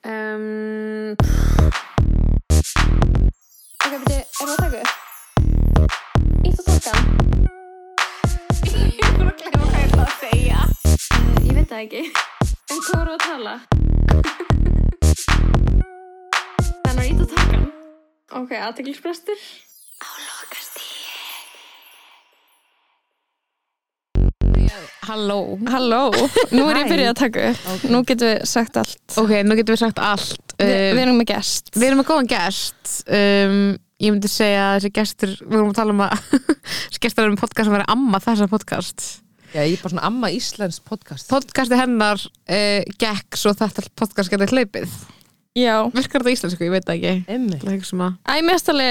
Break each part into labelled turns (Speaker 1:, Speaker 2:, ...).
Speaker 1: Um, ok, beti, er það að taka upp? Ítt og tólka.
Speaker 2: Ég voru að glemma hvað ég ætla að segja.
Speaker 1: Uh, ég veit það ekki. En hvað voru að tala?
Speaker 2: Þannig að ít að taka.
Speaker 1: Ok, aðteglisbrestur.
Speaker 2: Á lokast í.
Speaker 3: Halló.
Speaker 1: Halló, nú er ég
Speaker 3: Hæ.
Speaker 1: byrjuð að taka upp.
Speaker 3: Ok.
Speaker 1: Nú getum við sagt allt.
Speaker 3: Ok, nú getum við sagt allt.
Speaker 1: Vi,
Speaker 3: Uh,
Speaker 1: við erum með gest.
Speaker 3: við erum með góðan gest. Um, ég myndi segja að þessi gestur, við vorum að tala um að þessi gestur er um podcast sem verið amma þessa podcast.
Speaker 4: Já, ég er bara svona amma Íslands podcast.
Speaker 3: Podcasti hennar uh, gekk svo þetta podcast getur hlaupið.
Speaker 1: Já,
Speaker 3: Virkar þetta á íslensku, ég veit það ekki.
Speaker 4: Emmi.
Speaker 3: Það er ekki sem að
Speaker 1: æ, mestali,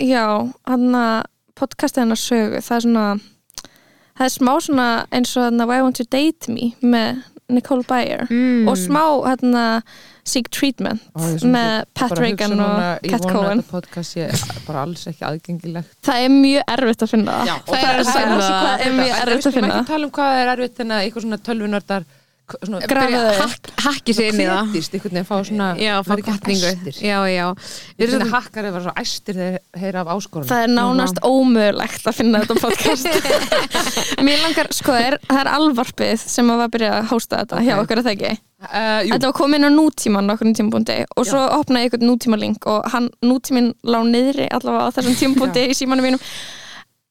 Speaker 1: já, hann að podcastið hennar sögu, það er svona, það er smá svona eins og hann að Why Won't You Date Me með Nicole Byer.
Speaker 3: mm.
Speaker 1: og smá hérna Seek Treatment
Speaker 4: Ó, ég er svona
Speaker 1: með Pat Reagan og Cat
Speaker 4: Ég vona
Speaker 1: Cohen
Speaker 4: að þetta podcast sé bara alls ekki aðgengilegt.
Speaker 1: það er mjög erfitt að finna það.
Speaker 4: Já, og
Speaker 1: það
Speaker 4: það
Speaker 1: er
Speaker 4: er
Speaker 1: að segja
Speaker 4: erfitt
Speaker 1: þessu
Speaker 3: að-
Speaker 1: hvað er mjög erfitt að
Speaker 4: Við skulum
Speaker 1: finna
Speaker 4: ekki tala um hvað er erfitt en að eitthvað svona tölvunardar svona
Speaker 1: grafaðu
Speaker 3: Byrja-
Speaker 1: þau.
Speaker 3: hakk, hakki sér inn í það.
Speaker 4: kvetist, einhvern veginn fá svona
Speaker 3: Já, fá
Speaker 4: verða ekki
Speaker 3: kvartningu.
Speaker 4: æstir.
Speaker 3: Já, já.
Speaker 4: Ég finn að hakkar eru að vera svo æstir þegar þeir heyra af áskorun.
Speaker 1: það er nánast ómögulegt að finna þetta podcast mér langar, sko, það er, það er alvarpið sem að var að byrja að hósta þetta hjá okkur að það ekki
Speaker 4: Uh, jú,
Speaker 1: þetta var komin á nútíman okkur tímabúndi og svo opnaði einhvern nútímalink og hann, nútíminn lá niðri allavega á þessum tímabúndi í símanum mínum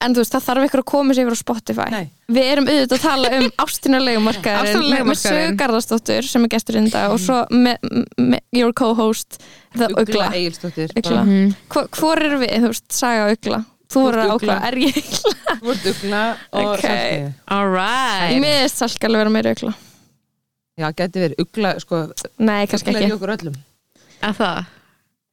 Speaker 1: en þú veist, það þarf eitthvað að koma sér yfir á Spotify
Speaker 4: Nei.
Speaker 1: við erum auðvitað að tala um ástinulegumarkaðarinn
Speaker 3: Ástinulegu
Speaker 1: með, með
Speaker 3: markaðurinn.
Speaker 1: Sögarðarsdóttur sem er gesturinn í dag og svo með me, your co-host það Ugla,
Speaker 4: Ugla Egilsdóttir.
Speaker 1: Ugla.
Speaker 4: bara-
Speaker 1: Hvo- Hvor eru við, þú veist, Saga og Ugla Þú
Speaker 4: Þú
Speaker 1: voru
Speaker 4: ert
Speaker 1: að
Speaker 4: Ugla.
Speaker 1: ákla, er ég Ugla?
Speaker 4: Þú ert Ugla og
Speaker 1: Ok.
Speaker 4: Salkeiði.
Speaker 3: All
Speaker 1: Ég
Speaker 3: right.
Speaker 1: miðist salk alveg vera meira Ugla
Speaker 4: Já, geti verið Ugla, sko,
Speaker 1: Nei, kannski
Speaker 4: Ugla er í
Speaker 1: ekki
Speaker 4: okkur öllum.
Speaker 3: Er það?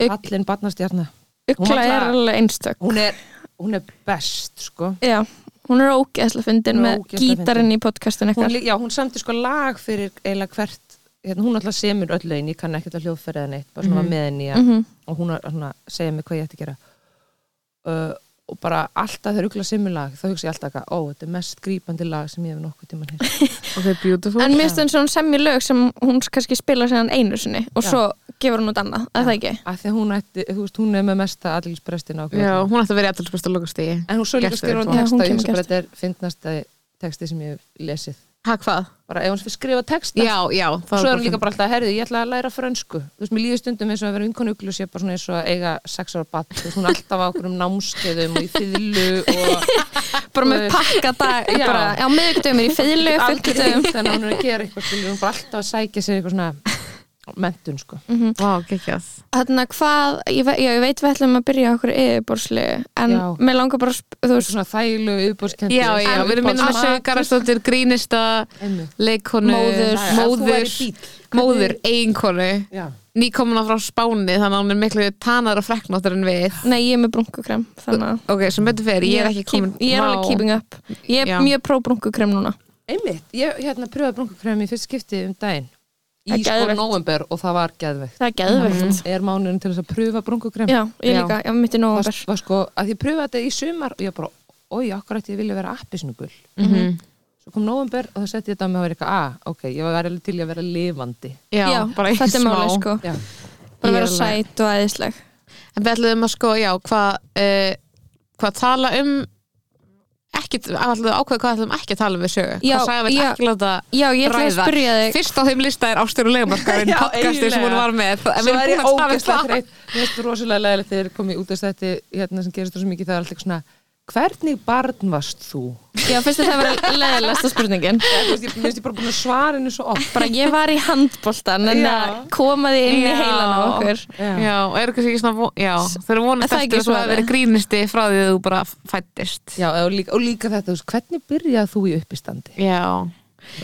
Speaker 1: Ugl-
Speaker 4: Allin barnastjarna. Hún
Speaker 1: Ugla
Speaker 4: var
Speaker 1: er
Speaker 4: alltaf-
Speaker 1: alveg einstök
Speaker 4: Hún er, hún er best, sko.
Speaker 1: Já, hún er ógeðslega fyndin
Speaker 4: Hún er
Speaker 1: með
Speaker 4: ógeðslega
Speaker 1: gítarinn í podcastinu
Speaker 4: hún,
Speaker 1: eitthvað
Speaker 4: lí- já, hún samti sko lag fyrir eiginlega hvert hérna, hún alltaf semur öll lögin, ég kann ekkert að hljóðferða neitt bara svona var með henni að, og hún að svona, segja mér hvað ég ætti að gera uh, og bara alltaf þegar ugla semur lag þá hugsa ég alltaf að, ó, þetta er mest grípandi lag sem ég hef nokkuð tíma hér
Speaker 3: Ok, beautiful.
Speaker 1: En mér finnst eins og hún semji lög sem hún kannski spila sér einu sinni og
Speaker 4: Já.
Speaker 1: svo gefur hún út annað, er það ekki?
Speaker 4: af því að hún, ætti, þú veist, hún er með mesta aðlíksbrestin á okkur
Speaker 3: Já,
Speaker 4: öllum.
Speaker 3: hún ætti að vera í alltaf besta lokastíði.
Speaker 4: en hún svo líka
Speaker 3: Gestur,
Speaker 4: skrifur hún
Speaker 3: sko.
Speaker 1: Já, hún
Speaker 4: texta ég
Speaker 1: kemur
Speaker 4: hugsa bara þetta er fyndnasta texti sem ég hef lesið
Speaker 3: Hæ, hvað?
Speaker 4: bara ef hún fyrir skrifa texta
Speaker 3: Já, já. það
Speaker 4: svo er hún
Speaker 3: bara
Speaker 4: líka bara alltaf, herðu, ég ætla að læra frönsku þú veist, mér líður stundum eins og að vera vinkonu uglu sé bara svona eins og að eiga sex ára bat þú veist, hún er alltaf á okkur um námskeðum og í fyllu og
Speaker 1: Bara með pakka dag,
Speaker 4: Já.
Speaker 1: bara á miðugdöfum er í feilu,
Speaker 4: aldrei
Speaker 1: fyrkudöfum
Speaker 4: þannig að hún er að gera eitthvað skilur, hún er bara alltaf að sækja sér eitthvað svona mentun, sko
Speaker 1: Mm.
Speaker 3: Vá, geggjað.
Speaker 1: Þannig að hvað, ég, ve já, ég veit við ætlum að byrja okkur yfirborðsli en
Speaker 4: Já.
Speaker 1: mér langar bara, að sp- þú veist,
Speaker 4: svona þælu, yðbúrskendi
Speaker 3: Já, já, við erum minnum að sögarastóttir, grínista, leikonu,
Speaker 1: Móður.
Speaker 3: móður, móður, eiginkonu,
Speaker 4: já,
Speaker 3: nýkomuna frá Spáni, þannig að hún er miklu tanar og freknóttur en við.
Speaker 1: nei ég er með brunkukrem þannig að
Speaker 3: Ok, sem betur fyrir, ég er ekki komin.
Speaker 1: keep, ég er alveg
Speaker 3: Vá.
Speaker 1: keeping up ég er
Speaker 3: Já.
Speaker 1: mjög pró brunkukrem núna
Speaker 4: einmitt, ég hérna pröfaði brunkukrem í fyrst skipti um daginn
Speaker 1: Það er
Speaker 4: í sko
Speaker 1: geðveikt.
Speaker 4: november og það var geðvegt
Speaker 1: það er geðvegt
Speaker 4: er mánuðin til þess að pröfa brunkukrem
Speaker 1: Mhm. já,
Speaker 3: Mm.
Speaker 1: ég
Speaker 3: Já.
Speaker 1: líka, já, mitt í
Speaker 4: var,
Speaker 1: nóvember
Speaker 4: var sko, að ég pröfaði þetta í sumar og ég bara, oi, akkur ætti ég vilja vera appisnugul
Speaker 3: Mhm.
Speaker 4: svo kom november og það setti ég þetta á mig og var eitthvað, að, ok, ég var verið til í að vera lifandi
Speaker 3: Já,
Speaker 1: já,
Speaker 3: bara í smá.
Speaker 1: þetta er málið sko
Speaker 4: já,
Speaker 1: bara
Speaker 3: Ég er
Speaker 1: vera
Speaker 3: alveg-
Speaker 1: sæt og æðisleg
Speaker 3: En við ætluðum að sko, já, hvað uh, hvað tala um ekki, ætluðum ákveða hvað ætluðum ekki að tala um við sögu.
Speaker 1: Já,
Speaker 3: hvað sagði við
Speaker 1: já.
Speaker 3: ekki láta
Speaker 1: já, ég ætla að
Speaker 3: ræða.
Speaker 1: spyrja þig
Speaker 3: Fyrst á þeim lista er Ástjóru Legumarkarinn
Speaker 4: Já,
Speaker 3: podcastið sem hún
Speaker 4: eiginlega.
Speaker 3: var með. En við
Speaker 4: svo er ég
Speaker 3: erum búin að
Speaker 4: ógæslega
Speaker 3: staðfesta það.
Speaker 4: þreytt mér finnst rosalega leðilegt þegar ég komið út af þetta hérna sem gerist rosa mikið, það er alltaf svona hvernig barn varst þú?
Speaker 1: já, fyrst að það vera leðilegsta spurningin
Speaker 4: Eða, þú veist, ég- Mér finnst ég bara búin að svara henni svo oft
Speaker 1: bara ég var í handboltan en
Speaker 4: Já.
Speaker 1: að koma þig inn í
Speaker 3: Já.
Speaker 1: heilan á okkur
Speaker 4: Já.
Speaker 3: Já, og eru kannski ekki svona, vo- já, þau eru vonast
Speaker 1: Það er ekki
Speaker 3: eftir að þú
Speaker 1: svarið.
Speaker 3: hafi verið grínisti frá því að þú bara fættist.
Speaker 4: Já, og líka, og líka þetta, þú veist, hvernig byrjaði þú í uppistandi?
Speaker 3: Já.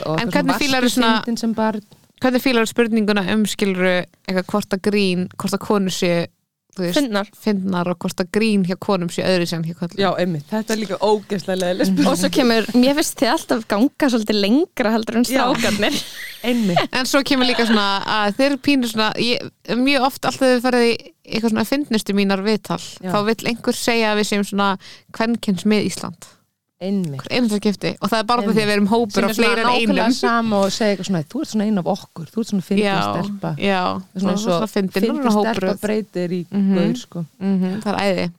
Speaker 4: Og
Speaker 3: En
Speaker 4: eitthvað svona,
Speaker 3: hvernig fílar
Speaker 4: varstu
Speaker 3: svona-
Speaker 4: fyndin sem barn?
Speaker 3: Hvernig fílar spurninguna umskiluru eitthvað hvort að grín, hvort að konur séu, þú veist,
Speaker 1: finnar
Speaker 3: finnar og hvort að grín hjá konum séu öðru sem hjá kvöldum?
Speaker 4: Já, einmitt, þetta er líka ógæslega leðilegt
Speaker 1: og svo kemur, mér finnst þið alltaf ganga svolítið lengra heldur en strákarnir
Speaker 4: einmitt
Speaker 3: En svo kemur líka svona að þeir eru pínur svona, ég, mjög oft alltaf þau farið í eitthvað svona fyndnustu mínar viðtal,
Speaker 4: Já.
Speaker 3: þá vill einhver segja að við séum svona kvennkins með Ísland.
Speaker 4: einmitt
Speaker 3: einhverskipti og það er bara því að við erum
Speaker 4: sem
Speaker 3: hópur
Speaker 4: er
Speaker 3: af
Speaker 4: svona
Speaker 3: fleiri en
Speaker 4: nákvæmlega
Speaker 3: einum
Speaker 4: sama og segja eitthvað svona, þú ert svona ein af okkur þú ert svona fyndin stelpa
Speaker 3: já,
Speaker 4: svona eins og
Speaker 3: fyndin hún er hópur
Speaker 4: stelpa breytir í
Speaker 3: Mhm.
Speaker 4: gaur sko
Speaker 3: Mhm, það er æði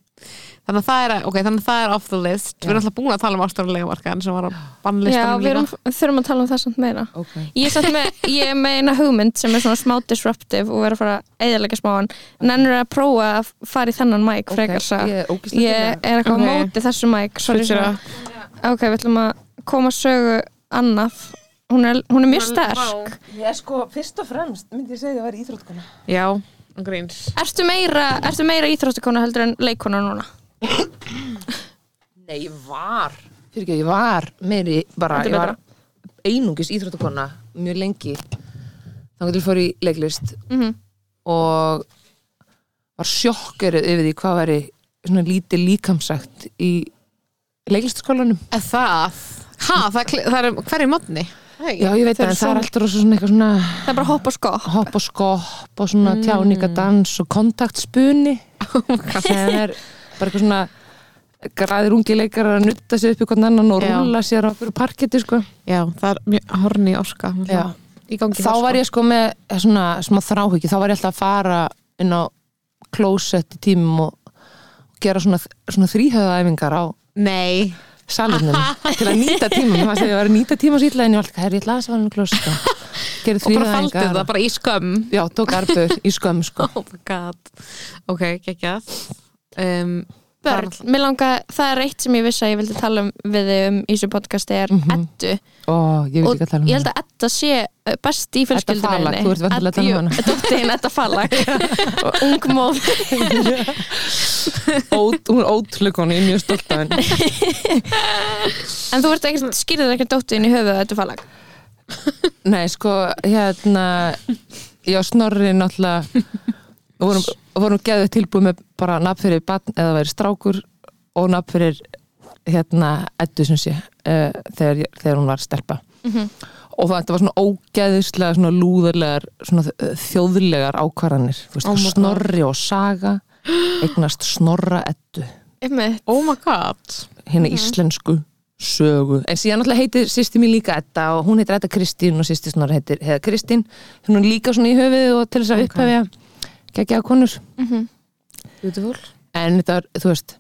Speaker 3: þannig að það er, ok, þannig að það er off the list við erum alltaf búin að tala um ástofnulega markaðan sem var á
Speaker 1: Já,
Speaker 3: bannlistanum
Speaker 1: við
Speaker 3: líka
Speaker 1: erum, þurfum að tala um það samt meira
Speaker 4: ok,
Speaker 1: Ég er, samt með, ég er með eina hugmynd sem er svona smá disruptive og verður að fara að eðalega smáan Nennur að prófa að fara í þennan mæk
Speaker 4: okay.
Speaker 1: frekar okay.
Speaker 4: ég er
Speaker 1: Ég
Speaker 4: ógislega
Speaker 1: er eitthvað á
Speaker 3: Ok.
Speaker 1: móti þessu mæk sorry, sorry. Ok, við ætlum að koma að sögu annað Hún er, hún er mjög sterk
Speaker 4: ég sko, fyrst og fremst myndi ég segja það að vera íþrótkona
Speaker 3: já, um gríns
Speaker 1: Ertu meira, ertu meira íþróttikona heldur en leikona núna?
Speaker 4: nei, ég var fyrir ekki, ég var meiri bara,
Speaker 1: Þetta er
Speaker 4: ég var einungis íþrótkona mjög lengi þannig til ég fór í leiklist
Speaker 1: Mhm.
Speaker 4: og var sjokkerið yfir því hvað væri svona lítið líkamsagt í leiklistaskólanum
Speaker 3: Er það, ha, það, er kli- það er um hverju mótni
Speaker 4: Já, ég veit
Speaker 1: Þau
Speaker 4: það,
Speaker 1: eru
Speaker 4: en það er
Speaker 1: svona-
Speaker 4: alltaf rosa svona eitthvað svona
Speaker 1: Það er bara hopp og skopp
Speaker 4: hopp og skopp og svona tjáningadans og kontaktspuni sem er bara eitthvað svona græðir ungi leikar að nutta sér upp í hvern annan og
Speaker 3: Já.
Speaker 4: rúla sér á okkur parketti sko.
Speaker 3: já, það er mjög horni orka
Speaker 4: Já.
Speaker 3: í gangi
Speaker 4: Þá var ég sko með svona smá þráhyggju, þá var ég alltaf að fara inn á klósett í tímum og gera svona, svona þríhöðaæfingar á
Speaker 3: nei,
Speaker 4: salunum til að nýta tímann. Mér fannst að ég var að nýta tíma sýtla en ég var alltaf, herri, ég ætla aðeins að fara inn á klósett Gerið
Speaker 3: og bara faldi
Speaker 4: þríhöðaæfingar
Speaker 3: það bara í skömm
Speaker 4: Já, tók arbur í skömm sko
Speaker 3: oh my god, ok, geggjað um,
Speaker 1: Börn, mér langa, það er eitt sem ég vissi að ég vildi tala um við þig um í þessu podcasti er mm
Speaker 4: Mhm.
Speaker 1: Eddu
Speaker 4: Ó, ég vil
Speaker 1: og
Speaker 4: ekki að tala um
Speaker 1: ég held að Edda sé eh, best í fjölskyldinu
Speaker 4: Falak, þú ert væntanlega að tala um hana.
Speaker 1: Dóttir hinn Edda Falak og ung móð
Speaker 4: Ót, hún er ótrúleg konu, ég er mjög stolt af henni
Speaker 1: en þú ert ekkert, skýrðir ekkert dóttir hinn í höfuð Edda Falak
Speaker 4: Nei, sko, hérna Já, snorri náttúrulega og vorum, og vorum geðið tilbúið með bara nafn fyrir batn eða væri strákur og nafn fyrir hérna eddu sem sé uh, þegar, ég- þegar hún var stelpa
Speaker 3: Mhm.
Speaker 4: og það þetta var svona ógeðislega svona lúðarlegar, svona eh, þjóðlegar ákvarðanir, þú veist,
Speaker 3: Oh my God.
Speaker 4: snorri og saga eignast snorra eddu
Speaker 1: Einmitt.
Speaker 3: oh my god
Speaker 4: hérna
Speaker 1: Mhm.
Speaker 4: íslensku sögu en síðan náttúrulega heitir sýsti mín líka Edda og hún heitir Edda Kristín og sýsti snar heitir Heða Kristín hún er líka svona í höfuðið og til þess að
Speaker 3: Ok.
Speaker 4: upphefja geggjaða konur
Speaker 3: beautiful
Speaker 4: en þetta er, þú veist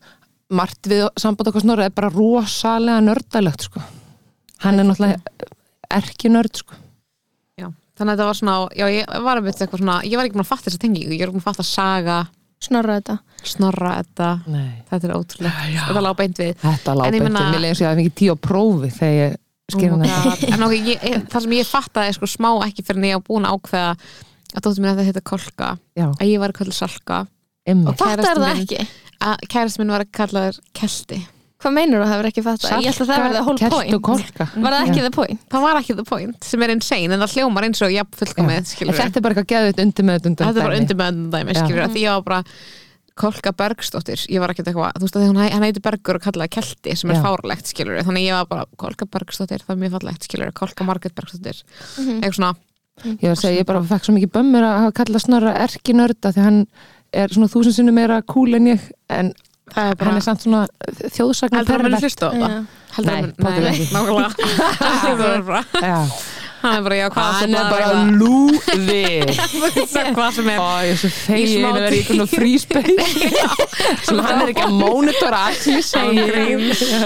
Speaker 4: margt við samband okkar snorra er bara rosalega nördalegt sko hann er náttúrulega erki nörd sko
Speaker 3: Já, þannig að þetta var svona, já ég var að veit eitthvað svona, ég var ekki búin að fatta þessa tengingu, ég var búin að fatta saga,
Speaker 1: snorra þetta
Speaker 3: snorra þetta,
Speaker 4: Nei.
Speaker 3: þetta er ótrúlega,
Speaker 4: Já, já.
Speaker 3: þetta lág beint við.
Speaker 4: þetta
Speaker 3: En ég
Speaker 4: lábættu,
Speaker 3: meina-
Speaker 4: mér leiðum sér að það fengi tíu á prófi þegar ég skýr
Speaker 1: Mm.
Speaker 4: hann þetta
Speaker 3: þetta. Oh En ok, ég, ég- það sem ég fattaði sko smá ekki fyrir en ég var búin að ákveða að dóttir mín að þetta heita kolka,
Speaker 4: já,
Speaker 3: að ég var að kalla salka,
Speaker 4: emmi
Speaker 1: fattar
Speaker 3: Kærastinn
Speaker 1: það
Speaker 3: minn.
Speaker 1: ekki?
Speaker 3: að kærist minn var að kalla þér kelti.
Speaker 1: Hvað meinur þú að það verður ekki fatta? Ég held að það verði the whole
Speaker 4: Kert og
Speaker 1: point
Speaker 4: kolka
Speaker 1: Var það ekki the point?
Speaker 3: Það var ekki the point, sem er insane, en það hljómar eins og jafn
Speaker 4: Já.
Speaker 3: fullkomið,
Speaker 4: En
Speaker 3: skilur við.
Speaker 4: þetta er bara eitthvað um geðvitt undir með
Speaker 3: Þetta er bara undir meðan dæmi,
Speaker 4: Já.
Speaker 3: skilur við, því ég var bara Kolka Bergsdóttir, ég var ekkert eitthvað þú veist að því hún hæ- hann heiti Bergur og kallaði Kelti sem er
Speaker 4: Já.
Speaker 3: fárlegt, skilur við, þannig ég var bara Kolka Bergsdóttir, það er mjög fallegt, skilur við Kolka Margrét Bergsdóttir, eitthvað svona
Speaker 4: Ég var að segja, ég bara fekk svo mikið bömmur að hafa kallað snorra erkinörda því að hann er svona þúsund sinnum meira cool en ég en
Speaker 3: það er bara,
Speaker 4: hann er samt svona þjóðsagnar
Speaker 3: heldur að hann muni hlusta á það
Speaker 1: Já.
Speaker 3: heldur
Speaker 4: Nei,
Speaker 3: að hann,
Speaker 4: pottur
Speaker 3: nei,
Speaker 4: ekki.
Speaker 3: nákvæmlega Hann er bara-
Speaker 4: Já,
Speaker 3: hann er bara, já, hvað
Speaker 4: hann
Speaker 3: sem
Speaker 4: er bara lúði
Speaker 3: bara- hvað sem er
Speaker 4: Ó, ég er svo
Speaker 3: Í
Speaker 4: fegin
Speaker 3: smá
Speaker 4: að vera í einhvern og free space sem hann er ekki að mónitora allt sem ég segi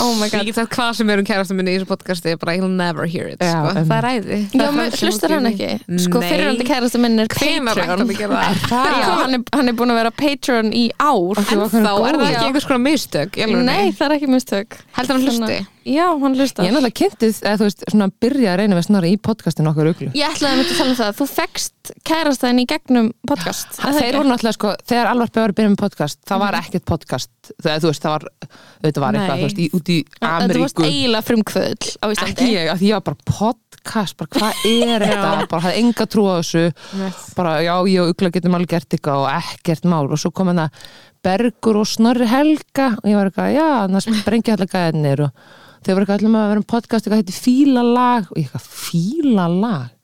Speaker 1: Oh my
Speaker 3: ég
Speaker 1: god
Speaker 3: get sagt hvað sem er um kærastu minni í þessu podcasti, bara he'll never hear it,
Speaker 4: Já,
Speaker 3: sko,
Speaker 4: en-
Speaker 3: það er æði
Speaker 1: Já, men hlustar hann ekki? Sko,
Speaker 3: Nei.
Speaker 1: fyrirhandi kærasta minn er
Speaker 3: hvenar ætti hann
Speaker 1: Patreon
Speaker 3: um að gera það
Speaker 1: Já, hann er, hann er búin að vera Patreon í ár
Speaker 4: Af því var
Speaker 3: þá
Speaker 4: hann
Speaker 3: er það
Speaker 4: góður.
Speaker 3: ekki einhvers konar mistök í alvörunni?
Speaker 1: Nei, það er ekki mistök
Speaker 3: heldur hann hlusti
Speaker 1: Þannig- Já, hann hlusta
Speaker 4: Ég er náttúrulega kynntið, eða þú veist, svona byrja að reyna með snorra í podcastinu okkar uglu
Speaker 1: Ég ætlaði að mynda að tala um það Þú fekst kærastæðin í gegnum podcast er það
Speaker 4: Þeir
Speaker 1: ekki?
Speaker 4: voru náttúrulega sko, þegar alvarpi var að byrja með podcast það var ekkert podcast, þegar þú veist, það var þetta var
Speaker 3: Mhm.
Speaker 4: eitthvað,
Speaker 3: Nei.
Speaker 4: þú veist, í, út í
Speaker 1: Þetta varst
Speaker 4: Ameríku
Speaker 1: eiginlega frumkvöðl á
Speaker 4: ekki
Speaker 1: Íslandi
Speaker 4: ég, af því ég var bara podcast bara hvað er þetta, bara hafði enga trú á þessu bara já, ég og Ugla getum alveg gert eitthvað og ekkert mál og svo kom hann að Bergur og Snorri Helga og ég var eitthvað, já, þannig að sprengja allar gæðinir og þau voru eitthvað allir með að vera um podcast eitthvað heitir Fílalag og ég eitthvað, Fílalag?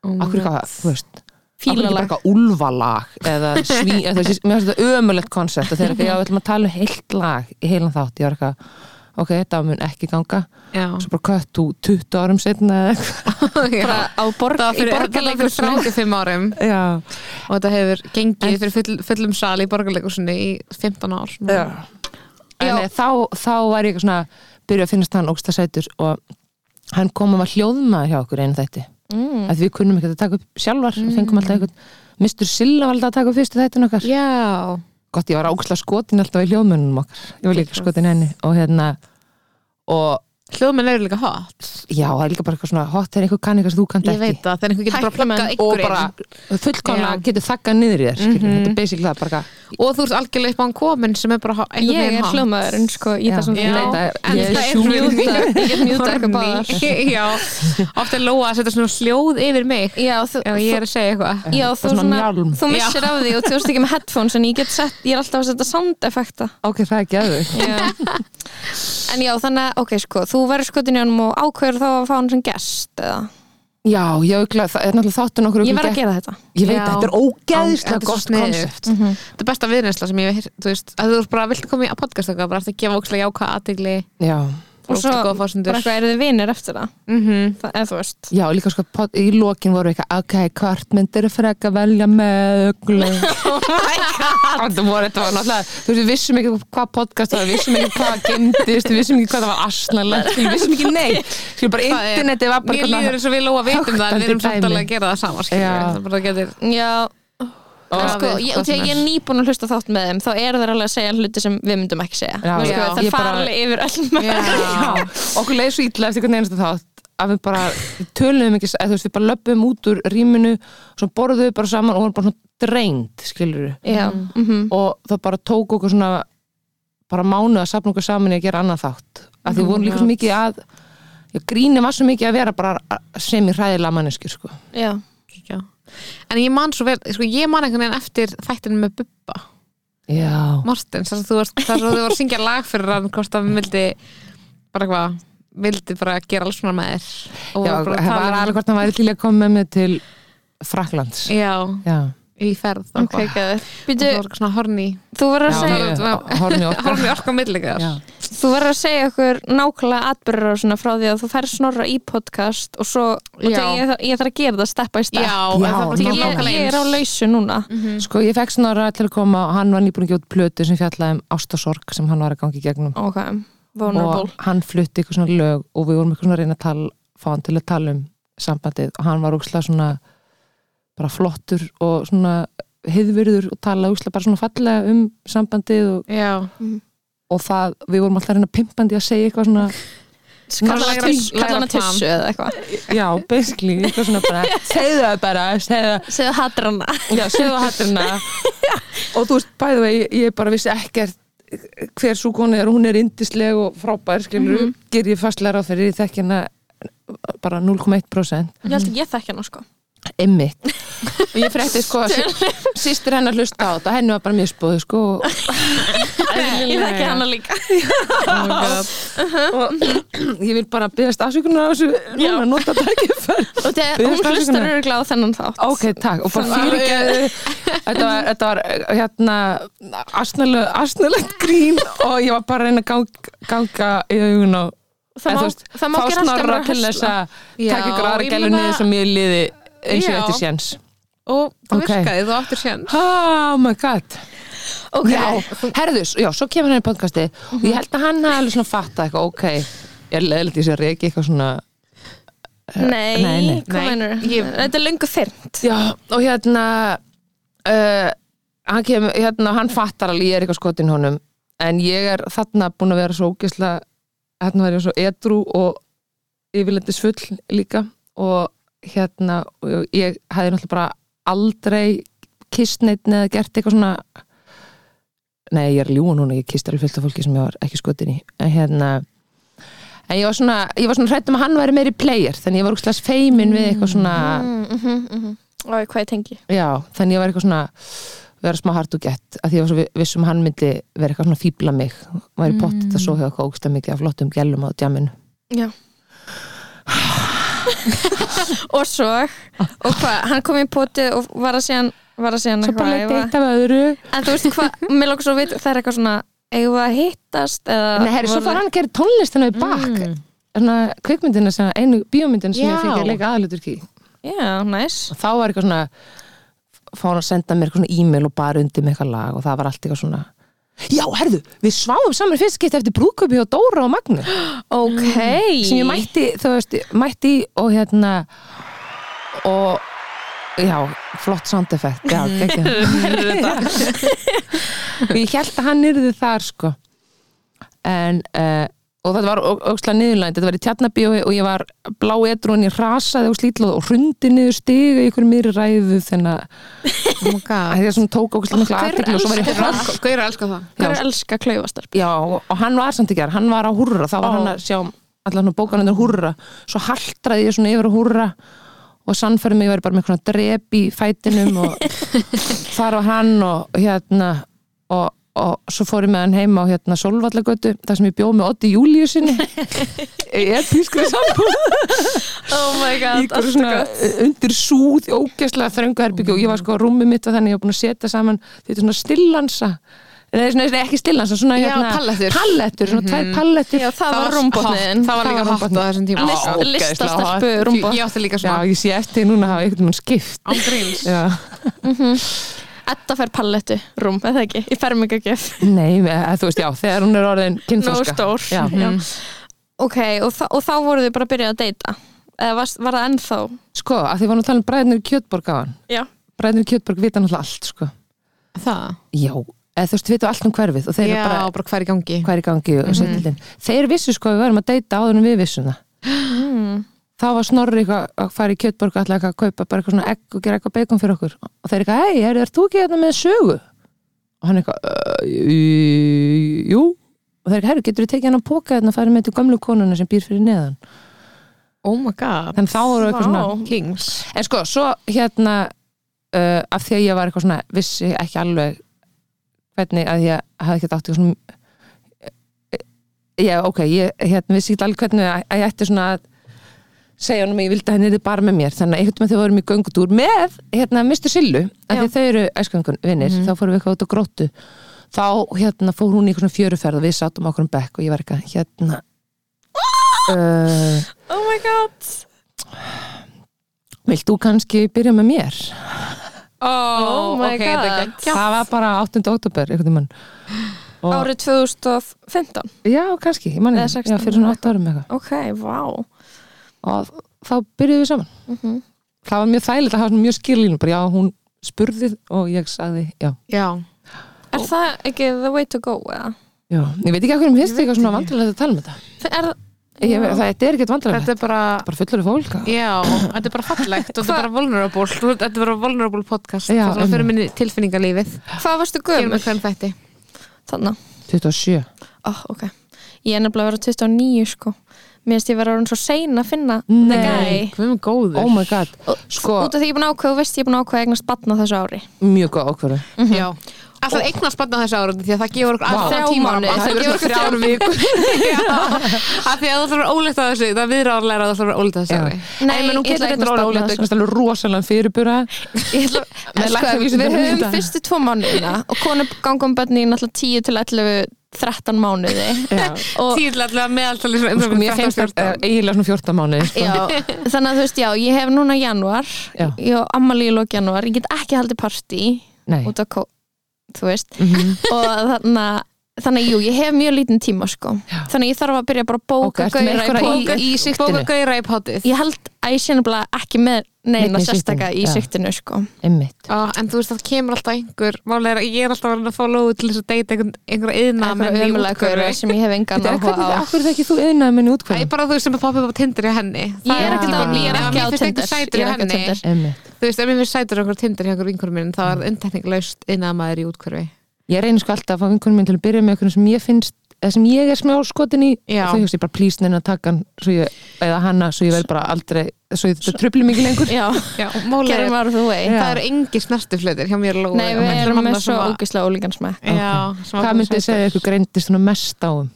Speaker 4: Akkur eitthvað, þú veist
Speaker 1: Oh
Speaker 4: Fílalag.
Speaker 1: Fílalag.
Speaker 4: Akkur ekki bara eitthvað úlfalag eða sví, eða þessi, mér finnst þetta ömulegt koncept og þeir eru eitthvað, já, við ætlum að tala um heilt lag í heilan þátt, ég var eitthvað, ok, þetta mun ekki ganga
Speaker 3: já
Speaker 4: svo bara kött þú 20 árum setna eða eitthvað
Speaker 1: bara á borg,
Speaker 3: Það var
Speaker 1: í
Speaker 3: fyrir, það var fyrir
Speaker 1: borgarleikursunum
Speaker 3: 35 árum
Speaker 4: já,
Speaker 3: og þetta hefur gengið fyrir full, fullum sal í borgarleikursunni í 15 ár
Speaker 4: já.
Speaker 1: Já.
Speaker 4: En, eh, þá, þá var ég eitthvað svona byrjuð að finnast hann ógsta sætur og hann kom að var hljóðmaður hjá okkur einu þætti
Speaker 1: mm.
Speaker 4: að við kunnum ekki að taka upp sjálfar mm. fengum alltaf eitthvað Mr. Silla var alltaf að taka upp fyrstu þættin okkar
Speaker 3: Já,
Speaker 4: gott, ég var áksla skotin alltaf í hljóðmönnum okkar ég var líka skotin henni og hérna og
Speaker 3: hljóðmenn eru líka hot
Speaker 4: já, það er líka bara eitthvað svona hot er einhver kann eitthvað sem þú kannt
Speaker 3: Ég
Speaker 4: ekki
Speaker 3: veit það, þegar einhver getur bara
Speaker 1: Tæknimenn
Speaker 3: plakkað
Speaker 4: og
Speaker 3: ykkur
Speaker 4: bara
Speaker 3: inn
Speaker 4: fullkomlega
Speaker 3: Já. Mhm.
Speaker 4: getur þakkað niður í þér mm -hmm. þetta er basically það bara eitthvað-
Speaker 3: og þú ert algjörlega upp á hann komin sem er bara ho- einhvern
Speaker 1: ég
Speaker 3: veginn
Speaker 1: er
Speaker 3: hot.
Speaker 1: hljómaðurinn sko í
Speaker 4: Já.
Speaker 1: þessum
Speaker 3: Já,
Speaker 1: leita
Speaker 4: en
Speaker 1: ég
Speaker 4: það
Speaker 1: er
Speaker 4: er
Speaker 1: sjúmjúta ég er mjúta eitthvað báðar
Speaker 3: Horni. Já, oft er Lóa að setja svona sljóð yfir mig
Speaker 1: já, þú,
Speaker 3: ef ég er að segja eitthvað
Speaker 1: já, þú,
Speaker 4: svona
Speaker 1: svona,
Speaker 4: njálm.
Speaker 1: þú missir af því og þú veist ekki með headphones en ég, get sett, ég er alltaf að setja sound effekta
Speaker 4: ok, það er ekki aður
Speaker 1: en já, þannig að ok, sko, þú verður skotin í honum og ákveður þá að fá hann sem gest eða?
Speaker 4: já, já, örugglega, það er náttúrulega þáttun okkur
Speaker 1: ég
Speaker 4: örugglega
Speaker 1: verð að
Speaker 4: gekk-
Speaker 1: gera þetta
Speaker 4: ég veit,
Speaker 3: Já.
Speaker 4: þetta er
Speaker 3: Þetta
Speaker 4: ógeðislega
Speaker 3: er svo
Speaker 4: gott
Speaker 3: sniðugt. Mhm.
Speaker 4: konsept Mm.
Speaker 3: Þetta er besta viðreynsla sem ég hef heyrt, þú veist, að þú ert bara vilt koma í að podcast okkar, bara eftir að gefa ókslega jáka aðtegli
Speaker 4: já,
Speaker 1: og svo bara eitthvað eru þið vinir eftir það,
Speaker 3: mm -hmm.
Speaker 1: það eða þú veist
Speaker 4: já, líka sko pod- í lokin voru eitthvað, ok, hvort myndir freka velja með öglu Þetta voru, þetta var náttúrulega, þú veist, við vissum ekki hvað podcast það var, við vissum ekki hvað gemdist, við vissum ekki hvað það var asnalegt, við vissum ekki neitt. Skilur bara,
Speaker 3: Það er-
Speaker 4: internetið var bara
Speaker 3: Mér
Speaker 4: eitthvað-
Speaker 3: líður eins og við Lóa vitum það en við erum
Speaker 4: Höktandi dæmi.
Speaker 3: samt alveg að gera það sama skilur
Speaker 4: Já.
Speaker 3: við. það bara getur
Speaker 1: já, en
Speaker 3: grafið
Speaker 1: sko, ég,
Speaker 3: hvað
Speaker 1: þegar
Speaker 3: sem er.
Speaker 1: ég er nýbúin að hlusta þátt með þeim þá eru þeir alveg að segja hluti sem við myndum ekki segja
Speaker 4: Já,
Speaker 1: Þú veist,
Speaker 3: já.
Speaker 1: sko, það
Speaker 4: Ég bara-
Speaker 1: fara alveg yfir öll mörg
Speaker 3: Já.
Speaker 4: Já, okkur leiði svo ítla eftir hvernig einasta þátt að við bara tölum ekki, eða þú veist, við bara löpum út úr rýminu, svo borðum við bara saman og vorum bara svona dreind, skilur við.
Speaker 1: já, mhm,
Speaker 4: Og það bara tók okkur svona, bara mánuð að sapna okkur saman í að gera annað þátt. Af því við vorum líka svo mikið að, já, gríni var svo mikið að vera bara sem í hræðilega manneskjur, sko.
Speaker 1: já
Speaker 3: Já. en ég man svo vel, sko, ég man einhvern veginn eftir þættinu með Bubba
Speaker 4: Já.
Speaker 3: Mortens, þar sem þú varst, þar sem þú var að syngja lag fyrir hann, hvort að við vildi bara hvað, vildi bara gera alls svona með þér og
Speaker 4: Já,
Speaker 3: var bara að
Speaker 4: það var
Speaker 3: tala
Speaker 4: alveg
Speaker 3: um-
Speaker 4: hvort hann væri til í að koma með mig til Fraklands
Speaker 3: Já,
Speaker 4: Já,
Speaker 3: í ferð og
Speaker 1: ok,
Speaker 3: eitthvað.
Speaker 1: gæður
Speaker 3: Og
Speaker 1: býtu,
Speaker 3: það var eitthvað svona horni
Speaker 1: þú verður
Speaker 4: já
Speaker 1: að segja
Speaker 4: ég, horfum í okkar
Speaker 3: horni orka milligar
Speaker 4: Já,
Speaker 1: Þú verður að segja okkur nákvæmlega atbyrður og svona frá því að þú fær snorra í podcast og svo, og
Speaker 3: Já.
Speaker 1: þegar ég, ég þarf að gera það steppa í
Speaker 3: Já,
Speaker 1: stepp
Speaker 3: en það var
Speaker 1: ég,
Speaker 4: Já,
Speaker 3: ekki
Speaker 1: ég,
Speaker 3: nákvæmlega
Speaker 1: er á
Speaker 3: eins.
Speaker 1: lausu núna
Speaker 4: sko ég fekk snorra til að koma og hann var nýbúin að gjóta plötu sem fjallaði um ástasorg sem hann var að gangi gegnum
Speaker 1: Ok, vulnerable
Speaker 4: og hann flutti eitthvað svona lög og við vorum eitthvað svona að reyna að tala, fá hann til að tala um sambandið og hann var úkslega svona bara flottur og svona heiðvirður og tala úkslega bara svona fallega um sambandið og,
Speaker 3: Já,
Speaker 4: og það, við vorum alltaf að reyna pimpandi að segja eitthvað svona
Speaker 1: Kalla hana
Speaker 3: Lægra-
Speaker 1: tis-
Speaker 3: lægra
Speaker 1: kalla hana
Speaker 3: plan.
Speaker 1: tissu eða eitthvað
Speaker 4: já, basically, eitthvað svona bara segðu það bara, segðu það
Speaker 1: Segðu hattur hana
Speaker 4: Já, söðahatturna og þú veist, bæðu vegi, ég bara vissi ekkert hver svo konu er, hún er indisleg og frábær, skilur, ger ég fastlega á þeirri, ég þekki hana bara 0,1%
Speaker 1: Ég held að ég þekki hana sko
Speaker 4: emmitt og ég frétti sko að sýstir hennar hlusta á þetta, henni var bara mjög spóð sko, og-
Speaker 1: Ég þekki hana líka
Speaker 3: oh my god.
Speaker 4: og ég vil bara byggast afsökunar á þessu, núna nota tækifæri
Speaker 1: Og þegar
Speaker 4: Biðjast
Speaker 1: hún hlustar
Speaker 4: afsökunar.
Speaker 1: örgla á þennan þátt
Speaker 4: Ok, takk, og bara fyrirgeðu
Speaker 1: eh,
Speaker 4: þetta, var- þetta var hérna asnulegt grín og ég var bara að reyna að gang, ganga í augun og
Speaker 1: Það
Speaker 4: eða
Speaker 1: má-
Speaker 4: þú veist,
Speaker 1: það má
Speaker 4: fá
Speaker 1: gera alltaf
Speaker 4: snorra
Speaker 1: bara
Speaker 4: til
Speaker 1: hösla.
Speaker 4: þess að taka
Speaker 3: Já,
Speaker 4: ykkur aðra
Speaker 3: ég
Speaker 4: gælu
Speaker 3: meina-
Speaker 4: niður sem ég liði eins og
Speaker 3: Já.
Speaker 4: þetta séns
Speaker 3: Og það
Speaker 4: Ok.
Speaker 3: virkaði, þú áttur sér
Speaker 4: Oh my god
Speaker 1: Ok, Mhm.
Speaker 4: Já, herðu, s- já, svo kemur hann í podcasti og ég held að hann hafi alveg svona fatta eitthvað, ok, ég er leðilegt í sér reiki eitthvað svona,
Speaker 1: nei,
Speaker 4: Nei, nei.
Speaker 1: hvað
Speaker 3: Nei,
Speaker 1: meinarðu?
Speaker 3: ég-
Speaker 1: Þetta er löngu fyrnt
Speaker 4: já, og hérna uh, hann kemur, hérna hann fattar alveg, ég er eitthvað skotin í honum en ég er þarna búin að vera svo ógislega, hérna var ég svo edru og yfirlendis full líka og hérna og ég hefði náttúrulega bara aldrei kist neitt eða gert eitthvað svona nei, ég er ljúa núna, ég kist alveg fullt af fólki sem ég var ekki skotin í en hérna en ég var svona, ég var svona hrættum að hann væri meiri player þannig ég var úkslega feimin við eitthvað svona
Speaker 1: mm, mm Og hvað ég tengi
Speaker 4: Já, þannig ég var eitthvað svona vera smá hart og gett að því ég var svo vi- viss um að hann myndi vera eitthvað svona fíbla mig og væri pott þetta svo hjá eitthvað ógstlega mikið af flottum gælum á djaminu
Speaker 1: Já Og svo Og hvað, hann kom í potið og var að segja hann var að segja hann
Speaker 4: Svo bara
Speaker 1: eitthvað
Speaker 4: leitt
Speaker 1: æfa.
Speaker 4: eitt af öðru
Speaker 1: En þú veist hvað, mér lókar svo að vita það er eitthvað svona eigum við að hittast eða
Speaker 4: Nei, herri, svo fór hann að gera tónlistina í bak mm. svona kvikmyndina sem einu bíómyndin sem ég
Speaker 3: Já.
Speaker 4: fikk að leika aðlutur ekki
Speaker 1: já, næs
Speaker 4: og þá var eitthvað svona fór hann að senda mér eitthvað svona e-mail og bara undir með eitthvað lag og það var allt eitthvað svona Já, herðu, við sváum saman í fyrst skipt eftir brúðkaupi hjá Dóra og Magnu
Speaker 1: ok
Speaker 4: sem ég mætti, þú veist, mætti í og hérna og já, flott sound effect já, geggjað. og ég held að hann yrði þar sko en uh, og þetta var ókslega niðurlænd þetta var í tjarnabíói og ég var blá edru en ég rasaði og slítlað og hrundi niður stiga í ykkur miðri ræðu þannig að
Speaker 3: oh my god
Speaker 4: þetta svona tók ókslega mikla
Speaker 1: Hver
Speaker 4: aðtekli og svo var ég hratt
Speaker 3: Gauður elskar það
Speaker 1: hver er elska klaufastarp
Speaker 4: já, og hann var samt ekki þar, hann var á hurra þá var hann að sjá allan og bókan undir hurra svo haltraði ég svona yfir á hurra og sannferði mig, ég væri bara með eitthvað drep í fætinum og þar var hann og hérna og, og svo fór ég með hann heima á hérna Solvallagötu, þar sem ég bjóð með Otti Júliusinni ég er pískrið sambúð
Speaker 1: oh my
Speaker 4: í
Speaker 1: god,
Speaker 4: einhverju svona uh, undir súð í ógeðslega þröngu herbyggju og ég var sko á rúmi mitt og þannig ég var búin að setja saman þetta svona stillansa Nei, svona, svona, ekki stillansa, svona hérna,
Speaker 3: Já, pallettur.
Speaker 4: pallettur svona tvær pallettur
Speaker 1: já, það var rúmbotniðin
Speaker 3: Það var líka
Speaker 4: Það var
Speaker 3: hot á þessum tíma
Speaker 1: List-
Speaker 3: Á, ógeðslega
Speaker 1: listastelpu
Speaker 3: hot.
Speaker 1: rúmba.
Speaker 3: Ég átti líka
Speaker 4: Já,
Speaker 3: svona
Speaker 4: ég sé eftir núna að hafa einhvern mann skipt
Speaker 3: Ángríns
Speaker 4: Já.
Speaker 1: Edda fær pallettu rúm, eða ekki, í fermingagjöf
Speaker 4: Nei, eh, þú veist, já, þegar hún er orðin
Speaker 1: Nó
Speaker 4: kynþroska
Speaker 1: stór
Speaker 4: Já. Mm.
Speaker 1: Já. Ok, og, þa og þá voru þið bara að byrja að deyta Eða var, var það ennþá
Speaker 4: Sko, að því var nú að tala um bræðnir í Kjötborg á hann
Speaker 1: Já,
Speaker 4: Bræðnir í Kjötborg vita náttúrulega allt, sko
Speaker 3: Það
Speaker 4: Já, eða þú veist, vita allt um hverfið og þeir eru
Speaker 3: Já,
Speaker 4: bara
Speaker 3: bara hver í gangi
Speaker 4: hvað er í gangi og setildin þeir vissu sko að við varum að deyta áður en við vissum það þá var snorri eitthvað að fara í kjötborg alltaf eitthvað að kaupa bara eitthvað svona egg og gera eitthvað bacon fyrir okkur og þeir eitthvað, hei, er, er þú ekki hérna með sögu? og hann eitthvað, "Uh, jú og þeir eitthvað, herru, getur þú tekið hann á póka hérna og farið með til gömlu konuna sem býr fyrir neðan
Speaker 3: Oh my god
Speaker 4: þannig þá voru eitthvað svona
Speaker 3: Kings
Speaker 4: en sko, svo hérna uh, af því að ég var eitthvað svona vissi ekki alveg hvernig að ég hafði ekki átt eitthvað svona eh, já, ok, ég hérna, vissi ekki alveg hvernig að, að ég ætti svona að segja honum að ég vildi að henni þið bara með mér þannig að einhvern veginn þau vorum í göngutúr með hérna, Mr. Sillu, af því þau eru æskangun vinnir, þá fórum við eitthvað út á gróttu þá hérna fór hún í eitthvað svona fjöruferð og við sátum okkur um bekk og ég var eitthvað hérna uh,
Speaker 1: oh my god
Speaker 4: vilt þú kannski byrja með mér?
Speaker 1: Oh my
Speaker 3: ok, þetta er
Speaker 1: god.
Speaker 3: geggjað.
Speaker 4: það var bara 8. oktober einhvern mann og,
Speaker 1: Árið 2015
Speaker 4: já, kannski, ég manni,
Speaker 1: Eða
Speaker 4: já,
Speaker 1: 16
Speaker 4: fyrir svona 8 árum eitthvað
Speaker 1: Ok, vá
Speaker 4: og þá byrjuðum við saman
Speaker 1: Mhm.
Speaker 4: það var mjög þægilegt að hafa svona mjög skýrlínu bara já, hún spurði og ég sagði já,
Speaker 3: Já
Speaker 1: Er það ekki the way to go eða?
Speaker 4: já. ég veit ekki að hverjum finnst eitthvað svona vandræðilegt að tala um þetta
Speaker 1: Er,
Speaker 4: ég, það, þetta er ekkert vandræðilegt,
Speaker 3: Þetta er bara
Speaker 4: bara fullur fólk að-
Speaker 3: Já, þetta er bara fallegt og þetta er bara vulnerable Þú- Þetta er bara vulnerable podcast
Speaker 4: Já,
Speaker 3: Það er svona
Speaker 4: einmitt.
Speaker 3: fyrir minni tilfinningalífið
Speaker 1: hvað varstu
Speaker 3: Gerum
Speaker 1: gömul?
Speaker 3: við hvern þætti
Speaker 1: Þannig,
Speaker 4: 27
Speaker 1: oh, ok Ég er nefnilega að vera 29 sko Mér finnst ég vera orðin svo sein að finna the guy.
Speaker 3: Hvað er með góður?
Speaker 4: oh my god, sko,
Speaker 1: Út af því ég er búin að ákveða, þú veist ég er búin að ákveða að eignast batna þessu ári
Speaker 4: mjög góð ákvörðu
Speaker 3: Já Alltaf eignast barna þessu ára því að það gefur okkur alltaf
Speaker 1: Þrjá
Speaker 3: tíma
Speaker 1: mánuði.
Speaker 3: Það gefur okkur þrjár vikur Já, af því að það þarf að ólíta þessu Það er viðráðlega að það þarf að ólíta þessu
Speaker 4: Já.
Speaker 3: ári
Speaker 1: Nei,
Speaker 4: en hún
Speaker 1: ég ætla
Speaker 4: getur
Speaker 1: að eignast
Speaker 4: eitthvað rólega
Speaker 1: barn
Speaker 4: eitthvað alveg rosalega fyrirbura
Speaker 1: Ég ætla, en
Speaker 4: Með
Speaker 1: sko, við
Speaker 4: læknavísindunum í
Speaker 1: höfum
Speaker 4: dag.
Speaker 1: fyrstu tvo mánuðina og konu gangum bönni í náttúrulega 10 til 11 13 mánuði
Speaker 4: Já.
Speaker 1: og
Speaker 3: Týðlega meðaltalið svona um
Speaker 4: sko, mér finnst það eh, eiginlega svona 14 mánuði sko.
Speaker 1: já, þannig að þú veist já, ég hef núna januar
Speaker 4: Já.
Speaker 1: ég á ammali í lók januar, ég get ekki haldið partí
Speaker 4: Nei. Mhm.
Speaker 1: út af kó, þú veist og þannig að Þannig að jú, ég hef mjög lítinn tíma sko Þannig að ég þarf að byrja bara að
Speaker 4: Ok,
Speaker 1: bóka
Speaker 4: ertu
Speaker 3: eh,
Speaker 4: með
Speaker 1: gauðra í
Speaker 4: einhverja í-
Speaker 1: bóka
Speaker 4: í
Speaker 3: Bóka
Speaker 4: sigtinu?
Speaker 3: gauðra í potið
Speaker 1: Ég held að ég sé nefnilega ekki með
Speaker 4: Neinn
Speaker 1: neina
Speaker 4: í
Speaker 1: sérstaka í
Speaker 4: sigtinu, já.
Speaker 1: siktinu sko
Speaker 4: Einmitt.
Speaker 3: Á, en þú veist það kemur alltaf einhver Málega er að ég er alltaf að vera að fá lóðu til þess að deyta einhver- einhverja yðna
Speaker 1: Einhverja ömulega gauðra sem ég hef engan
Speaker 4: Þetta er
Speaker 1: áhuga
Speaker 4: hvernig,
Speaker 1: á
Speaker 4: akkur er það ekki þú yðnaði minni
Speaker 3: Það
Speaker 4: útkvæðum?
Speaker 3: er bara þú sem að poppa upp á Tinder í henni
Speaker 1: Ég er
Speaker 4: ekki
Speaker 1: ekkert
Speaker 4: á-
Speaker 3: bara-
Speaker 1: á- ég er ekki á
Speaker 3: Mér finnst
Speaker 1: Tinder
Speaker 3: einhver sætur í
Speaker 1: Ég er ekki á
Speaker 3: henni
Speaker 1: Tinder. Mm.
Speaker 4: Einmitt.
Speaker 3: Þú veist, ef mér finnst sætur okkur Tinder hjá okkur vinkur minn þá er undtekninglaust innan maður í útkverfi
Speaker 4: Ég reynir sko alltaf að fá vinkunum minn til að byrja með okkur sem ég finnst eða sem ég er smjá skotin í
Speaker 3: Já.
Speaker 4: og þau hefst ég bara plís neina að taka hann svo ég, eða hanna svo ég verð bara aldrei svo ég þetta trubli mikið lengur
Speaker 1: Já,
Speaker 3: Já, málega
Speaker 1: gerum
Speaker 3: er,
Speaker 1: out of the way
Speaker 4: Já.
Speaker 3: það eru engi snertiflöðir hjá mér lóðu
Speaker 1: Nei, við erum með svo ógislega ólíkan smekk
Speaker 3: Já, sem
Speaker 4: Hvað myndið segja ykkur greindist svona mest á um?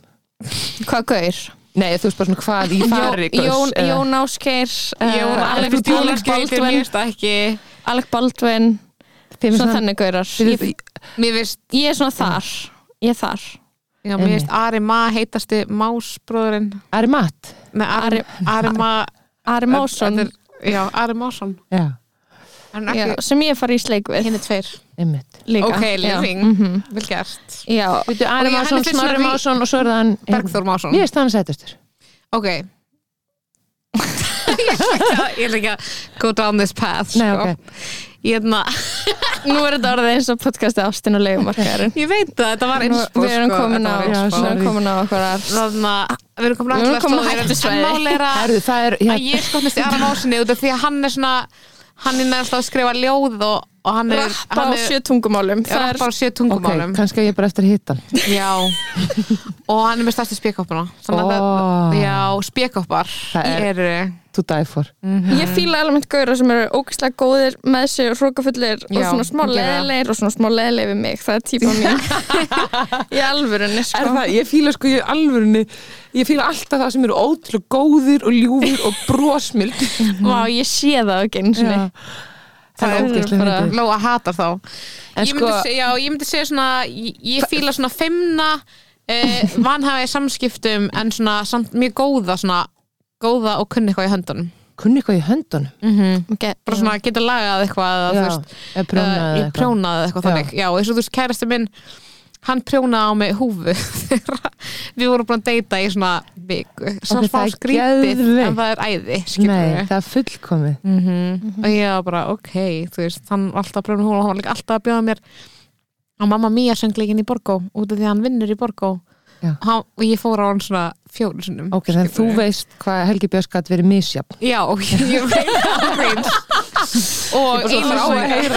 Speaker 1: Hvað gaur?
Speaker 4: Nei, þú veist bara svona hvað í fari
Speaker 1: Jón, Jón, Jón Áskeir eh,
Speaker 3: Jón, Alex Jón Baldvin Mér
Speaker 1: Baldwin
Speaker 3: finnst það ekki
Speaker 1: Alec Baldwin
Speaker 4: Jón,
Speaker 1: Svo þannig gaurar ég,
Speaker 3: Mér finnst
Speaker 1: ég er svona þar Ég er þar
Speaker 3: Já, mér
Speaker 4: Einmitt.
Speaker 3: veist Ari Ma heitasti Másbróðurinn
Speaker 4: Ari Matt
Speaker 3: Nei, Ari, Ari Ma
Speaker 1: Ari Másson
Speaker 3: Þetta er- Já, Ari Másson
Speaker 4: Já,
Speaker 3: Hann er
Speaker 1: já,
Speaker 3: ekki
Speaker 1: sem ég fari í sleik við
Speaker 4: Hérna-
Speaker 3: hinn er tveir
Speaker 4: einmitt
Speaker 1: líka
Speaker 3: Ok,
Speaker 1: já.
Speaker 3: living,
Speaker 1: Mm
Speaker 3: vel gert
Speaker 1: já,
Speaker 4: Veitu,
Speaker 3: Og
Speaker 4: Ari
Speaker 3: ég-
Speaker 4: Másson,
Speaker 3: henni finnst
Speaker 4: Snorri
Speaker 3: svona rí-
Speaker 4: Másson og svo er það hann
Speaker 3: Bergþór Másson
Speaker 4: Mér finnst hann sætastur
Speaker 3: Ok Ég er ekki að go down this path
Speaker 4: Nei,
Speaker 3: sko.
Speaker 4: ok
Speaker 3: ég, hérna- hefna,
Speaker 1: nú er þetta orðið eins og podcasti ástin og leikumarkaðarinn
Speaker 3: ég veit það, þetta var eins
Speaker 1: við erum komin á
Speaker 4: Já,
Speaker 1: við erum
Speaker 4: sorry.
Speaker 1: komin á okkur
Speaker 3: Þannig að við erum komin á
Speaker 1: Við erum komin á
Speaker 3: hættu
Speaker 1: hættusvæði.
Speaker 3: Mál er að
Speaker 4: Herðu, það hérna- er
Speaker 3: að ég skotnist í Ara Másinni út af því að hann er svona hann er næst að skrifa ljóð og, og hann er
Speaker 1: rappa á
Speaker 3: hann er-
Speaker 1: sjö tungumálum
Speaker 3: Já,
Speaker 1: það er
Speaker 3: rappar á sjö
Speaker 4: Ok,
Speaker 3: tungumálum
Speaker 4: kannski að ég er bara eftir að hitta hann
Speaker 3: já og hann er með stærstu spjökkoppuna
Speaker 4: Ó.
Speaker 3: já, spjökkoppar
Speaker 4: Það er-
Speaker 3: eru
Speaker 4: To die for
Speaker 1: ég fíla element gauðra sem eru ógeðslega góðir með sér og hrókafullir og
Speaker 3: Já,
Speaker 1: svona smá
Speaker 3: ég gera það.
Speaker 1: leðilegir og svona smá leðileg við mig, það er típa mín í alvörunni
Speaker 4: Er
Speaker 1: sko
Speaker 4: það, ég fíla sko ég alvörunni ég fíla alltaf það sem eru ótrúlega góðir og ljúfur og brosmild
Speaker 1: Vá, ég sé það ekki eins og
Speaker 4: Já. það er
Speaker 1: Það er
Speaker 4: ógeðslega
Speaker 1: bara-
Speaker 4: fyndið
Speaker 3: Lóa hatar þá
Speaker 4: En
Speaker 3: ég, myndi
Speaker 4: sko-
Speaker 3: segja, já, ég myndi segja svona ég, ég fíla svona femna uh, vanhafa í samskiptum en svona samt mjög góða svona góða og kunni eitthvað í höndunum
Speaker 4: kunni eitthvað í höndunum
Speaker 1: okay.
Speaker 3: bara svona geta lagað eitthvað eða, þú veist,
Speaker 4: eða prjónaði
Speaker 3: eða prjónaði eitthvað
Speaker 4: Já.
Speaker 3: þannig já, eins og þú veist, kærasti minn hann prjónaði á mig húfu þegar við vorum búin að deyta í svona viku, svona
Speaker 4: Ok,
Speaker 3: smá
Speaker 4: það er
Speaker 3: skrítið
Speaker 4: geðveikt.
Speaker 3: en það er æði, skilur
Speaker 4: Nei,
Speaker 3: við
Speaker 4: það er fullkomið
Speaker 3: og ég
Speaker 4: Mhm.
Speaker 3: var bara, ok, þú veist hann var alltaf að prjóna húfu og hann var líka alltaf að bjóða mér að mamma mía söngleikinn í Borgó út af því að hann vinnur í Borgó
Speaker 4: Já.
Speaker 3: og hann- og ég fór á hann svona fjóru sinnum
Speaker 4: Ok, en þú
Speaker 3: skilurðu.
Speaker 4: veist hvað Helgi Björns gæti verið misjafn
Speaker 3: Já, ég veit það meins og einu sinni-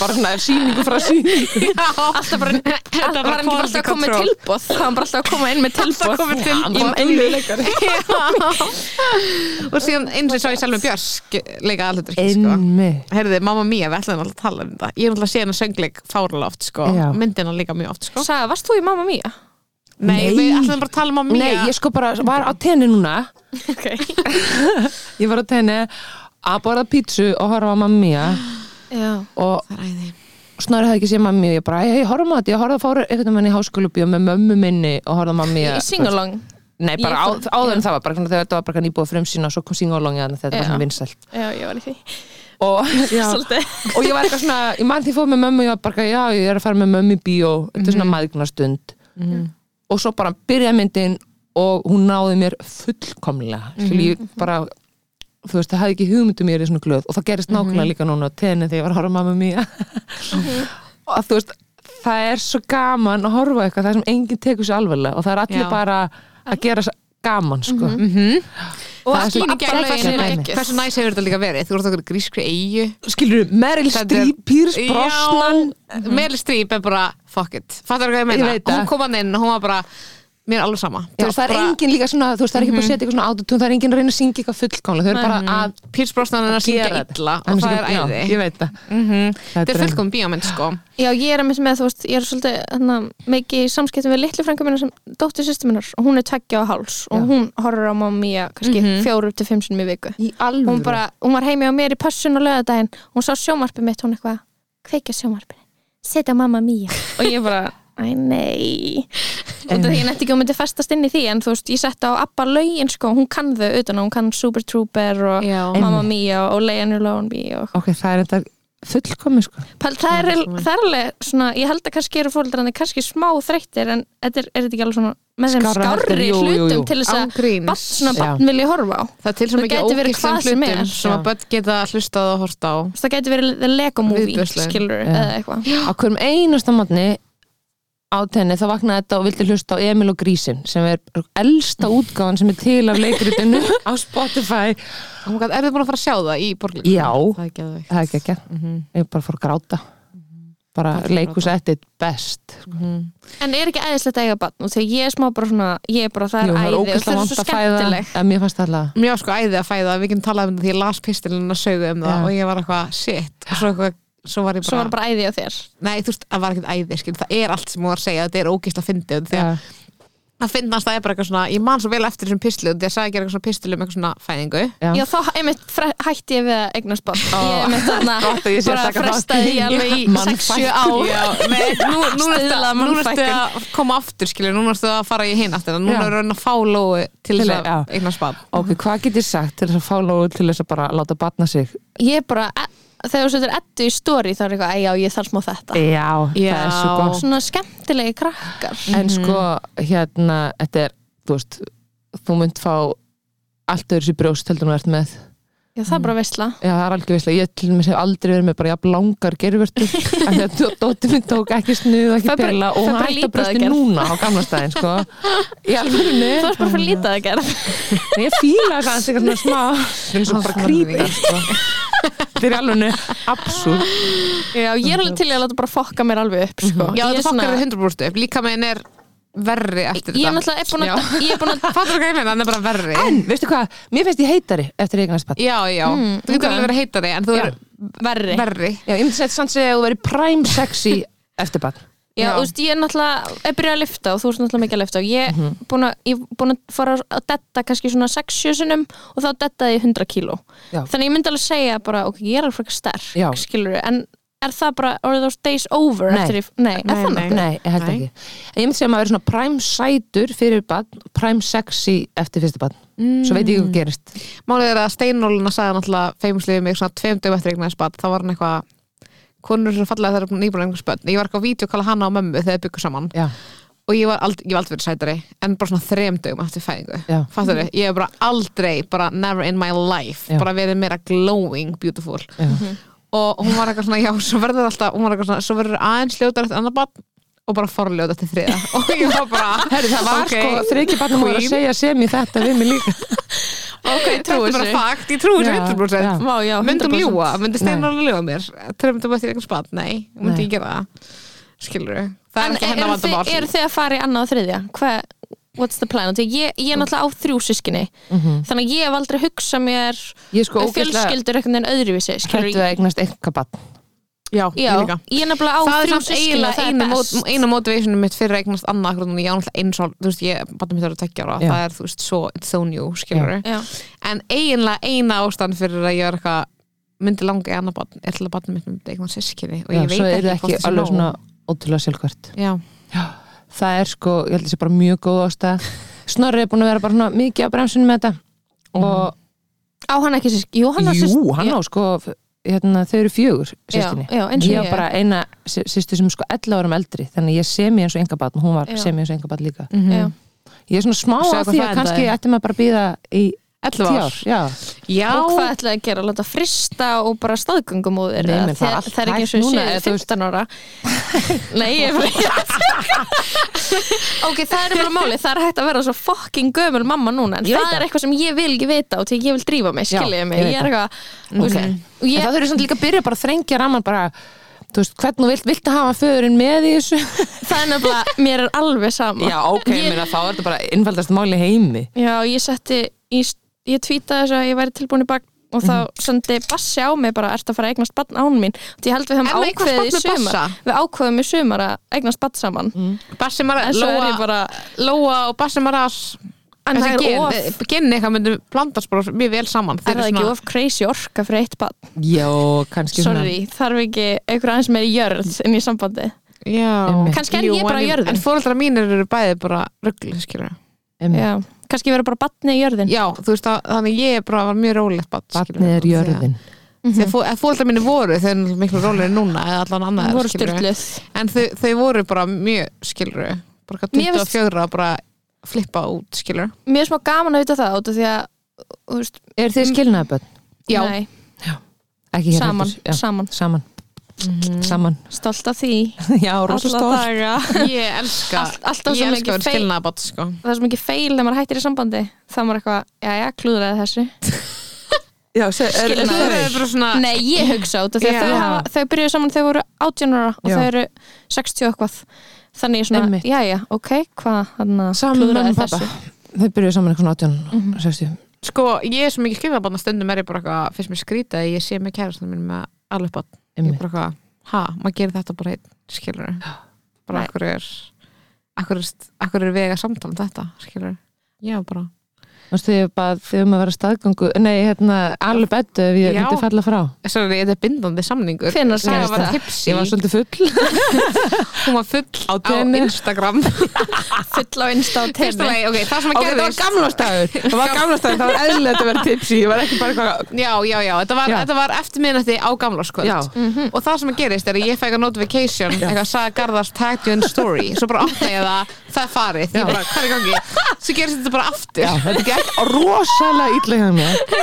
Speaker 4: bara svona síningu frá sko. síningu
Speaker 3: Já, alltaf bara
Speaker 1: Það var hann ekki bara alltaf að koma með tilbóð Það var hann bara alltaf að koma inn með tilbóð
Speaker 3: Alltaf koma með tilboð.
Speaker 1: tilbóð
Speaker 3: og síðan eins og ég sá ég Selma Björns ge- leika alveg sko.
Speaker 4: Einmi
Speaker 3: Herði, mamma mía, við ætlum alltaf að tala um þetta Ég er alltaf að sé hennar söngleik fárlega oft sko.
Speaker 4: Já.
Speaker 3: Myndina líka mjög oft sko.
Speaker 1: Saga, varst þú í Mamma Mía?
Speaker 3: Nei,
Speaker 4: Nei.
Speaker 3: við ætlum bara að tala um mamma mía
Speaker 4: Nei, ég sko bara var á tenni núna
Speaker 1: Okay.
Speaker 4: Ég var á tenni að borða pítsu og horfa á mamma mía
Speaker 1: Já,
Speaker 4: og
Speaker 3: Það er æði
Speaker 4: Snorri hafði ekki séð mammi og ég bara, hei, horfum á þetta, ég horfði að fára einhvern veginn í háskólubíu með mömmu minni og horfði að mammi
Speaker 1: í singalong
Speaker 4: Nei, bara á,
Speaker 1: Ég-
Speaker 4: áður en það var, bara hvernig þegar þetta var bara nýbúið frumsýna og svo kom singalongi að þetta var
Speaker 1: Já.
Speaker 4: svona vinsælt
Speaker 1: Já, ég var í því
Speaker 4: og, já,
Speaker 1: Svolítið
Speaker 4: og ég var eitthvað svona, ég mann því fóð með mömmu og ég var bara, já, ég er að fara með mömmu í bíó þetta er svona
Speaker 3: Mhm.
Speaker 4: maðgnarstund og svo bara byrjaði myndin og hún náði mér fullkomlega mm
Speaker 3: Mhm.
Speaker 4: ég bara, þú veist, það hafði ekki hugmyndum mér í svona glöð og það gerist
Speaker 3: Mhm.
Speaker 4: nákvæmlega líka núna á tenni þegar ég var að horfa á mamma mía
Speaker 3: Mhm.
Speaker 4: og þú veist, það er svo gaman að horfa á eitthvað, það sem enginn tekur sér alveglega og það er allir
Speaker 3: Já. Mhm.
Speaker 4: bara að gera s- gaman, sko
Speaker 1: Og
Speaker 4: Það er
Speaker 1: allt
Speaker 4: svo-
Speaker 1: í
Speaker 4: bara
Speaker 1: gegn
Speaker 4: þessi
Speaker 1: lögin
Speaker 4: dæmi.
Speaker 1: ekki
Speaker 3: Hversu næs hefur þetta líka verið? Þú voru okkur grískri eigu
Speaker 4: skilur Meryl
Speaker 3: Þetta er-
Speaker 4: Streep, Pírs
Speaker 3: Já.
Speaker 4: Brosnan
Speaker 3: Meryl Streep er bara, fuck it Fattar hvað ég
Speaker 4: Ég
Speaker 3: meina?
Speaker 4: veit það.
Speaker 3: Hún kom hann inn og hún var bara Mér er alveg sama
Speaker 4: Já, Mhm. það er engin líka svona, þú veist, það er ekki bara að setja eitthvað svona autotune, það er engin að reyna að syngja eitthvað fullkomlega, þau eru bara að
Speaker 3: Pírs Brosnan er að syngja
Speaker 4: gera þetta.
Speaker 3: illa
Speaker 4: Hann
Speaker 3: og það er
Speaker 4: syngja-
Speaker 3: æði
Speaker 4: Já, Mhm. ég veit það. Mm.
Speaker 3: Þetta er
Speaker 4: draumur.
Speaker 3: fullkom bíómynd sko
Speaker 1: Já, ég er að missa með, þú veist, ég er svolítið hana, mikið í samskiptum við litlu frængu minna sem dóttir sýstu minnar og hún er tveggja á háls og hún horfur á mamma mía kannski mm fjóru upp til fimm sinni í viku
Speaker 4: Í alveg.
Speaker 1: hún, bara, hún var heimi á mér í pössun og lögadaginn hún sá sjómarpið mitt, hún eitthvað kveikja sjómarpið, setja mamma mía og ég bara, æ nei og það ég nætti ekki að hún myndi festast inn í því en þú veist, ég setta á Abba lögin sko, hún kann þau utan á, hún kann Super Trooper og
Speaker 3: Já.
Speaker 1: Mamma Mia og Lay and Your Lone Bee og
Speaker 4: Ok, það er þetta fullkomi, sko.
Speaker 1: Pæl, það, er, það er alveg svona, ég held að kannski eru fóldrarnir kannski smá þreyttir en þetta er, er þetta ekki alveg svona með þeim
Speaker 4: Skárra heldur,
Speaker 1: skárri
Speaker 4: jú, jú, jú.
Speaker 1: hlutum til þess
Speaker 3: Án
Speaker 1: að
Speaker 3: gríns.
Speaker 1: barn, svona barn
Speaker 4: Já.
Speaker 1: vilja horfa á
Speaker 3: Það er til svo
Speaker 1: Það
Speaker 3: mikið
Speaker 1: gæti verið
Speaker 3: ógistum
Speaker 1: hvað sem
Speaker 3: hlutum
Speaker 1: er.
Speaker 3: sem, að
Speaker 4: Já.
Speaker 3: börn geta hlustað og horta á
Speaker 1: það gæti verið the Lego movie
Speaker 3: Viðbjóðsleg.
Speaker 1: skilur
Speaker 4: Já.
Speaker 1: eða eitthvað
Speaker 4: Á hverjum einasta matni á tenni, þá vaknaði þetta og vildi hlusta á Emil og Grísin, sem er elsta útgáðan sem er til af leikritinu á Spotify.
Speaker 3: Hún gæti, er þið búin að fara að sjá það í borgleikum?
Speaker 4: Já.
Speaker 3: Það er geðveikt.
Speaker 4: Það er ekki ekki. Ég bara fór að gráta. Mhm. Bara
Speaker 3: Bara fór að
Speaker 4: leikus eftir best.
Speaker 1: en er ekki æðislegt að eiga barn og þegar ég er smá bara svona ég er bara það er æði og það er svo skemmtileg
Speaker 4: En mér fannst það alveg
Speaker 3: Mér var sko æðið að fæða, við getum talað um þetta því ég las pistilinn að sögu um það
Speaker 4: Já.
Speaker 3: og ég var eitthvað shit og svo, eitthvað, svo var ég
Speaker 1: svo
Speaker 3: bara,
Speaker 1: var bara æði á þér
Speaker 3: nei þú veist, það var ekkert æðið skil, það er allt sem hún var að segja, þetta er ógisla fyndið því að
Speaker 4: Já.
Speaker 3: að finnast það er bara eitthvað svona ég man svo vel eftir þessum pistli og því að sagði ekki eitthvað svona pistli um eitthvað svona fæðingu
Speaker 1: Já, þá einmitt fre- hætti ég við að eignast barn Ég einmitt þarna
Speaker 4: Gott að ég sé að
Speaker 1: bara
Speaker 4: taka þátt.
Speaker 1: frestaði ég alveg í
Speaker 4: Mannfætt.
Speaker 1: 6-7 ár
Speaker 3: Já, nei, nú, nú ertu
Speaker 1: Stuðla
Speaker 3: að-
Speaker 1: að
Speaker 3: núna ertu
Speaker 1: mannfækkun.
Speaker 3: að koma aftur skilur, núna ertu að fara í hinn aftur núna
Speaker 4: Já.
Speaker 3: eru hann að fá lóu til þess
Speaker 4: Til- já.
Speaker 3: að eignar spad
Speaker 4: ok, hvað get ég sagt til þess að fá lóðu til þess að bara láta batna sig
Speaker 1: Ég er bara, e- þegar þú setur ettu í story þá er eitthvað, "Æ, já, ég þarf smá þetta
Speaker 4: já, það er svo gott
Speaker 1: Svona skemmtilegi krakkar
Speaker 4: en sko, hérna, þetta er þú veist, þú mynd fá allt öðru sér brjóst heldur en þú ert með
Speaker 1: Já, það er bara veistla
Speaker 4: já, það er algjör veistlega, ég til mér hef aldrei verið með bara jafn langar gerfurtur en þetta dótti minn tók ekki snuð, ekki
Speaker 1: Það er bara-
Speaker 4: pela
Speaker 1: það
Speaker 4: og
Speaker 1: er
Speaker 4: hún
Speaker 1: bara
Speaker 4: hætti
Speaker 1: lítið
Speaker 4: að brjósti
Speaker 1: aðgerð.
Speaker 4: núna á gamla staðin, sko í
Speaker 1: Þú
Speaker 4: alveg
Speaker 1: varst bara fyrir lítið að gera
Speaker 4: Nei, ég fíla þess aðeins eitthvað svona smá það er svo bara creepy sko. þetta er alveg absúr
Speaker 1: Já, ég er alveg til í að láta bara fokka mér alveg upp sko.
Speaker 3: Já,
Speaker 1: Ég er
Speaker 3: þetta fokkar
Speaker 1: svona-
Speaker 3: við 100% upp líka meginn er verri eftir
Speaker 1: Ég er
Speaker 3: þetta
Speaker 1: náttúrulega er búin að, ég er búin að
Speaker 3: Fattur ekki meina, hann er bara verri
Speaker 4: en, veistu hvað, mér finnst ég heitari eftir ég eignast barn.
Speaker 3: Já, já, þú getur
Speaker 1: ok.
Speaker 3: alveg verið heitari en þú
Speaker 4: Já.
Speaker 3: er
Speaker 1: verri
Speaker 3: verri
Speaker 4: já, ég myndi segja sanns að þú verið prime sexy eftir bann
Speaker 1: Já,
Speaker 3: Já.
Speaker 1: þú veist, ég er náttúrulega, ég byrja að lifta og þú ert náttúrulega mikið að lifta og ég er búin að, ég er búin að fara að detta kannski svona 6-7 sinum og þá dettaði ég 100 kíló.
Speaker 4: Já.
Speaker 1: Þannig ég myndi alveg segja bara, ok, ég er alveg frekar sterk,
Speaker 4: Já.
Speaker 1: skilur en er það bara, are those days over
Speaker 4: Nei.
Speaker 1: eftir ég, nei, er það nokkuð?
Speaker 4: Nei, ég held
Speaker 3: Nei.
Speaker 4: ekki En ég myndi segja að maður er svona prime sætur fyrir bann prime sexy eftir fyrsta bann Svo veit
Speaker 3: Mm.
Speaker 4: ég ekki hvað gerist
Speaker 3: Málið er að Steinólina sagði náttúrulega feimsliðið mig svona tveimdum eftir eignar spad þá var hann eitthvað konur eru svo fallega þegar nýbúin einhvers bönn ég var eitthvað á vídeo að kalla hana á mömmu þegar byggur saman
Speaker 4: Já,
Speaker 3: og ég var, ald, ég var aldrei verið sætari en bara svona þrem dögum eftir fæðingu
Speaker 4: Já.
Speaker 3: fattur þau, ég hef bara aldrei bara never in my life,
Speaker 4: Já.
Speaker 3: bara verið meira glowing beautiful
Speaker 4: já,
Speaker 3: Mhm. og hún var eitthvað svona, já, svo verður alltaf hún var eitthvað svona, svo verður aðeins ljótar eftir annar barn og bara forljóta eftir þriða og ég var bara, herri
Speaker 4: Það var sko þryggi bann og var að
Speaker 3: queen.
Speaker 4: segja sem í þetta við mig líka
Speaker 1: Ok, ég
Speaker 3: þetta
Speaker 1: trúi
Speaker 3: er bara
Speaker 1: þessu.
Speaker 3: fakt, ég trúi
Speaker 4: Já,
Speaker 3: þessu 100%
Speaker 4: já.
Speaker 1: Vá, já,
Speaker 3: myndi hún
Speaker 1: 100%.
Speaker 3: ljúa, myndi Steinar alveg ljúa mér þreim dögum eftir eitthvað spann, nei,
Speaker 4: Nei.
Speaker 3: myndi ég gera það skilur það er
Speaker 1: En
Speaker 3: ekki hennar
Speaker 1: eru þið,
Speaker 3: vandamál
Speaker 1: eru þið að fara í annað og þriðja? Hvað, what's the plan? Af því að Ég, ég er náttúrulega á þrjú sískinni,
Speaker 3: Mhm.
Speaker 1: þannig að ég hef aldrei hugsað mér
Speaker 4: Ég er sko
Speaker 1: um
Speaker 4: ógeðslega
Speaker 1: fjölskyldur eitthvað en öðruvísi, skilur
Speaker 4: hættu að eignast einhver bann
Speaker 3: já,
Speaker 1: Já,
Speaker 3: ég líka
Speaker 1: ég er nefnilega á
Speaker 3: það er
Speaker 1: þrjú
Speaker 3: samt
Speaker 1: sískina,
Speaker 3: eiginlega
Speaker 1: það er
Speaker 3: einu, mót,
Speaker 1: best
Speaker 3: einu motivationum mitt fyrir að eignast annað akkur núna, ég á náttúrulega eins og þú veist, ég bæta mitt að vera tveggjara,
Speaker 4: Já.
Speaker 3: það er þú veist, svo it's so new, skilur
Speaker 1: Já.
Speaker 3: en eiginlega eina ástand fyrir að ég er eitthvað myndi langa í annað barn, er til að barnið mitt myndi eignast sískinni og
Speaker 4: Já,
Speaker 3: ég
Speaker 4: Svo
Speaker 3: veit
Speaker 4: er það
Speaker 3: ekki
Speaker 4: ekki
Speaker 3: sé
Speaker 4: alveg
Speaker 3: nóg.
Speaker 4: svona ótrúlega sjálfkvært
Speaker 3: já,
Speaker 4: það er sko, ég held að það sé bara mjög góð ástæða Snorri er búin að vera bara svona mikið á bremsunum með þetta og
Speaker 1: Á hann ekki sísk, jú hann á sísk
Speaker 4: jú, hann á sko hérna, þau eru fjögur sýstinni
Speaker 1: Já, já, eins og
Speaker 4: ég
Speaker 1: ég.
Speaker 4: var bara eina sýstu sem er sko 11 árum eldri þannig að ég sé mig eins og engabatn hún var
Speaker 1: Já. Mm.
Speaker 4: sé mig eins og engabatn líka
Speaker 1: Já.
Speaker 4: ég er svona smá
Speaker 3: Sjá
Speaker 4: á
Speaker 3: hvað
Speaker 4: því
Speaker 3: það
Speaker 4: að
Speaker 3: endaði.
Speaker 4: kannski ætti maður bara að býða í
Speaker 3: 11
Speaker 4: 10
Speaker 3: ár.
Speaker 4: ár já.
Speaker 3: já,
Speaker 1: Og hvað ætlaði að gera, láta frista og bara staðgöngum úr þeir
Speaker 4: Nei, menn, það er allt
Speaker 1: það er ekki eins
Speaker 4: hægt
Speaker 1: og
Speaker 4: núna,
Speaker 1: séu
Speaker 4: eða þú veist-
Speaker 1: 15 ára Nei, ég er bara Ok, það er bara máli Það er hægt að vera svo fucking gömul mamma núna En
Speaker 4: Ég veit
Speaker 1: það er
Speaker 4: það.
Speaker 1: eitthvað sem ég vil ekki vita og til ég vil drífa mig,
Speaker 4: Já,
Speaker 1: skiljiði
Speaker 4: ég
Speaker 1: mig
Speaker 4: veit
Speaker 1: Ég er eitthvað Mm. þú
Speaker 4: ok
Speaker 1: veist, og
Speaker 4: en
Speaker 1: ég-
Speaker 4: það þurfi samt líka að byrja bara að þrengja raman bara þú veist, hvernig þú vilt, vilt að hafa föðurinn með í þessu
Speaker 1: Það er nefnilega, mér er alveg sama
Speaker 4: ok,
Speaker 1: Ég-
Speaker 4: meina, þá er þetta bara innfaldast máli heimi
Speaker 1: Já, ég setti í, ég tvítaði þess að ég væri tilbúin í bak og
Speaker 4: Mhm.
Speaker 1: þá sendi Bassi á mig bara ert að fara að eignast barn án mín því ég held
Speaker 3: En
Speaker 1: við höfum
Speaker 3: við eignast
Speaker 1: ákveðið í
Speaker 3: barn með
Speaker 1: sumar
Speaker 3: Bassa?
Speaker 1: við ákveðum í sumar að eignast barn saman
Speaker 3: Bassi Mara,
Speaker 1: en svo er
Speaker 3: Lóa,
Speaker 1: ég bara
Speaker 3: Lóa og Bassi Maras
Speaker 1: en það er of,
Speaker 3: gen, genni eitthvað myndum blandast bara mjög vel saman Þau
Speaker 1: er
Speaker 3: eru
Speaker 1: það ekki
Speaker 3: svona-
Speaker 1: of crazy orka fyrir eitt barn
Speaker 4: já, kannski
Speaker 1: sorry, þarf ekki einhver aðeins meiri jörð inn í sambandi
Speaker 3: Já,
Speaker 4: Einmitt.
Speaker 1: Kannski er ég bara
Speaker 3: en-
Speaker 1: jörðin.
Speaker 3: En fóreldrar mínir eru bæði bara ruggli, skilur
Speaker 4: svona
Speaker 1: Já, kannski vera bara barnið í jörðin
Speaker 3: Já, þú veist að þannig ég er bara var mjög rólegt bat,
Speaker 4: vatnið er jörðin
Speaker 3: Þegar fó, ef fóreldrar mínir voru, þau eru miklu rólegri núna eða allan annað
Speaker 1: voru
Speaker 3: skilurðu.
Speaker 1: styrluð
Speaker 3: En þau, þau voru bara mjög, skilur bara hvað
Speaker 1: Mér finnst-
Speaker 3: 24 að bara flippa út, skilur
Speaker 1: mér er smá gaman að vita það út af því að þú veist,
Speaker 4: er þið skilnaðaböld?
Speaker 3: Já,
Speaker 1: nei,
Speaker 4: ekki hér
Speaker 1: saman,
Speaker 4: heldur, já.
Speaker 1: saman,
Speaker 4: saman saman,
Speaker 1: stolt af því
Speaker 4: já, rosa
Speaker 1: alla
Speaker 4: stór
Speaker 1: daga
Speaker 3: ég elska
Speaker 1: Allt- alltaf
Speaker 3: Ég
Speaker 1: svo mikið
Speaker 3: elska verið
Speaker 1: feil-
Speaker 3: skilnaða bat, sko
Speaker 1: það er svo mikið feil þegar maður hættir í sambandi þá er maður eitthvað, já já, klúðraði þessu
Speaker 4: já, se, er,
Speaker 1: Skilnaður.
Speaker 3: Þau eru bara svona
Speaker 1: nei, ég hugsa út af því að
Speaker 3: Já.
Speaker 1: þau, hafa, þau byrjuðu saman þegar þau voru 18 ára og
Speaker 4: Já.
Speaker 1: þau eru 60 og eitthvað þannig ég svona,
Speaker 4: Einmitt.
Speaker 1: já já, ok, hvað hann
Speaker 4: saman með mamma og pappa þau byrjuðu saman eitthvað svona 18 60
Speaker 3: Sko, ég er svo mikið skilnaðabann að stundum er ég bara eitthvað, fyrst mér skrýta að ég sé með kærastan minn með alveg bann ég
Speaker 4: Einmitt.
Speaker 3: bara eitthvað, ha, maður gerir þetta bara einn skilur bara
Speaker 1: Nei.
Speaker 3: okkur er akkur, akkur er vega samtala um þetta skilur, já bara
Speaker 4: Þú veist, þegar ég bað þig um að vera staðgöngu Nei, hérna, alveg bettu ef ég
Speaker 3: Já.
Speaker 4: myndi falla frá
Speaker 3: Sorry, þetta er bindandi samningur
Speaker 1: Hvenær
Speaker 3: Saga
Speaker 1: gerist
Speaker 3: var
Speaker 1: það?
Speaker 3: tipsi,
Speaker 4: Ég var svolítið full
Speaker 3: hún var full á,
Speaker 4: tenni.
Speaker 3: Instagram
Speaker 1: full á insta og
Speaker 3: Fyrsta
Speaker 1: tenni
Speaker 3: lagi, ok, það sem að
Speaker 4: Ok, það var
Speaker 3: gerðist
Speaker 4: gamlástaður Það var gamlástaður, það var eðlilegt að vera tipsi Ég var ekki bara eitthvað
Speaker 3: Já, já, já, þetta var,
Speaker 4: Já.
Speaker 3: Þetta var eftir miðnætti á gamlarskvöld
Speaker 4: Já.
Speaker 3: og það sem að gerist er að ég fæk að notification eitthvað sagði Garðars tagged you in story svo bara átta ég það, það er farið ég bara, hvað er í gangi, svo gerist þetta bara aftur
Speaker 4: Já, þetta gekk rosalega illa hjá mér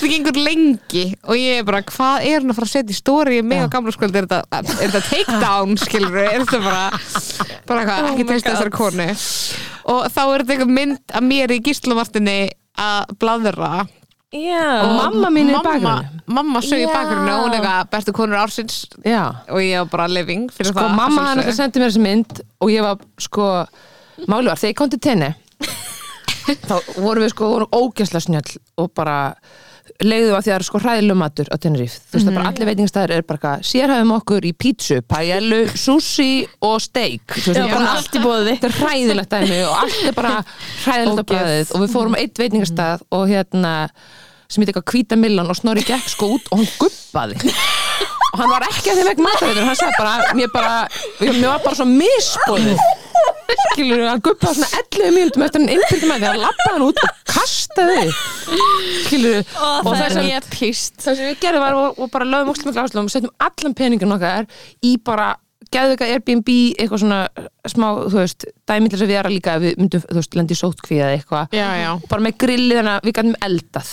Speaker 3: það gengur lengi og ég er bara, hvað er hún að fara að setja í stóri mig
Speaker 4: Já.
Speaker 3: og gamla skuld, er þetta, er þetta takedown skilur, er þetta bara bara
Speaker 4: Oh
Speaker 3: hvað, ekki
Speaker 1: my
Speaker 3: treysta
Speaker 1: God.
Speaker 3: þessari konu og þá er þetta eitthvað mynd að mér í gíslamartinni að bladra
Speaker 1: já,
Speaker 3: og
Speaker 4: mamma mín er í bakgrunum.
Speaker 3: mamma sög í
Speaker 1: Já.
Speaker 3: bakgrunum og hún er eitthvað, bestu konur ársins
Speaker 4: Já,
Speaker 3: og ég var bara living fyrir
Speaker 4: sko
Speaker 3: það
Speaker 4: mamma hann
Speaker 3: að
Speaker 4: alltaf sendi mér þessi mynd og ég var sko Máli var, þegar ég kom til tenni Þá vorum við sko vorum ógæsla snjöll og bara leiðum að því að það er sko hræðilegum matur á Tenerife þú veist það
Speaker 1: Mhm.
Speaker 4: bara allir veitingastæður er bara eitthvað, sérhæfum okkur í pítsu, pajellu, sushi og steik þú veist
Speaker 1: Já,
Speaker 4: það er
Speaker 1: bara
Speaker 4: bara
Speaker 1: allt í boði.
Speaker 4: þetta er hræðilegt dæmi og allt er bara hræðilegt á bræðið og við fórum á eitt
Speaker 1: Mhm.
Speaker 4: veitingastæð og hérna sem heit eitthvað hvíta millan og snorri gekk sko út og hann guppaði og hann var ekki að þeim ekki matarveitur hann sagði bara, mér bara ég, mér var bara svo misbóðið skilur, hann guppaði svona 11 mínútum eftir hann innbyrði með því, hann lappaði hann út og kastaði skilur,
Speaker 1: og
Speaker 4: og
Speaker 1: það
Speaker 4: þess
Speaker 1: er
Speaker 4: að
Speaker 1: mjög píst
Speaker 4: það sem við gerðum var og, og bara lögum óslega mikla áslum og settum allan peningin okkar í bara geðvika Airbnb eitthvað svona smá, þú veist dæmiðlis að vera líka ef við myndum, þú veist, lendi sótkvíða eða eitthvað,
Speaker 3: Já, já.
Speaker 4: Og bara með grilli þannig að við gætum eldað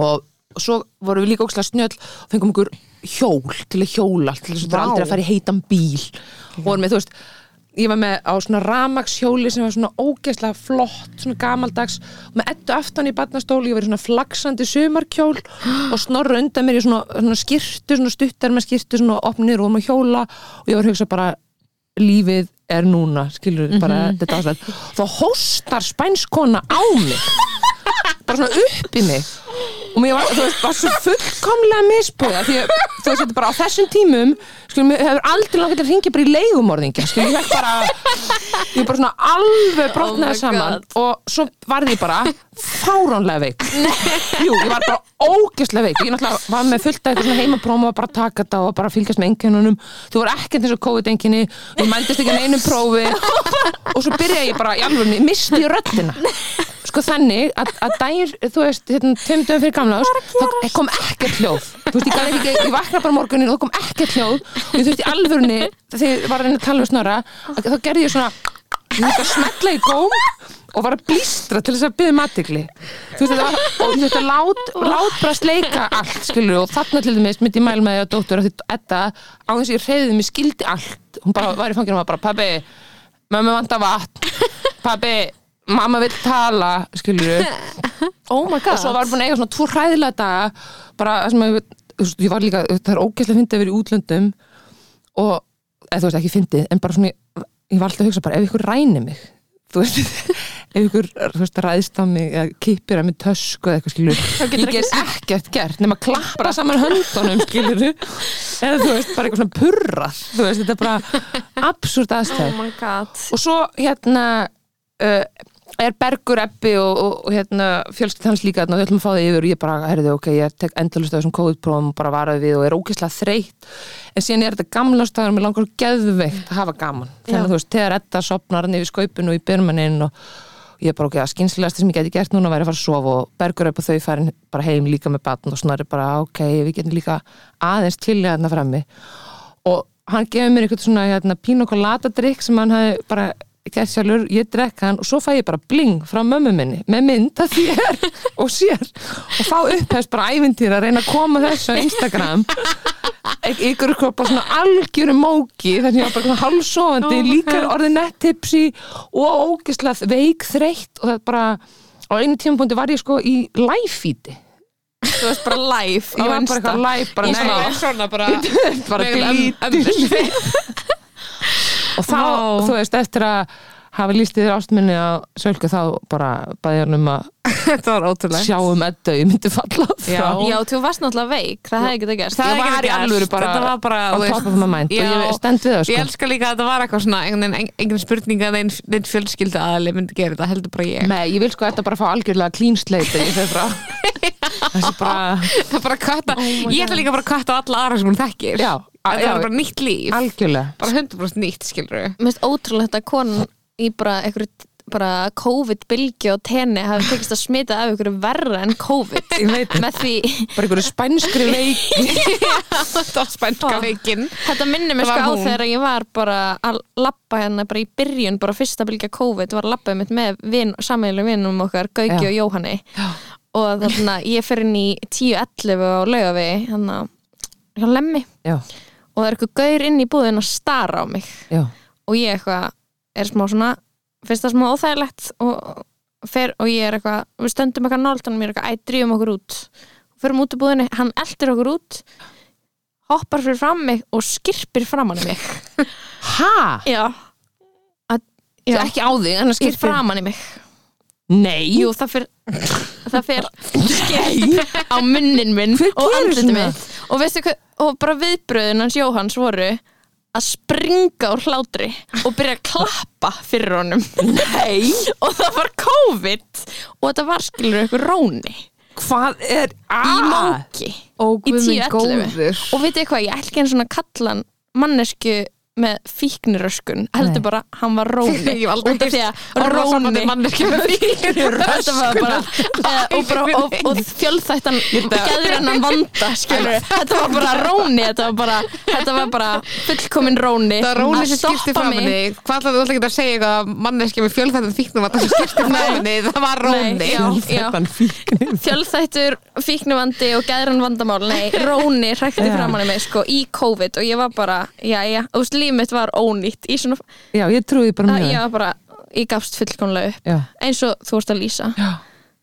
Speaker 4: og svo vorum við líka ókslega snjöll og fengum okkur hjól til að hjóla til þess að þetta er
Speaker 3: Vá.
Speaker 4: aldrei að fara í heitan bíl og vorum við, þú veist ég var með á svona ramagshjóli sem var svona ógeðslega flott, svona gamaldags og með ettu aftan í barnastóli ég var í svona flaksandi sumarkjól og snorra undan mér í svona, svona skirtu svona stuttar með skirtu, svona opnir og um að hjóla og ég var að hugsa bara lífið er núna, skilur
Speaker 1: Mhm.
Speaker 4: við bara þetta áslega, þá hóstar spænskona á mig bara svona upp í mig og mér var, þú veist, var svo fullkomlega misbúða því að, þú veist, þetta bara á þessum tímum skilur, mér hefur aldrei langið til að ringja bara í leigumorðingja, skilur, ég hef bara ég er bara svona alveg brotnaði
Speaker 1: Oh my
Speaker 4: saman
Speaker 1: God.
Speaker 4: og svo varð ég bara fáránlega veik jú, ég var bara ógeðslega veik ég náttúrulega var með fullt af eitthvað svona heimapróma og bara að taka þetta og bara fylgjast með einkennunum þú var ekkert eins og COVID-enginni og mældist ekki neinu prófi og svo byrjaði ég bara í alvörni, misti ég röddina sko þannig að, að dagir, þú veist, hérna, tveim dögum fyrir gamla ás þá kom ekkert hljóð þú veist, ég, gat ekki, ég vakna bara morgunin og þá kom ekkert hljóð og ég þurfti í alvörni þegar ég var að reyna að tala við snorra að- þá gerði ég svona ég þurfti að smetla í góm og var að blístra til þess að byggja matikli þú veist þetta var, og þú veist að lát, lát bara sleika allt skilur og þarna til dæmis myndi ég mæla með því að dóttur að því Edda á þess að ég reyðið mig skildi allt hún bara var í fanginu og var bara pabbi mamma vantar vatn pabbi mamma vill tala skilur
Speaker 1: oh my
Speaker 4: og svo var búin að eiga svona tvo hræðilega daga bara það sem að ég, þú veist, ég var líka það er ógeðslega fyndið að vera í útlöndum og, eða þú veist ekki fyndið en bara svona, ég, ég var alltaf að hugsa bara ef ykkur rænir mig þú veist, ef ykkur þú veist, ræðist á mig eða kippir að mig tösku eða eitthvað skilur ég get ekkert gert nema klappa saman höndunum skilur eða þú veist, bara eitthvað svona purrað þú veist, þetta er bara absúrt aðstæð
Speaker 1: oh my god
Speaker 4: og svo hérna uh, er Bergur Ebbi og, og, og hérna fjölskyld hans líka þarna og við ætlum að fá það yfir og ég bara, herðu, ok, ég tek endalust af þessum COVID-prófum og bara varaði við og er ógeðslega þreytt en síðan er þetta gamla staður og mér langar svo geðveikt að hafa gaman þannig
Speaker 1: Já.
Speaker 4: að þú veist, þegar Edda sopnar hann yfir skaupinu og í byrmanin og og ég bara ok, að skynslegast sem ég geti gert núna væri að fara að sofa og bergur upp og þau farin bara heim líka með batn og snarri bara ok, við getum líka aðeins chillið þarna frammi og hann gefur mér eitthvað svona hérna, pínu og latadrykk sem hann hafi bara gert sjálfur, ég drekka hann og svo fæ ég bara bling frá mömmu minni með mynd að þér og sér og þá upphefst bara ævintýr að reyna að koma þessu á Instagram Ek- ykkur ykkur bara svona algjöru móki þar sem ég var bara svona hálfsofandi líka orðið nettipsi og ógislega veik þreytt og það bara á einu tímapunkti var ég sko í live feedi
Speaker 1: þú varst bara live
Speaker 4: ég var bara eitthvað live bara,
Speaker 1: Í svona-
Speaker 4: nei,
Speaker 3: svona bara
Speaker 4: bara
Speaker 3: Megan
Speaker 4: delete,
Speaker 3: Öm- Öm-
Speaker 4: og þá,
Speaker 3: Vá.
Speaker 4: þú veist, eftir að hafi líst yfir ástminni á sölku þá bara bæði hann um að
Speaker 3: þetta var ótrúlega
Speaker 4: sjá um edda ég myndi falla frá
Speaker 3: Já.
Speaker 1: Já, þú varst náttúrulega veik, það hefði getað gerst
Speaker 3: Það
Speaker 1: Ég
Speaker 3: hefði
Speaker 1: var
Speaker 3: getað
Speaker 1: í
Speaker 3: gerst.
Speaker 1: alvöru bara-
Speaker 3: Þetta var bara,
Speaker 4: á
Speaker 3: þú veist,
Speaker 4: top of my mind
Speaker 3: já.
Speaker 4: og ég stend við það
Speaker 3: Ég
Speaker 4: sko
Speaker 3: elska líka að þetta var eitthvað svona engin, engin spurning að einn ein fjölskylda aðli myndi gera þetta, heldur bara ég
Speaker 4: Nei, ég vil sko þetta bara fá algjörlega clean slate þegar ég fer frá þessi bara,
Speaker 3: Það er bara að kvarta- Ég ætla líka bara að kvarta á alla aðra sem hún þekkir
Speaker 4: Oh Já.
Speaker 3: Þetta
Speaker 4: Já.
Speaker 3: var bara nýtt líf
Speaker 4: algjörlega
Speaker 3: Bara 100% nýtt, skilur við
Speaker 1: Mér finnst ótrúlegt að konan í bara einhverju bara COVID-bylgi og tenni hafi tekist að smita af einhverju verra en COVID
Speaker 4: Ég veit
Speaker 1: með því
Speaker 4: bara einhverju spænskri veik
Speaker 3: Þetta var spænska veikin
Speaker 1: þetta minnir mér
Speaker 3: Það
Speaker 1: sko
Speaker 3: var
Speaker 1: á
Speaker 3: hún.
Speaker 1: þegar ég var bara að labba hérna bara í byrjun bara fyrsta bylgja COVID var að labba mitt með vin, sammeilum vinnum okkar Gauki
Speaker 4: Já.
Speaker 1: og Jóhanni og þarna ég fer inn í 10.11 á laugavi hérna hjá Lemmi
Speaker 4: já,
Speaker 1: og það er eitthvað gaur inn í búðin að stara á mig
Speaker 4: já,
Speaker 1: og ég eitthvað er smá svona, finnst það smá óþægilegt og, fer, og ég er eitthvað við stöndum eitthvað nált og mér er eitthvað æ, drífum okkur út og förum út í búðinni, hann eldir okkur út hoppar fyrir fram mig og skirpir framan í mig
Speaker 4: ha?
Speaker 1: já, að, já
Speaker 4: ekki á þig, en að
Speaker 1: skirpir
Speaker 4: skipta
Speaker 1: framan í mig
Speaker 4: Nei,
Speaker 1: jú, það fer það fer skirp á munnin minn
Speaker 4: Hver
Speaker 1: og
Speaker 4: gerir
Speaker 1: andlitið
Speaker 4: svona?
Speaker 1: mitt og veistu hvað, og bara viðbröðun hans Jóhanns voru að springa úr hlátri og byrja að klappa fyrir honum Nei. og það var COVID og þetta var skilur ykkur róni
Speaker 4: hvað er
Speaker 1: í
Speaker 4: að?
Speaker 1: móki
Speaker 3: Ó,
Speaker 1: í
Speaker 3: guð minn
Speaker 1: 10.11
Speaker 3: góður.
Speaker 1: og veitu hvað, ég ætla ekki einu svona kallan mannesku með fíkniröskun heldur
Speaker 4: Nei.
Speaker 1: bara, hann var róni
Speaker 3: Ég hef aldrei
Speaker 1: út af því að
Speaker 3: Orðasambandið
Speaker 1: róni
Speaker 3: manneskja með
Speaker 1: þetta var bara eða, og, bara, og, og fjölþættan geðrennan vanda skilur þetta var bara róni þetta var bara, þetta var bara fullkomin róni
Speaker 3: Það er róni sem
Speaker 1: Að
Speaker 3: skipti
Speaker 1: stoppa
Speaker 3: framinni Hvað ætlaði þú ætla ekki að segja eitthvað að manneskja með fjölþættan fíknum að það sem skipti framinni Það var róni
Speaker 1: Nei, já, já.
Speaker 4: Fjölþættan fíknir
Speaker 1: fjölþættur, fíknuvandi og geðrann vandamál nei, róni hrækti
Speaker 4: Já.
Speaker 1: framan í mig sko, í COVID og ég var bara já, já, þú veist, líf mitt var ónýtt í svona,
Speaker 4: Já, ég trúi bara
Speaker 1: að
Speaker 4: mjög
Speaker 1: ég var bara ég gafst fullkomlega upp,
Speaker 4: Já,
Speaker 1: eins og þú vorst að lýsa
Speaker 4: já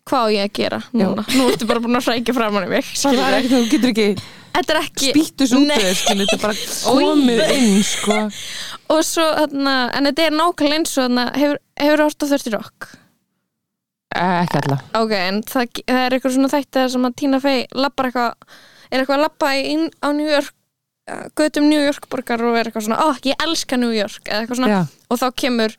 Speaker 1: hvað á ég að gera núna nú ertu bara búin að hrækja framan í mig
Speaker 4: Það er
Speaker 1: skilurðu.
Speaker 4: ekkert, þú getur ekki
Speaker 1: þetta er ekki
Speaker 4: spýttus út
Speaker 1: Nei.
Speaker 4: þegar, skilur, þetta er bara komið inn, sko.
Speaker 1: og svo þarna, en þetta er nákvæmlega eins og þarna, hefur, hefur hort á 30 rock
Speaker 4: Eh, Ekki alla.
Speaker 1: ok, en það, það er eitthvað svona þætti þar sem að Tina Fey lappar eitthvað er eitthvað að lappa inn á New York uh, götum New York borgar og er eitthvað svona ó, ég elska New York, eða eitthvað svona
Speaker 4: Já,
Speaker 1: og þá kemur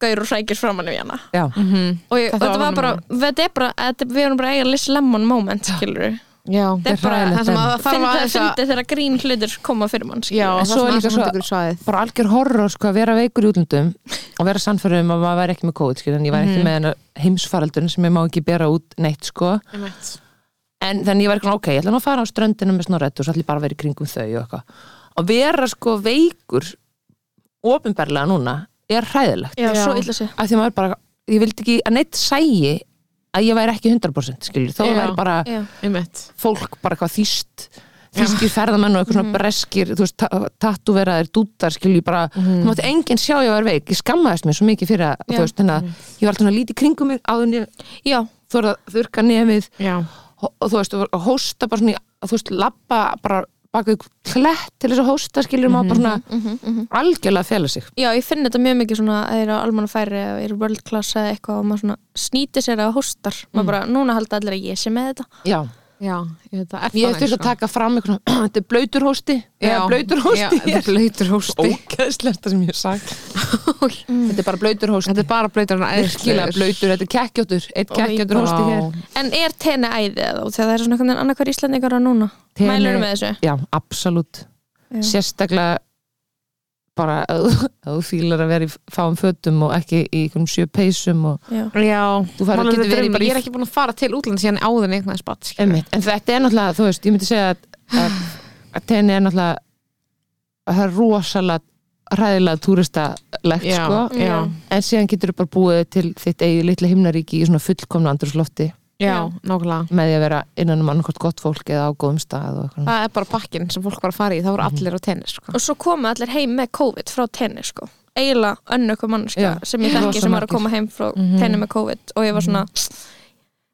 Speaker 1: gaur og hrækir framan í hana
Speaker 4: já.
Speaker 1: og, ég,
Speaker 3: Þetta
Speaker 1: og þetta
Speaker 3: var
Speaker 1: var bara, þetta er bara þetta, við erum bara að eiga Liz Lemon moment, skilur við
Speaker 3: Já,
Speaker 1: þetta er bara,
Speaker 4: hræðilegt.
Speaker 3: það sem að það þarf
Speaker 1: finn það
Speaker 3: að
Speaker 1: að fyndi þegar grín hlutir koma fyrir mann,
Speaker 3: Já,
Speaker 1: skilurðu.
Speaker 4: En
Speaker 3: það
Speaker 4: svo er
Speaker 3: sem
Speaker 4: líka
Speaker 3: að
Speaker 4: svo-
Speaker 3: það ykkur svæðið
Speaker 4: Bara algjör horror, sko, að vera veikur í útlöndum og vera sannfærum að maður væri ekki með COVID, skilur, en ég væri ekki með hennar heimsfaraldurinn sem ég má ekki bera út neitt, sko. En þannig ég var eitthvað, ok, ég ætla nú að fara á ströndina með snorrett og svo ætla ég bara að vera í kringum þau og eitthvað. Að vera, sko, veikur ofinberlega núna er hræðilegt.
Speaker 1: já,
Speaker 3: Já.
Speaker 1: svo illa sér
Speaker 4: Af því að maður bara, ég vildi ekki að neitt sægi að ég væri ekki 100% skilur, þó
Speaker 3: Já.
Speaker 4: væri bara
Speaker 1: já,
Speaker 3: Einmitt
Speaker 4: fólk bara eitthvað þýst þýskir ferðamenn og eitthvað
Speaker 1: Mhm.
Speaker 4: svona breskir þú veist, ta- tattúveraðir, dútar skilju bara, þú mátti enginn sjá ég var veik ég skammaðist mér svo mikið fyrir að,
Speaker 1: Mhm. Já.
Speaker 4: þú veist, þannig að ég var alltaf svona lítið kringum mig áðun ég
Speaker 1: já,
Speaker 4: þorði að þurka nefið
Speaker 3: Já,
Speaker 4: og og þú veist, og var að hósta bara svona í- að, þú veist, labba bara bakið klett til þess að hósta skilju maður bara svona algjörlega að fela sig
Speaker 1: Já, ég finn þetta mjög mikið svona að þeir eru almanna færi eða eru world class eða eitthvað og maður svona snýti sér eða hóstar
Speaker 3: Mm.
Speaker 1: maður bara, núna halda allir að ég sé með þetta
Speaker 4: já,
Speaker 3: já, ég veit það
Speaker 4: ég þurfti að taka fram eitthvað, þetta er blöytur hósti eða blöytur hósti
Speaker 3: Þetta er blöytur hósti
Speaker 4: ógeðslegt það sem ég hef sagt þetta er bara blöytur hósti
Speaker 3: Mm. Þetta er bara blöytur hann
Speaker 4: virkilega blöytur, þetta er kekkjóttur eitt kekkjóttur hósti hér
Speaker 1: En er tenni æðið eða þá? Þegar það er svona einhvern veginn annarkvar íslendingar á núna
Speaker 4: Teni-
Speaker 1: Mælurðu með þessu?
Speaker 4: já, absolutt
Speaker 1: Já.
Speaker 4: sérstaklega bara að að þú fílar að vera í fáum fötum og ekki í einhverjum sjö peysum og
Speaker 1: Já,
Speaker 3: Já,
Speaker 4: Þú færð-
Speaker 3: Málið
Speaker 4: getur
Speaker 3: er
Speaker 4: verið
Speaker 3: draumur.
Speaker 4: bara í-
Speaker 3: Ég er ekki búin að fara til útland síðan áður en eignaði spatt
Speaker 4: Einmitt. en þetta er náttúrulega, þú veist, ég myndi segja að, að, að tenni er náttúrulega að það er rosalega hræðilega túristalegt
Speaker 3: Já,
Speaker 4: sko.
Speaker 3: já,
Speaker 4: en síðan getur þú bara búið til þitt eigið litla himnaríki í svona fullkomna andrúslofti
Speaker 3: já, nákvæmlega
Speaker 4: með því að vera innan um annarkort gott fólk eða á góðum stað og eitthvað
Speaker 3: Það er bara bakkinn sem fólk var að fara í, það voru allir á tennis sko.
Speaker 1: Og svo koma allir heim með COVID frá tenni sko eiginlega önnu okkur mannska
Speaker 4: Já,
Speaker 1: sem ég þekki
Speaker 4: rosa
Speaker 1: sem var að
Speaker 4: margir.
Speaker 1: koma heim frá tenni með COVID og ég var svona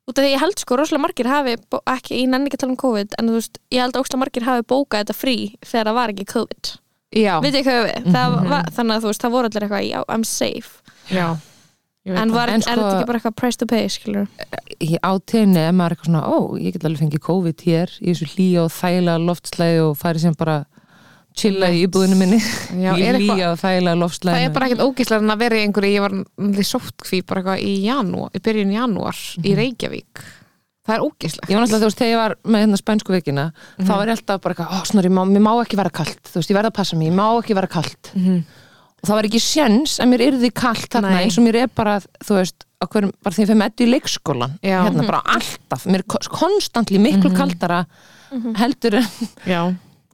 Speaker 1: út af því ég held sko rosalega margir hafi bó- ekki, ég nenni ekki að tala um COVID en þú veist, ég held að rosalega margir hafi bókað þetta frí þegar það var ekki COVID
Speaker 3: Já,
Speaker 1: veit ég hvað við, mm -hmm. var, þannig að þú veist, það voru allir eitthvað já, I'm safe
Speaker 3: já ég veit
Speaker 1: en,
Speaker 3: það.
Speaker 1: var,
Speaker 4: En
Speaker 1: er
Speaker 4: sko-
Speaker 1: þetta ekki bara eitthvað price to pay skilur
Speaker 4: Í átíðinni er maður eitthvað svona, ó, ég get alveg fengið COVID hér í þessu hlýja og þæla loftslæði og farið sem bara chilla í íbúðinu minni
Speaker 3: já,
Speaker 4: í
Speaker 3: er eitthvað,
Speaker 4: hlýja og þæla loftslæði
Speaker 3: það er bara ekkert ógíslega en eh, að vera í einhverju, ég var náttúrulega í sótkví bara eitthvað í janúar, í byrjun janúar í Reykjavík, það er ógíslega
Speaker 4: Ég var náttúrulega, þú veist, þegar ég var með hérna spænsku veikina
Speaker 3: Mhm.
Speaker 4: þá var ég alltaf bara eitthvað, ó, snorri, má, mér má ekki vera kalt þú veist, ég verð að passa mér, ég má ekki vera kalt og það var ekki sjens að mér yrði kalt þarna
Speaker 3: Mhm. Nei.
Speaker 4: eins og mér er bara, þú veist, á hverjum, bara þegar ég fyrir með í leikskólan,
Speaker 3: Já. Mhm.
Speaker 4: hérna bara alltaf mér er ko- konstantli miklu kaldara heldur en
Speaker 3: já,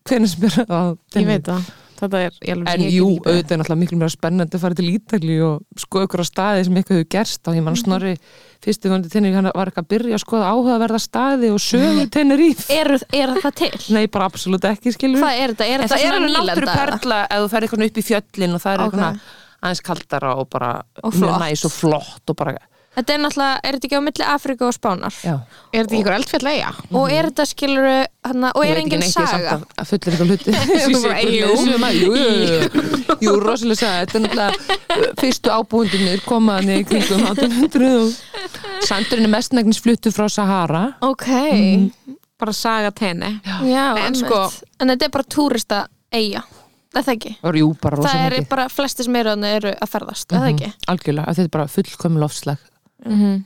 Speaker 4: hvernig sem er
Speaker 3: Mhm.
Speaker 4: á
Speaker 3: ég veit það þetta er, ég alveg
Speaker 4: En
Speaker 3: ég
Speaker 4: jú,
Speaker 3: get ekki-
Speaker 4: auðvitað er náttúrulega miklu mér spennandi að fara til Ítali og sko ykkur á staði sem eitthvað hefur gerst á, ég
Speaker 3: Mhm.
Speaker 4: man snorri fyrstu vöndi tennir, hann var eitthvað að byrja að skoða áhugaverða staði og sögu tennir
Speaker 1: er, er það til?
Speaker 4: Nei, bara absolutt ekki, skilur
Speaker 1: hvað er þetta? Er
Speaker 4: En það er alveg
Speaker 1: nýlenda?
Speaker 4: náttúruperla ef þú ferð eitthvað upp í fjöllin og það er
Speaker 1: Ok.
Speaker 4: eitthvað aðeins kaldara og bara
Speaker 1: Og
Speaker 4: mjög
Speaker 1: flott.
Speaker 4: næs og flott og bara,
Speaker 1: þetta er náttúrulega, er þetta ekki á milli Afrika og Spánar?
Speaker 4: já
Speaker 3: er þetta ekki einhver eldfjall eiga?
Speaker 1: og er þetta skilur hana, og
Speaker 4: Mhm. Ég
Speaker 1: er
Speaker 4: veit ekki
Speaker 1: engin
Speaker 4: neitt, ég er samt
Speaker 1: saga
Speaker 4: að- að fullir eitthvað hluti Ég sé
Speaker 3: bara,
Speaker 4: eitthvað
Speaker 3: jú.
Speaker 4: leiðsögum að- Jú, jú, jú. jú, rosalega saga Þetta er náttúrulega fyrstu ábúendunir komaðan í kringum 1800 og Sandurinn er mestnægnis fluttu frá Sahara
Speaker 1: ok,
Speaker 4: Mhm.
Speaker 3: bara saga tenni
Speaker 1: já,
Speaker 3: En
Speaker 1: einmitt.
Speaker 3: sko-
Speaker 1: en þetta er bara túrista eiga, það er það ekki
Speaker 4: og jú, bara
Speaker 1: það
Speaker 4: rosalega
Speaker 1: er
Speaker 4: mikið. Mhm.
Speaker 1: bara flesti sem eru, þarna eru að ferðast, er það ekki?
Speaker 4: Algjörlega, af því þetta er bara fullkomum lofslag
Speaker 3: ég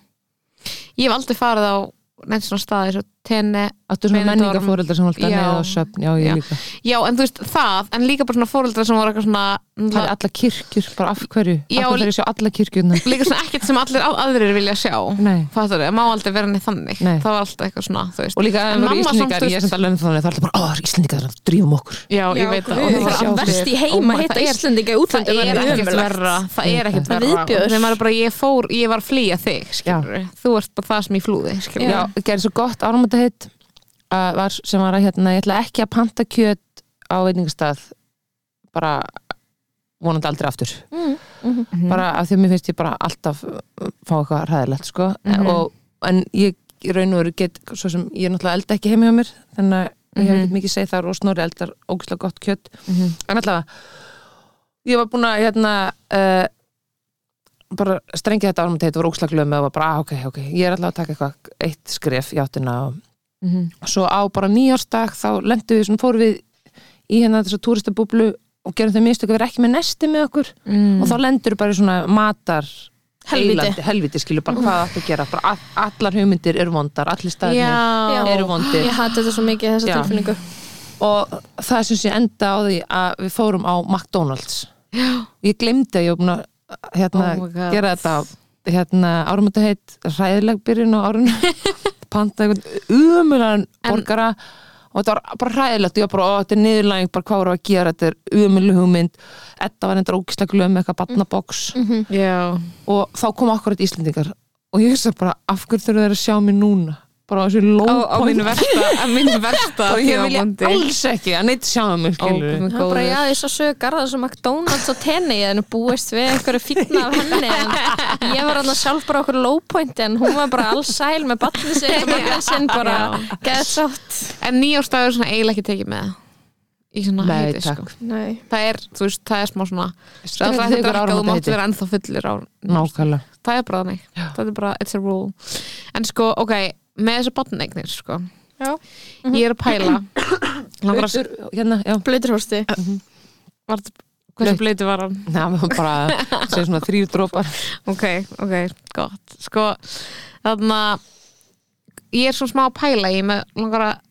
Speaker 3: hef aldrei farið á neitt svona staði svo tenni,
Speaker 4: Áttu svona
Speaker 3: Benidorm.
Speaker 4: menningafóreldar sem alltaf
Speaker 3: Já.
Speaker 4: neða á söfn Já, ég
Speaker 3: Já.
Speaker 4: líka
Speaker 3: já en þú veist það en líka bara svona fóreldra sem voru eitthvað
Speaker 4: Það er
Speaker 3: svona
Speaker 4: alla kirkjur, bara af hverju
Speaker 3: Já,
Speaker 4: Af hverju þarf ég að sjá alla kirkjurnar
Speaker 3: líka svona ekkert sem allir á- aðrir vilja sjá
Speaker 4: Nei.
Speaker 3: fattur, má aldrei vera neitt þannig
Speaker 4: Nei.
Speaker 3: það var alltaf eitthvað svona, þú veist
Speaker 4: Og líka
Speaker 3: En
Speaker 4: ef það eru
Speaker 3: mamma samt,
Speaker 4: Íslendingar,
Speaker 3: þú
Speaker 4: ég er
Speaker 3: veist-
Speaker 4: samt alveg með þannig Það er alltaf bara, ó, það eru Íslendingar, það drýfum okkur
Speaker 3: já, ég veit það, og
Speaker 4: guð,
Speaker 3: það var
Speaker 4: sjá
Speaker 3: alveg-
Speaker 4: fyrir.
Speaker 1: verst í heima
Speaker 3: Ómar,
Speaker 1: hitta
Speaker 3: það er-
Speaker 1: Íslendinga í
Speaker 3: það
Speaker 1: útlöndum
Speaker 3: er ekkert
Speaker 1: ömurlegt.
Speaker 3: verra það er ekkert
Speaker 1: Það er
Speaker 3: verra
Speaker 1: viðbjóður.
Speaker 3: þegar maður er bara, ég fór, ég var að flýja þig skilurðu. þú ert bara það sem ég flúði
Speaker 4: Já,
Speaker 3: skilurðu.
Speaker 4: Já gerði svo gott áramöndahitt var, sem var að hérna, ég ætla ekki að panta kjöt á veitingastað bara vonandi aldrei aftur
Speaker 1: Mm, mhm.
Speaker 4: bara af því að mér finnst ég bara alltaf uh, fá eitthvað hræðilegt sko og, en ég í raun og veru get svo sem ég er náttúrulega elda ekki heim hjá mér þannig að ég hef ekki mikið segið þar og snorri eldar ógislega gott kjött en allavega ég var búin að hérna uh, bara strengið þetta árum þetta var ógislega glöð með og var bara ah, ok, ok, ég er allavega að taka eitthvað eitt skref játtina og svo á bara nýjársdag þá lendum við svona fórum við í hérna þessa túristabúblu og gerum þau mistök að vera ekki með nesti með okkur
Speaker 3: Mm.
Speaker 4: og þá lendur bara í svona matar
Speaker 1: Helvíti.
Speaker 4: eylandi- helvíti skilur bara hvað áttu að gera bara all, allar hugmyndir eru vondar, allir staðinir
Speaker 3: já,
Speaker 4: eru vondir
Speaker 1: ég hati þetta svo mikið þessa
Speaker 4: Já.
Speaker 1: tilfinningu
Speaker 4: og það syns ég enda á því að við fórum á McDonalds Já. ég glemdi að ég var búin að hérna,
Speaker 3: Oh my God.
Speaker 4: gera þetta á- hérna, árumöndu heitt ræðileg byrjun á árun panta einhvern umulagan borgara og þetta var bara hræðilegt, ég var bara, ó, þetta er niðurlæging bara hvað voru að gera, þetta er umölu hugmynd Edda var endur ógislega glöð með eitthvað batnaboks
Speaker 3: Mm, já,
Speaker 4: og þá kom akkurat Íslendingar og ég hugsa bara, af hverju þurfa þeir að sjá mig núna bara á þessu low
Speaker 3: á, á
Speaker 4: point
Speaker 3: mínu versta á mínu versta
Speaker 4: og ég vilja
Speaker 3: tímapunkti.
Speaker 4: alls ekki að neitt sjá um mig skilur
Speaker 3: Ó, guð minn
Speaker 1: Það er bara,
Speaker 3: góður.
Speaker 1: já, ég svo sögur garðar sem McDonalds og tenni en búist við einhverju fínna af henni en ég var hann sjálf bara okkur low point en hún var bara alls sæl með batni sig og makan sinn bara geðið sátt
Speaker 3: En nýjárstagur er svona eiginlega ekki tekið með í svona
Speaker 4: Nei,
Speaker 3: hæti
Speaker 4: takk.
Speaker 3: sko.
Speaker 1: Nei.
Speaker 3: Það er, þú veist, það er smá svona Það
Speaker 4: Strengið
Speaker 3: er það
Speaker 4: ykkur
Speaker 3: að drakka, þú mátt
Speaker 4: áramótaheiti.
Speaker 3: vera ennþá fullur á
Speaker 4: nákvæmlega
Speaker 3: Það er bara þannig, það er bara, it's a rule En sko, ok, með þessu botneignir sko,
Speaker 1: Já.
Speaker 3: ég er að pæla Langar að-
Speaker 4: Blautur, hérna, já
Speaker 1: Blöðurhósti
Speaker 3: var þetta- Hversu bleiti var hann?
Speaker 4: Nei, það var bara sem svona þrýr drópar
Speaker 3: Ok, ok, gott Sko, þannig að ég er svona smá að pæla ég er með langar að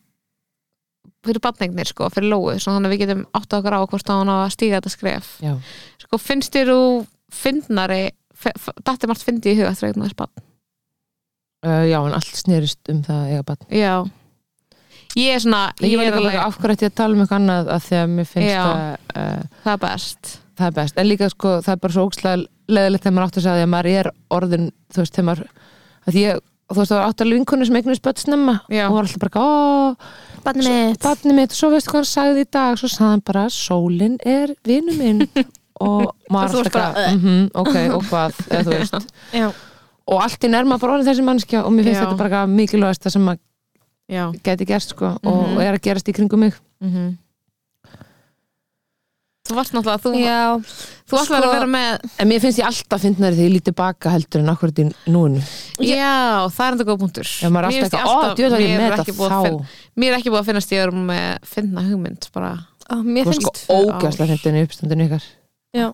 Speaker 3: fyrir botneignir sko, fyrir lóu svo þannig að við getum átt okkur á hvort að hún á að stíga þetta skref
Speaker 4: já.
Speaker 3: sko, finnst þér þú fyndnari dætti margt fyndi í huga þegar eignar spann
Speaker 4: Uh, já, en allt snerist um það að eiga batn
Speaker 3: já ég er svona,
Speaker 4: Ég var
Speaker 3: er
Speaker 4: líka bara af hverju ætti ég að tala um eitthvað annað að því að mér finnst
Speaker 3: Já.
Speaker 4: að uh,
Speaker 3: "Ah, það er best
Speaker 4: það er best, en líka sko það er bara svo ókslega leðilegt þegar maður átt að segja því að maður er orðin, þú veist, þegar maður að því ég, þú veist, það var átt að vinkonu sem eignast börn snemma
Speaker 3: Já.
Speaker 4: og var alltaf bara, ó,
Speaker 1: Batni mitt
Speaker 4: barnið mitt, svo veistu hvað hann sagði í dag svo sagði hann bara, sólin er vinnu minn og
Speaker 1: Og þú
Speaker 4: maður alltaf
Speaker 1: varst bara,
Speaker 4: bara, mm ok, og hvað eða þú veist,
Speaker 1: Já.
Speaker 4: og allt í nærma bara orðin þessi mannskja og mér finnst
Speaker 3: Já.
Speaker 4: þetta bara eitthvað mikilvægasta sem maður
Speaker 3: já,
Speaker 4: Mhm. gæti gerst sko, og, og er að gerast í kringum mig
Speaker 3: mm -hmm. þú varst náttúrulega þú,
Speaker 1: Já,
Speaker 3: þú ætlar
Speaker 1: Sko-
Speaker 3: að vera með
Speaker 4: En mér finnst ég alltaf fyndnari þegar ég lítið baka heldur en akkurat í núinu.
Speaker 3: já, það er enda góð punktur
Speaker 4: Já, maður er alltaf
Speaker 3: Mér finnst ég
Speaker 4: eitthvað, ó, djöfull var ég
Speaker 3: mér
Speaker 4: með
Speaker 3: er
Speaker 4: þetta
Speaker 3: ekki búið að
Speaker 4: þá.
Speaker 3: finna- mér er ekki búið að finnast ég er með finna hugmynd bara
Speaker 1: á, mér
Speaker 4: Þú er
Speaker 1: finnst
Speaker 4: sko
Speaker 3: tvö ár.
Speaker 4: ógæsla fyndinu uppstandinu ykkar.
Speaker 1: já,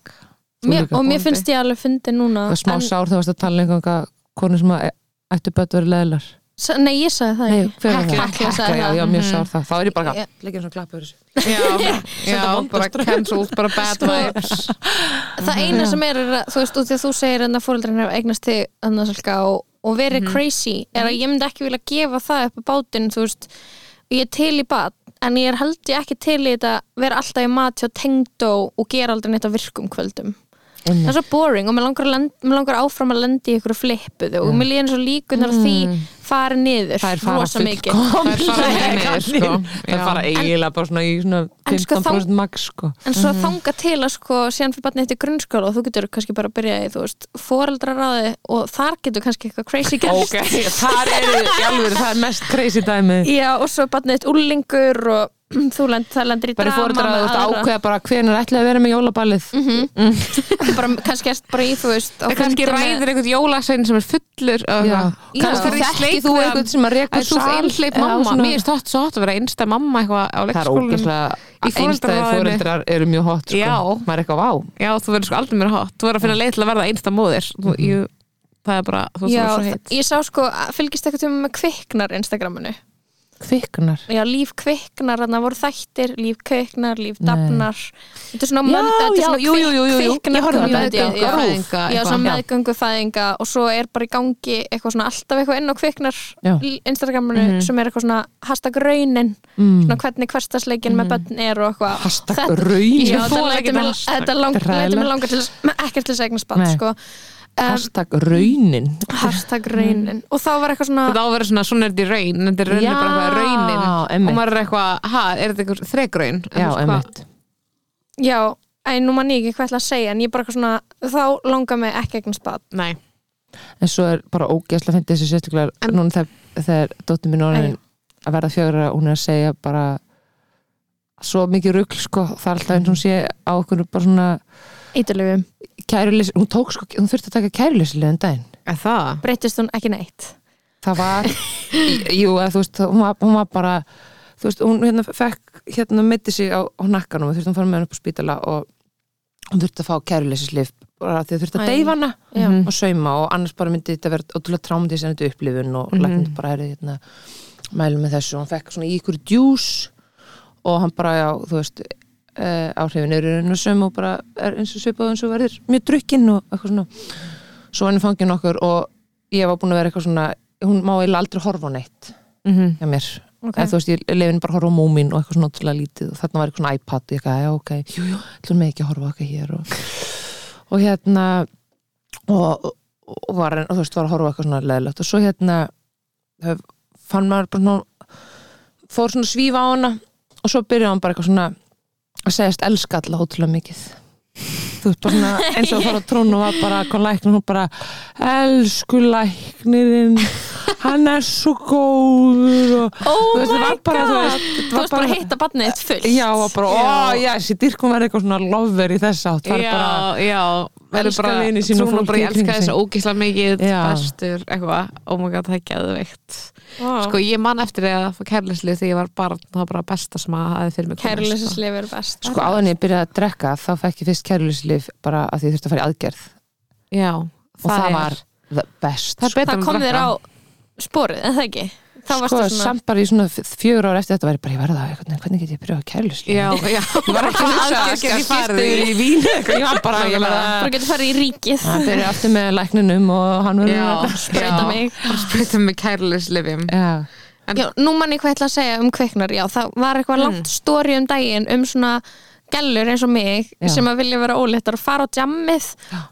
Speaker 4: Þú
Speaker 1: mér,
Speaker 4: líka.
Speaker 1: og mér
Speaker 3: Bóndi.
Speaker 1: finnst ég alveg fyndi núna
Speaker 4: Það er smá
Speaker 1: en-
Speaker 4: sár þegar varst að tala einhvern veginn konur sem að e, ættu börn verið leðilar.
Speaker 1: Sa- Nei, ég sagði það
Speaker 4: Nei,
Speaker 1: ekki
Speaker 4: hver var það?
Speaker 1: Hekla, Hekla sagði
Speaker 4: já,
Speaker 1: það.
Speaker 4: já, mér sár það. Þá er ég bara
Speaker 1: Já.
Speaker 4: að leggja svona klappa yfir þessu.
Speaker 3: já, já bara cancelled, bara
Speaker 4: Sko,
Speaker 3: bad vibes
Speaker 1: Sko, Það eina sem er, er að, þú veist, út því að þú segir en að fóreldrin hefur eignast þig annarsalka og, og verið crazy, er að ég myndi ekki vilja gefa það upp á bátinn, þú veist ég er til í bad, en ég er held ég ekki til í þetta, vera alltaf í mat hjá tengdó og gera aldrei neitt á virkum kvöldum það er svo boring og mér langar, að lend, mér langar áfram að lenda í ykkur flippuðu og mér líður svo líkunar mm. því fari niður,
Speaker 4: Það er fara
Speaker 1: rosa mikið
Speaker 3: það er fara heimir sko.
Speaker 4: Það er bara eiginlega bara svona í svona
Speaker 1: En sko,
Speaker 4: 15% max sko.
Speaker 1: en svo þanga til að sko síðan fyrir barnið eftir grunnskóla og þú getur kannski bara að byrja í þú veist, foreldraráði og þar getur kannski eitthvað crazy gerst
Speaker 4: það er, alveg, það er mest crazy dæmi.
Speaker 1: já og svo barnið eitt úlingur og þú lend, það lendir í
Speaker 4: Bara
Speaker 1: drama
Speaker 4: fóreldur að
Speaker 1: með
Speaker 4: þú ert að
Speaker 1: aðra. Mhm.
Speaker 4: ákveða bara hvernig ætlaði að vera með jólaballið.
Speaker 1: bara, kannski erst bara í þú veist á
Speaker 3: það kannski
Speaker 1: fundi með-
Speaker 3: ræðir einhvern jólasvein sem er fullur
Speaker 4: Já.
Speaker 1: Já.
Speaker 4: Kannski
Speaker 1: Þeir
Speaker 4: þekki þú eitthvað sem að rekur
Speaker 3: þú ert einhleip mamma, mér er stótt svo hot að vera einsta mamma eitthvað á
Speaker 4: Það er
Speaker 3: leikskólanum
Speaker 4: ógæslega
Speaker 3: Í
Speaker 4: einstæði
Speaker 3: foreldraráðinu.
Speaker 4: fóreldrar eru mjög hot sko.
Speaker 3: Já.
Speaker 4: maður er eitthvað vá
Speaker 3: já, þú verður sko aldrei mér hot, þú verður að finna leið til að verða einsta móðir þú,
Speaker 4: Mhm.
Speaker 3: ég, það er bara, þú
Speaker 1: já,
Speaker 3: verður svo heitt
Speaker 1: ég sá sko, að- fylgist eitthvað tíma með kviknar Instagraminu
Speaker 4: kviknar
Speaker 1: já, líf kviknar, þannig að voru þættir líf kviknar, líf dafnar þetta er svona
Speaker 4: Já,
Speaker 1: mönd, þetta er
Speaker 4: já,
Speaker 1: svona
Speaker 4: jú, jú, jú, jú, jú.
Speaker 1: kviknar
Speaker 4: Ég horfði á
Speaker 1: community,
Speaker 4: meðgöngu-
Speaker 1: já.
Speaker 3: fæðinga
Speaker 1: já,
Speaker 3: eitthvað.
Speaker 1: svona
Speaker 4: Já.
Speaker 1: meðgöngu fæðinga og svo er bara í gangi eitthvað svona alltaf eitthvað inn á kviknar
Speaker 4: Já. Mhm.
Speaker 1: í Instagraminu sem er eitthvað svona hashtag raunin svona hvernig hverstasleikin með börn er og eitthvað
Speaker 4: Mm. Mhm. Hashtag
Speaker 1: Þetta- já,
Speaker 4: raunin. Ég
Speaker 1: þetta
Speaker 3: þoli ekki
Speaker 1: lætur mig-
Speaker 3: hashtag.
Speaker 1: þetta lang- lætur mig
Speaker 4: Hræðilegt.
Speaker 1: langar til þess- ekkert til þess að eignast bann
Speaker 4: Nei.
Speaker 1: sko. um,
Speaker 4: hashtag raunin
Speaker 1: hashtag raunin og þá var eitthvað svona
Speaker 3: þetta á að vera svona, svona er þetta í raun þetta er raunir
Speaker 4: Já,
Speaker 3: bara eitthvað raunin
Speaker 4: einmitt.
Speaker 3: og maður sko- er eitthvað, ha, er þetta eitthvað þregraun
Speaker 4: já, emmitt
Speaker 1: Já, en nú man ég ekki hvað ætla að segja en ég bara eitthvað svona, þá langar mig ekki eignast bad
Speaker 3: nei,
Speaker 4: en svo er bara ógæslega fyndið þessi sérstaklega
Speaker 3: En-
Speaker 4: núna þegar, þegar dóttir mín orðin að verða fjögra, hún er að segja bara svo mikið rugl sko, það er alltaf eins og hún sé á okkur bara svona
Speaker 1: Ítalöfum,
Speaker 4: kæruleysi, hún tók sko, hún þurfti að taka kæruleysilega en daginn
Speaker 3: er það
Speaker 1: breytist hún ekki neitt
Speaker 4: það var, jú, að, þú veist hún var, hún var bara, þú veist hún hérna fekk, hérna mitti sig á, á nakkanum og þurfti hún að fara með hann upp á spítala og hún þurfti að fá kæruleysislif bara því að
Speaker 1: Æ.
Speaker 4: þurfti að deyfa hana
Speaker 1: Já.
Speaker 4: og sauma og annars bara myndi þetta vera ótrúlega trámdís en þetta upplifun og mm bara er hérna, mælum með þessu og hann fekk svona í ykkur djús og hann bara, já, þú veist uh, áhrifin eru raun og söm og bara er eins og svipað eins og verður mjög drukkin og eitthvað svona svo hann fangin okkur og ég var búin að vera eitthvað svona hún má eiginlega aldrei horfa á neitt
Speaker 3: mm
Speaker 4: hjá mér
Speaker 1: Ok.
Speaker 4: okay. eða þú veist, ég lefin bara að horfa á múmin og eitthvað svona ótrúlega lítið og þarna var eitthvað svona iPad og ég eitthvað, já, ok, jú, jú, ætlum mig ekki að horfa á eitthvað hér og, og hérna og, og var, og þú veist, var að horfa á eitthvað svona leðilegt og svo hérna hef, fann maður bara svona fór svona að svífa á hana og svo byrjaði hann bara eitthvað svona að segjast elska alltaf ótrúlega mikið þú veist bara svona eins og að fara á trón og var bara kom læknir og hún bara elsku læknirinn hann er svo góður og
Speaker 1: Oh
Speaker 4: Þú veist, það
Speaker 1: my
Speaker 4: var bara, þú
Speaker 1: god,
Speaker 4: veist, þetta
Speaker 1: þú
Speaker 4: var
Speaker 1: veist bara að
Speaker 4: bara-
Speaker 1: hitta badnið þitt fullt
Speaker 4: já og bara ó já þessi dyrkum verði eitthvað svona lover í þess átt það er
Speaker 3: já,
Speaker 4: bara
Speaker 3: já verður
Speaker 4: Elska
Speaker 3: bara-
Speaker 4: vini sína og
Speaker 3: þú nú
Speaker 4: fólk
Speaker 3: bara,
Speaker 4: í
Speaker 3: ég elska
Speaker 4: kringum
Speaker 3: þessu
Speaker 4: sig.
Speaker 3: ógísla mikið
Speaker 4: Já.
Speaker 3: bestur, eitthvað, oh my god, það er geðveikt
Speaker 1: wow.
Speaker 3: sko, ég man eftir að fá kærleyslið þegar ég var barn, það var bara besta sem að hafi fyrir mig komið, sko.
Speaker 1: Kærleysislif er best
Speaker 4: sko áðan ég byrjaði að drekka þá fekk ég fyrst kærlýslif bara að því ég þurfti að fara í aðgerð
Speaker 3: já,
Speaker 4: og það
Speaker 3: er-
Speaker 4: var the best
Speaker 3: það er betra
Speaker 1: Það
Speaker 3: en
Speaker 1: kom þér
Speaker 3: drekka.
Speaker 1: á sporið, en það ekki Þá varstu
Speaker 4: sko
Speaker 1: svona
Speaker 4: samt bara í svona fjögur ára eftir þetta var ég bara ég verða einhvern veginn, hvernig get ég byrjað á kærlýslif
Speaker 3: já, já, ég var ekki
Speaker 4: aðgerð í farið í vín sko. ég var bara ég verða
Speaker 1: bara getur farið í ríkið
Speaker 4: það byrjaði aftur með lækninum og hann verður
Speaker 3: já,
Speaker 1: Breyta mig.
Speaker 3: breyta mig kærleyslifjum
Speaker 4: já,
Speaker 1: Já, nú manni hvað ég ætla að segja um kveiknar Já, það var
Speaker 4: Mm.
Speaker 1: eitthvað langt stóri um daginn um svona gellur eins og mig
Speaker 4: Já.
Speaker 1: sem að vilja vera óléttar og fara á jammið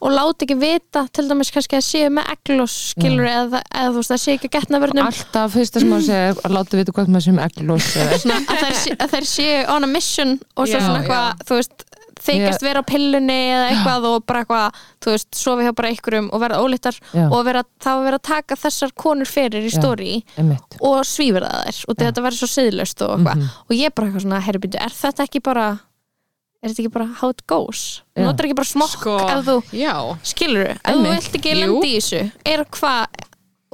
Speaker 1: og láta ekki vita til dæmis kannski að séu með eglos skilur
Speaker 4: Mm.
Speaker 1: eða, eða þú veist það séu ekki að getna verðnum
Speaker 4: alltaf fyrsta sem maður segir að láta vita hvað maður sem ekki lósa
Speaker 1: að þær, sé- að þær séu on a mission og svo
Speaker 3: Já,
Speaker 1: svona eitthvað, þú veist þykjast vera á pillunni eða eitthvað og bara eitthvað, þú veist, sofi hjá bara einhverjum og verða ólittar
Speaker 4: Já.
Speaker 1: og vera, þá vera að taka þessar konur fyrir í stóri
Speaker 4: einmitt
Speaker 1: og svífur það þær og þetta verður svo siðlaust og eitthvað og ég bara eitthvað svona, herrbyndu, er þetta ekki bara er er þetta ekki bara how it goes
Speaker 4: Já.
Speaker 1: notar ekki bara smokk ef þú
Speaker 3: já
Speaker 1: skilur, ef þú
Speaker 4: Einmitt.
Speaker 1: vilt ekki
Speaker 3: Jú.
Speaker 1: landi í þessu er hvað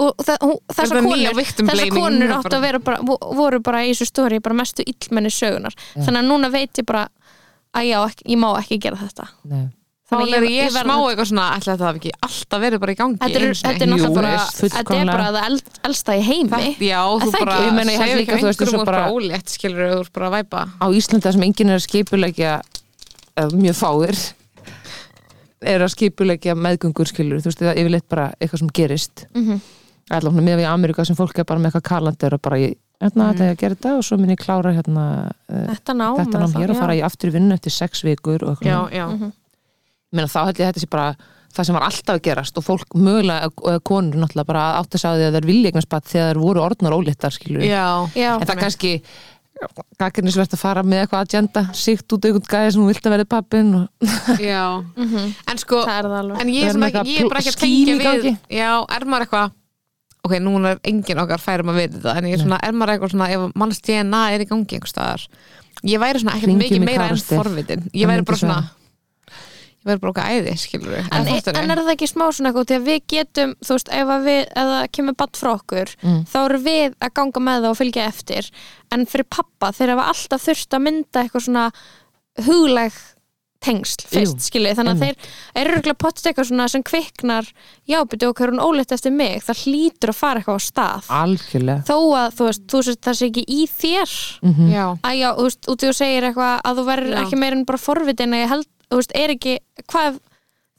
Speaker 1: og það, hún, þessar
Speaker 3: Þetta nýja
Speaker 1: konur,
Speaker 3: victim
Speaker 1: þessar
Speaker 3: blaming,
Speaker 1: konur
Speaker 3: hún er
Speaker 1: áttu
Speaker 3: bara-
Speaker 1: að vera bara, vo- voru bara í þessu stóri bara mestu illmenni sögunar
Speaker 3: Mm.
Speaker 1: þannig að núna veit ég bara að já, ekki, ég má ekki gera þetta
Speaker 4: Nei.
Speaker 3: þá
Speaker 1: Þannig
Speaker 3: er ég
Speaker 1: verð-
Speaker 3: smá eitthvað svona ætla þetta hafi ekki alltaf verið bara í gangi
Speaker 1: þetta er,
Speaker 3: einu sinni.
Speaker 1: þetta er
Speaker 3: Jú,
Speaker 1: náttúrulega bara
Speaker 3: veist.
Speaker 1: þetta er
Speaker 4: fullkomlega.
Speaker 1: bara það eld, elsta í heimi
Speaker 3: Þetta- já,
Speaker 1: Er
Speaker 3: þú
Speaker 1: það
Speaker 3: bara
Speaker 1: ekki?
Speaker 4: Ég meina, ég held
Speaker 3: segir
Speaker 4: líka, þú veist, eins
Speaker 3: einhverjum
Speaker 4: og
Speaker 3: úr bara
Speaker 4: bara-
Speaker 3: ólétt skilur þú ert bara að væpa
Speaker 4: á Íslandi þar sem enginn er að skipulegja eh, mjög fáir er að skipulegja meðgöngur skilur, þú veist, það er yfirleitt bara eitthvað sem gerist mm
Speaker 3: Mhm.
Speaker 4: -hmm. allavega með við í Ameríka sem fólk er bara með eitthvað kalandur og bara, ég, hérna,
Speaker 3: Mhm.
Speaker 4: þetta er að gera þetta og svo minn ég klára hérna eh,
Speaker 1: þetta nám,
Speaker 4: þetta nám hér og fara ég aftur í vinnu eftir sex vikur og
Speaker 3: já,
Speaker 4: eitthvað,
Speaker 3: já,
Speaker 4: Ég meina, þá held ég að þetta sé bara það sem var alltaf að gerast og fólk mögulega eh, konur náttúrulega bara átt að segja því að þær vilja eignaspatt þegar þær voru orðnar óléttar skilur
Speaker 3: já.
Speaker 1: já,
Speaker 4: en það er kannski gaggrinnisvert að fara með eitthvað agenda síkt út einhvern gæði sem hún vilt að verði pappin og
Speaker 3: já. en sko
Speaker 1: Mhm. það er það alveg
Speaker 3: en ég,
Speaker 4: Það
Speaker 3: er
Speaker 4: er
Speaker 3: svona
Speaker 4: með
Speaker 3: ekki, ég er bara ekki að
Speaker 4: eitthvað skím
Speaker 3: tengja
Speaker 4: í
Speaker 3: við
Speaker 4: gangi.
Speaker 3: já, er maður eitthvað ok, núna er engin okkar færum að vita þetta en ég er svona, er maður eitthvað svona, ef manns DNA er í gangi einhver staðar, ég væri svona ekkert
Speaker 4: Hringjum
Speaker 3: mikið
Speaker 4: í
Speaker 3: meira enn
Speaker 4: Karastel.
Speaker 3: forvitin ég
Speaker 4: Hann
Speaker 3: væri
Speaker 4: myndi
Speaker 3: bara svona
Speaker 4: svara.
Speaker 3: ég væri bara okkar æði, skilur við
Speaker 1: en, e- en er það ekki smá svona eitthvað því að við getum, þú veist, ef að við ef það kemur badd frá okkur
Speaker 4: Mm.
Speaker 1: þá eru við að ganga með það og fylgja eftir en fyrir pappa, þeir hafa alltaf þurft að mynda eitthvað svona hugleg tengsl fyrst,
Speaker 4: Jú,
Speaker 1: skilju þannig að þeir
Speaker 4: einmitt.
Speaker 1: eru röglega potst eitthvað svona sem kviknar já, byrju okkur hún óleitt eftir mig það hlýtur að fara eitthvað á stað
Speaker 4: Ah. algjörlega
Speaker 1: þó að þú veist, þú veist það sé ekki í þér
Speaker 4: Mm.
Speaker 3: já,
Speaker 1: að já, þú veist, út í þú segir eitthvað að þú verður
Speaker 3: Já.
Speaker 1: ekki meira en bara forvitin að ég held, þú veist, er ekki hvað ef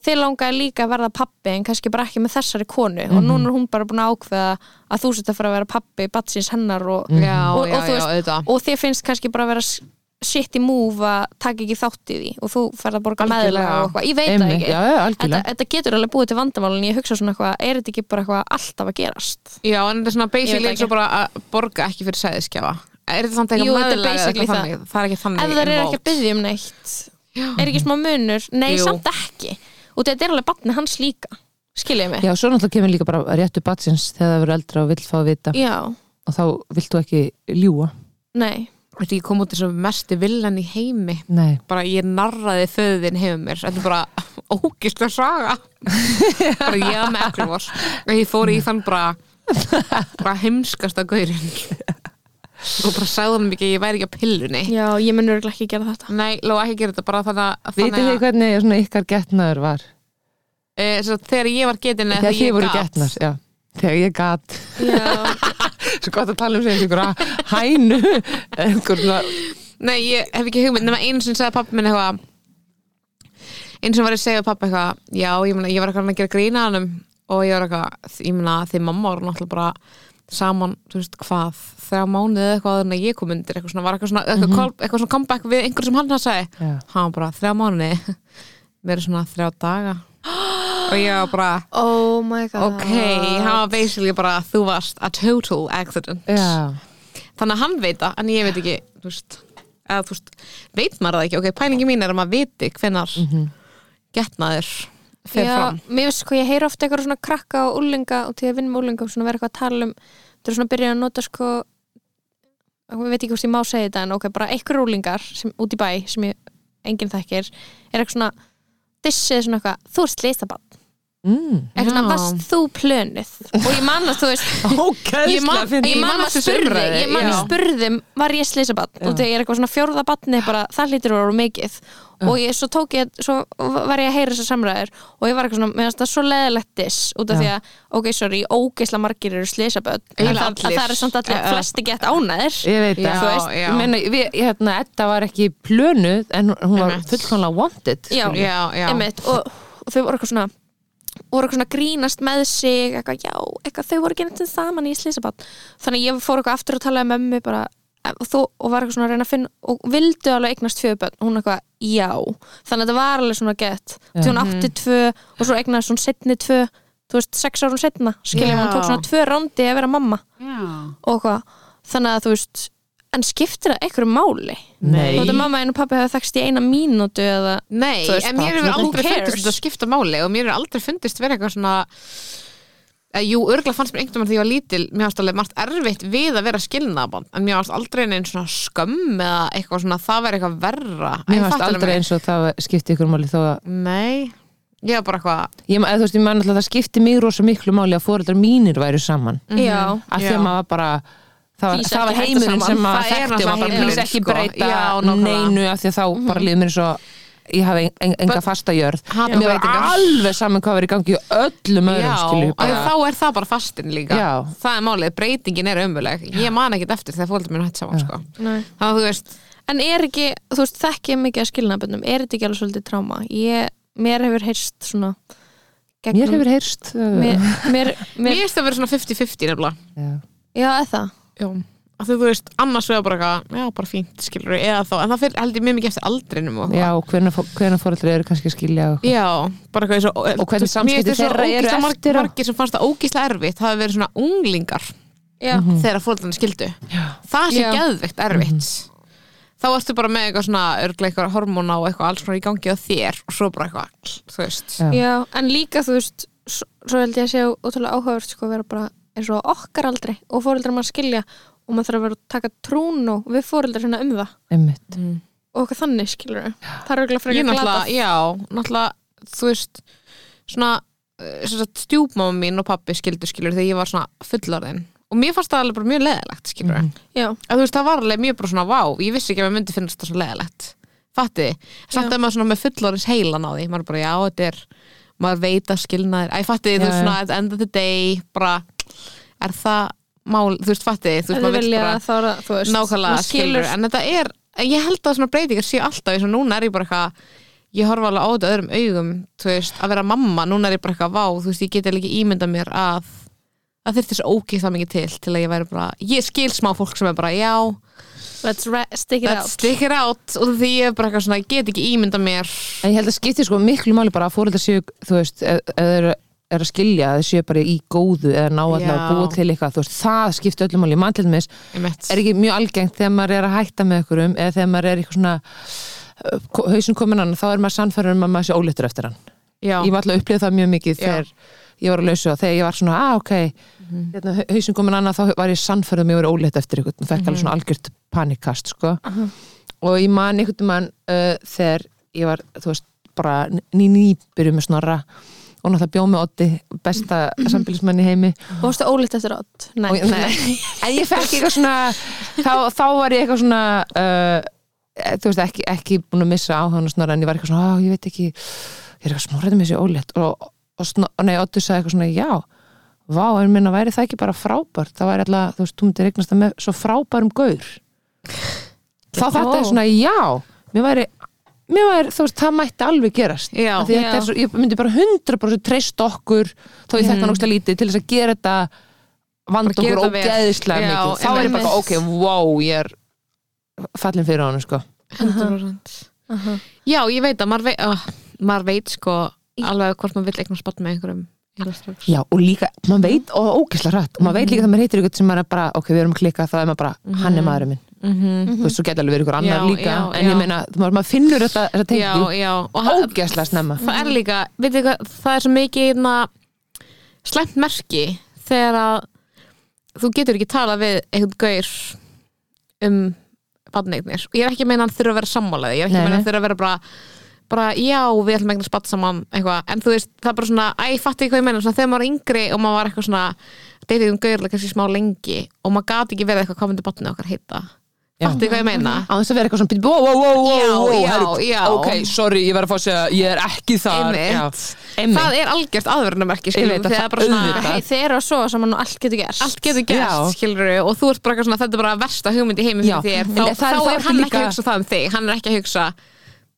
Speaker 1: þið langaði líka að verða pappi en kannski bara ekki með þessari konu
Speaker 4: Mhm.
Speaker 1: og núna er hún bara búin að ákveða að þú setja að fara að vera pappi batsins hennar og,
Speaker 4: Mhm.
Speaker 3: já,
Speaker 1: Og- og
Speaker 3: já,
Speaker 1: þú
Speaker 3: já,
Speaker 1: veist-
Speaker 3: auðvitað
Speaker 1: og þið finnst kannski bara að vera s- shitty move að taka ekki þátt í því og þú ferð að borga
Speaker 3: Algjörlega.
Speaker 1: meðlega og eitthvað, ég veit það
Speaker 4: Einmitt,
Speaker 1: ekki
Speaker 4: já, já,
Speaker 1: þetta,
Speaker 4: algjörlega
Speaker 1: þetta getur alveg búið til vandamál en ég hugsa svona eitthvað, er þetta ekki bara eitthvað alltaf að gerast?
Speaker 3: Já, en þetta er svona
Speaker 1: Ég veit
Speaker 3: basically
Speaker 1: ekki.
Speaker 3: eins og bara að borga ekki fyrir sæðiskjafa Er þetta samt
Speaker 1: Jú,
Speaker 3: eitthvað
Speaker 1: þetta
Speaker 3: meðlag
Speaker 1: er
Speaker 3: eða
Speaker 1: basically
Speaker 3: eitthvað
Speaker 1: það.
Speaker 3: þannig? Það er ekki þannig
Speaker 1: Ef það er ekki að
Speaker 3: involved.
Speaker 1: byggja um neitt er ekki smá munur, nei
Speaker 3: Jú.
Speaker 1: samt ekki og þetta er alveg batni hans líka skiljiði mig?
Speaker 4: Já, svo náttúrulega kemur líka bara réttu batsins þegar það verður eldra og vill fá að vita
Speaker 1: Já,
Speaker 4: og þá vilt þú ekki ljúa
Speaker 1: nei
Speaker 3: Þetta ég kom út þessu mesti villan í heimi
Speaker 4: Nei,
Speaker 3: bara ég narraði föðin hefur mér þetta er bara ógist að saga bara ég að með ekkur vor og ég fór í þann bara bara heimskasta gaurinn og bara sagði hann mikið ég væri ekki á pillunni
Speaker 1: Já, ég mun örgulega ekki gera þetta
Speaker 3: Nei, lóa ekki að gera þetta bara þannig að
Speaker 4: vitið þið
Speaker 3: þannig að
Speaker 4: hvernig svona ykkar getnaður var
Speaker 3: e, svo, þegar ég var getin
Speaker 4: þegar þið voru getnar, já þegar ég gat,
Speaker 1: Já,
Speaker 4: svo gott að tala um sig eins og einhverja hænu einhverja,
Speaker 3: Nei, ég hef ekki hugmynd nema einu sem sagði pappi minn eitthvað einu sem var að segja pappi eitthvað já, ég, mena, ég var eitthvað að gera grína hann og ég var eitthvað, ég meina því mamma var náttúrulega bara saman, þú veist hvað þegar mánuðið eitthvað áður en að ég kom undir eitthvað svona, var eitthvað svona, eitthvað, mm eitthvað svona comeback við einhver sem hann hann sagði,
Speaker 4: Já.
Speaker 3: hann var bara þrjá mánuði mér er svona þrjá daga og ég var bara
Speaker 1: oh my god
Speaker 3: ok, hann var basically bara þú varst a total accident
Speaker 4: já
Speaker 3: þannig að hann veit það, en ég veit ekki þú veist, eða, þú veist, veit maður það ekki ok, pælingi mín er að maður viti hvenar mm
Speaker 4: Mhm.
Speaker 3: -hmm. getnaður fer
Speaker 1: Já,
Speaker 3: fram
Speaker 1: Mér veist sko, ég heyri ofta eitthvað svona krakka og úlinga og til að vinna með úlinga og svona vera eitthvað að tala um það er svona að byrja að nota sko ég veit ekki hvort ég má segja þetta en ok, bara einhver úlingar sem, út í bæ sem ég enginn þekkir er eitthvað svona dissið svona eitthvað, þú ert slistabann
Speaker 4: mm.
Speaker 1: eitthvað svona,
Speaker 3: Já.
Speaker 1: varst þú plönuð og ég man að þú veist
Speaker 4: Ókæðslega
Speaker 3: Ég man-
Speaker 1: ég man að spurði, ég man að spurði um, var ég slisabann
Speaker 4: Já.
Speaker 1: og þegar ég er eitthvað svona fjórða batni bara, það hlýtur að vera mikið og ég, svo tók ég, svo var ég að heyra þessar samræður og ég var eitthvað svona, meðan það svo leðilegt diss út af því
Speaker 4: Já.
Speaker 1: að, ok, sorry, ógeisla margir eru slisabönd, en
Speaker 3: Eiginlega
Speaker 1: það, að
Speaker 3: allir.
Speaker 1: það er samt allir,
Speaker 3: Já.
Speaker 1: flesti gett ánæðir
Speaker 4: ég veit
Speaker 3: Já,
Speaker 4: það þú veist,
Speaker 3: já.
Speaker 4: ég meina, við, hérna, Edda var ekki plönuð en hún- hún var
Speaker 3: Einmitt.
Speaker 4: fullkomlega wanted
Speaker 1: Já.
Speaker 4: skilur.
Speaker 3: já, já,
Speaker 1: einmitt, og, og þau voru eitthvað svona voru eitthvað svona að grínast með sig eitthvað, já, eitthvað, þau voru ekki neitt saman í slísabann þannig að ég fór eitthvað aftur að tala um mömmu bara, eh, og, þó, og var eitthvað svona að reyna að finna og vildu alveg eignast tvö bönn hún eitthvað, já, þannig að þetta var alveg svona gett, því
Speaker 3: Mhm.
Speaker 1: hún átti tvö og svo eignast hún setni tvö þú veist, sex árum setna, skiljum
Speaker 3: Já.
Speaker 1: hún tók svona tvö rándi að vera mamma
Speaker 3: já.
Speaker 1: og hvað, þannig að þú veist en skiptir það einhverju máli
Speaker 4: Nei.
Speaker 1: þú veist að mamma einu pappi hefur þekst í eina mínútu eða
Speaker 3: nei,
Speaker 1: Þú veist,
Speaker 3: en mér
Speaker 1: barn,
Speaker 3: hefur
Speaker 1: who
Speaker 3: aldrei
Speaker 1: cares?
Speaker 3: fundist þetta skipta máli og mér hefur aldrei fundist vera eitthvað svona Eh, jú, örgulega fannst mér einhvern veginn þegar ég var lítil mér fannst alveg margt erfitt við að vera skilnaðaband en mér fannst aldrei neinn svona skömm eða eitthvað svona, það væri eitthvað verra Æ,
Speaker 4: Mér varst
Speaker 3: fattar
Speaker 4: aldrei
Speaker 3: mig.
Speaker 4: eins og það skipti ykkur máli þó að
Speaker 3: Nei, ég var bara eitthvað
Speaker 4: ég, eða, þú veist, ég man alltaf að það skipti mig rosa miklu máli að foreldrar mínir væru saman
Speaker 3: Mhm.
Speaker 1: Já,
Speaker 4: af
Speaker 3: Mm,
Speaker 4: því
Speaker 3: Já.
Speaker 4: að maður var bara það var,
Speaker 1: Kýs
Speaker 4: það var
Speaker 1: ekki hætta
Speaker 4: heimurinn
Speaker 1: saman.
Speaker 4: sem maður
Speaker 3: Það er
Speaker 4: þekkti og
Speaker 3: náttúrulega
Speaker 4: maður bara
Speaker 3: heimurinn,
Speaker 4: kýs ekki
Speaker 3: sko.
Speaker 4: breyta
Speaker 3: Já, nákvæmlega. Mhm.
Speaker 4: neinu af því að þá bara líður mér svo ég hafi en- en- enga
Speaker 3: Börn-
Speaker 4: fasta jörð
Speaker 3: Hata
Speaker 4: mér var
Speaker 3: breytingar.
Speaker 4: alveg saman hvað var í gangi í öllum öðrum skilju
Speaker 3: af því þá er það bara fastin líka
Speaker 4: Já.
Speaker 3: það er málið, breytingin er ömuleg ég man ekkit eftir þegar fólkið mér hætt saman sko.
Speaker 1: Nei.
Speaker 3: þannig að þú veist,
Speaker 1: En er ekki, þú veist, þekki ég mikið að skilnaðböndum, er þetta ekki alveg svolítið tráma? Ég, mér hefur heyrst svona gegnum,
Speaker 4: mér hefur heyrst uh,
Speaker 1: mér, mér,
Speaker 3: mér
Speaker 1: mér,
Speaker 3: finnst það að vera svona 50-50 nefnilega
Speaker 4: já.
Speaker 1: Já, eða það
Speaker 3: Já, af því þú veist, annars vegar bara eitthvað, já, bara fínt, skilur eða þá, en það fyrir held ég mjög mikið eftir aldrinum og
Speaker 4: já, hvernig, hvernig foreldrar eru kannski að skilja og-
Speaker 3: Já, bara eitthvað eins og
Speaker 4: Og hvernig samskipti þeirra eru
Speaker 3: eftir
Speaker 4: eftir á?
Speaker 3: Margir sem fannst það ógíslega erfitt hafa verið svona unglingar
Speaker 1: Já,
Speaker 4: Mhm.
Speaker 3: þegar fóreldrarna skildu Já. Það sé
Speaker 1: Já. Mhm.
Speaker 3: geðveikt erfitt Þá ertu bara með eitthvað svona örglega eitthvað hormóna og eitthvað alls svona í gangi á þér og svo bara eitthvað, þú veist
Speaker 4: Já.
Speaker 1: já, en líka, þú veist s- svo held ég að séu ótrúlega áhugavert sko að vera bara eins og á okkar aldrei og fóreldrar mann skilja og maður þarf að vera að taka trún og við fóreldrar hérna um það
Speaker 4: einmitt
Speaker 1: og okkar þannig skilur það er auðvitað
Speaker 3: Ég
Speaker 1: frekar
Speaker 3: náttúrulega,
Speaker 1: glatað
Speaker 3: já, náttúrulega þú veist, svona eh, sem sagt, stjúpmáma mín og pappi skildu skilur þegar ég var svona fullorðin og mér fannst það alveg bara mjög leðilegt skilur mm
Speaker 1: Já,
Speaker 3: að þú veist, það var alveg mjög bara svona vá ég vissi ekki að mér myndi finnast það svo leðilegt fatti, samt
Speaker 1: Já.
Speaker 3: að maður svona með fullorins heilan á því maður bara, já, þetta er maður veit að skilnaðir, æ, fatti, þú
Speaker 4: Já,
Speaker 3: veist
Speaker 4: já.
Speaker 3: svona at the end of the day, bara er það mál, þú veist, fatti þú
Speaker 1: ef
Speaker 3: veist,
Speaker 1: þið
Speaker 3: maður vill
Speaker 1: vilja
Speaker 3: bara
Speaker 1: þá er það, þú veist
Speaker 3: nákvæmlega
Speaker 1: maður skilur
Speaker 3: skilur, en þetta er en ég held að svona breytingar séu alltaf eins og núna er ég bara eitthvað ég horfa alveg á þetta öðrum augum þú veist, að vera mamma, núna er ég bara eitthvað vá, þú veist, ég get eiginlega ekki ímynda mér að það þyrfti svo ógeð það mikið til til að ég væri bara, ég skil smá fólk sem er bara já,
Speaker 1: Let's ra- stick it
Speaker 3: þetta
Speaker 1: out
Speaker 3: stikkir átt og því ég er bara eitthvað svona, ég get ekki ímynda mér
Speaker 4: en ég held að skipti sko miklu máli bara að foreldrar séu þú veist, ef ef þeir eru er að skilja að þeir séu bara í góðu eða ná alltaf að
Speaker 3: Já.
Speaker 4: búa til eitthvað þú veist, það skipti öllum máli, mann til þess
Speaker 3: einmitt,
Speaker 4: er ekki mjög algengt þegar maður er að hætta með einhverjum eða þegar maður er eitthvað eh, svona hausin komin hann, þá er maður sannfærum um að maður sé ólittur eftir hann.
Speaker 3: já,
Speaker 4: Ég var alltaf að upplifa það mjög mikið
Speaker 3: Já. Mhm.
Speaker 4: þegar ég var að lausu og þegar ég var svona, ah, ok hérna, hausin komin hann, þá var ég sannfærum um að ég var ólitt eftir eitthvað, það fekk
Speaker 3: Mhm.
Speaker 4: alveg svona algjört panikast, sko og ég man einhvern mann uh, þegar ég var, þú veist, bara ný ný byrjuð með snorra og náttúrulega bjóð með Otti, besta sambýlismann í heimi
Speaker 1: Og varstu ólitt eftir átt? Nei,
Speaker 4: og, nei, en ég fekk eitthvað svona þá, þá var ég eitthvað svona uh, eh, þú veist, ekki, ekki búin að missa á hann og snorra en ég var eitthvað svona, "Á, ég veit ekki ég er eitthvað snorraðið með þessi ólétt og, og snor, og nei, Oddur sagði eitthvað svona, já vá, en minna væri það ekki bara frábært það væri alltaf, þú veist, þú myndir eignast það með svo frábærum gaur þá þetta er
Speaker 1: Ó.
Speaker 4: svona, já mér væri, mér væri, þú veist, það mætti alveg gerast
Speaker 3: Já.
Speaker 4: Af því að
Speaker 1: Já.
Speaker 4: þetta er svo, ég myndi bara 100% treyst okkur þó ég þekkt hann ógstlega lítið til þess að gera þetta vand
Speaker 3: Mm. Bara gera
Speaker 4: okkur
Speaker 3: þetta vel.
Speaker 4: ógeðislega
Speaker 3: Já,
Speaker 4: mikið þá er ég bara,
Speaker 1: einmitt.
Speaker 4: ok, wow, ég er fallin fyrir honum, sko
Speaker 3: 100%
Speaker 1: Aha.
Speaker 3: já, ég veit að maður veit, oh, maður veit sko alveg hvort maður vill eitthvað spatt með einhverjum eiginlega strax.
Speaker 4: Já, og líka, maður veit, og ógeðslega rætt og maður veit líka þegar maður heitir ykkur sem maður er bara ok, við erum að klikka, þá er maður bara, hann er maðurinn minn
Speaker 3: Mhm.
Speaker 4: þú veist, svo getur alveg verið ykkur annar
Speaker 3: Já,
Speaker 4: líka
Speaker 3: já,
Speaker 4: en
Speaker 3: já.
Speaker 4: ég meina, þú- maður, maður finnur þetta, þetta
Speaker 3: já,
Speaker 4: tengjum
Speaker 3: já, og ha-
Speaker 4: ógeðslega snemma
Speaker 3: það er líka, veitir hvað, það er svo mikið einna, slæmt merki þegar að þú getur ekki tala við einhvern gaur um badneignir og ég er ekki að meina að hann þurfa að vera sammálaði ég er ekki
Speaker 4: Nei,
Speaker 3: að meina að hann
Speaker 4: nei.
Speaker 3: þurfa að vera bara bara já, við ætlum ekki að spatt saman eitthvað, en þú veist, það er bara svona, æ, ég fatti ekki hvað ég meina svona, þegar maður var yngri og maður var eitthvað svona deytið um gaurlega kannski smá lengi og maður gati ekki verið eitthvað, hvað myndi batnið okkar heita
Speaker 4: Já.
Speaker 3: fatti hvað ég meina
Speaker 4: á þess að vera eitthvað svona, bíddu, wow, wow, wow,
Speaker 3: Já,
Speaker 4: wow, wow
Speaker 3: já,
Speaker 4: herru,
Speaker 3: já.
Speaker 4: ok, sorry, ég var að fá að segja ég er ekki þar
Speaker 3: Einmitt.
Speaker 4: Já. Einmitt.
Speaker 3: það er algjört aðvörnumerki
Speaker 4: Ég veit
Speaker 3: skilum,
Speaker 4: að
Speaker 3: þegar
Speaker 4: það-
Speaker 3: bara svona,
Speaker 4: auðvitað.
Speaker 1: Hei, þeir eru að sofa saman og allt getur gerst
Speaker 3: allt getur gerst,
Speaker 4: Já.
Speaker 3: skilur við og þú ert bara eitthvað svona, þetta er bara versta hugmynd í heimi
Speaker 4: Já.
Speaker 3: fyrir þér,
Speaker 4: En
Speaker 3: þá,
Speaker 4: það er
Speaker 3: þá
Speaker 4: þá
Speaker 3: er
Speaker 4: ekki
Speaker 3: hann ekki
Speaker 4: líka-
Speaker 3: að hugsa það um þig hann er ekki að hugsa,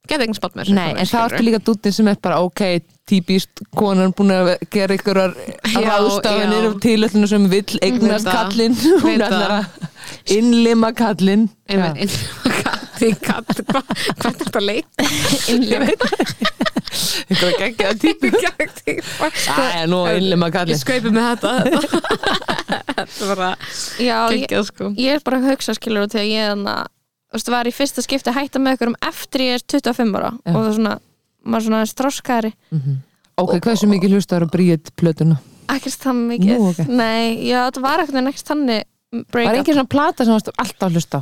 Speaker 3: geta eitthvað spott mér
Speaker 4: Nei, en það ertu líka dútin sem er bara ok, típist konan búin að gera ykkur
Speaker 3: Já,
Speaker 4: ráðstafanir
Speaker 3: já.
Speaker 4: og tilöllinu sem vill
Speaker 3: Veit
Speaker 4: eignast
Speaker 3: það,
Speaker 4: kallinn,
Speaker 3: veit
Speaker 4: hún er
Speaker 3: það.
Speaker 4: að innlima kallinn Já.
Speaker 3: hvað hvað er þetta leik
Speaker 4: Ykkur geggja típi
Speaker 1: Sko,
Speaker 4: Það er nú að innlima
Speaker 3: ég
Speaker 4: kallinn
Speaker 3: skaupi með þetta þetta var að
Speaker 1: Já, ég,
Speaker 3: geggjað sko
Speaker 1: ég er bara að hugsa skilur og þegar ég þannig að var í fyrsta skipti að hætta með ykkur um eftir ég er 25 ára og það er svona maður svona aðeins þroskaðari
Speaker 4: Ok, hversu mikið hlustaður á bríðið plötuna?
Speaker 1: ekkert þann mikið
Speaker 4: Nú, ok.
Speaker 1: Nei, já, þetta var ekkert en ekkert þannig break
Speaker 4: Var
Speaker 1: up.
Speaker 4: engin svona plata sem varst alltaf að hlusta á?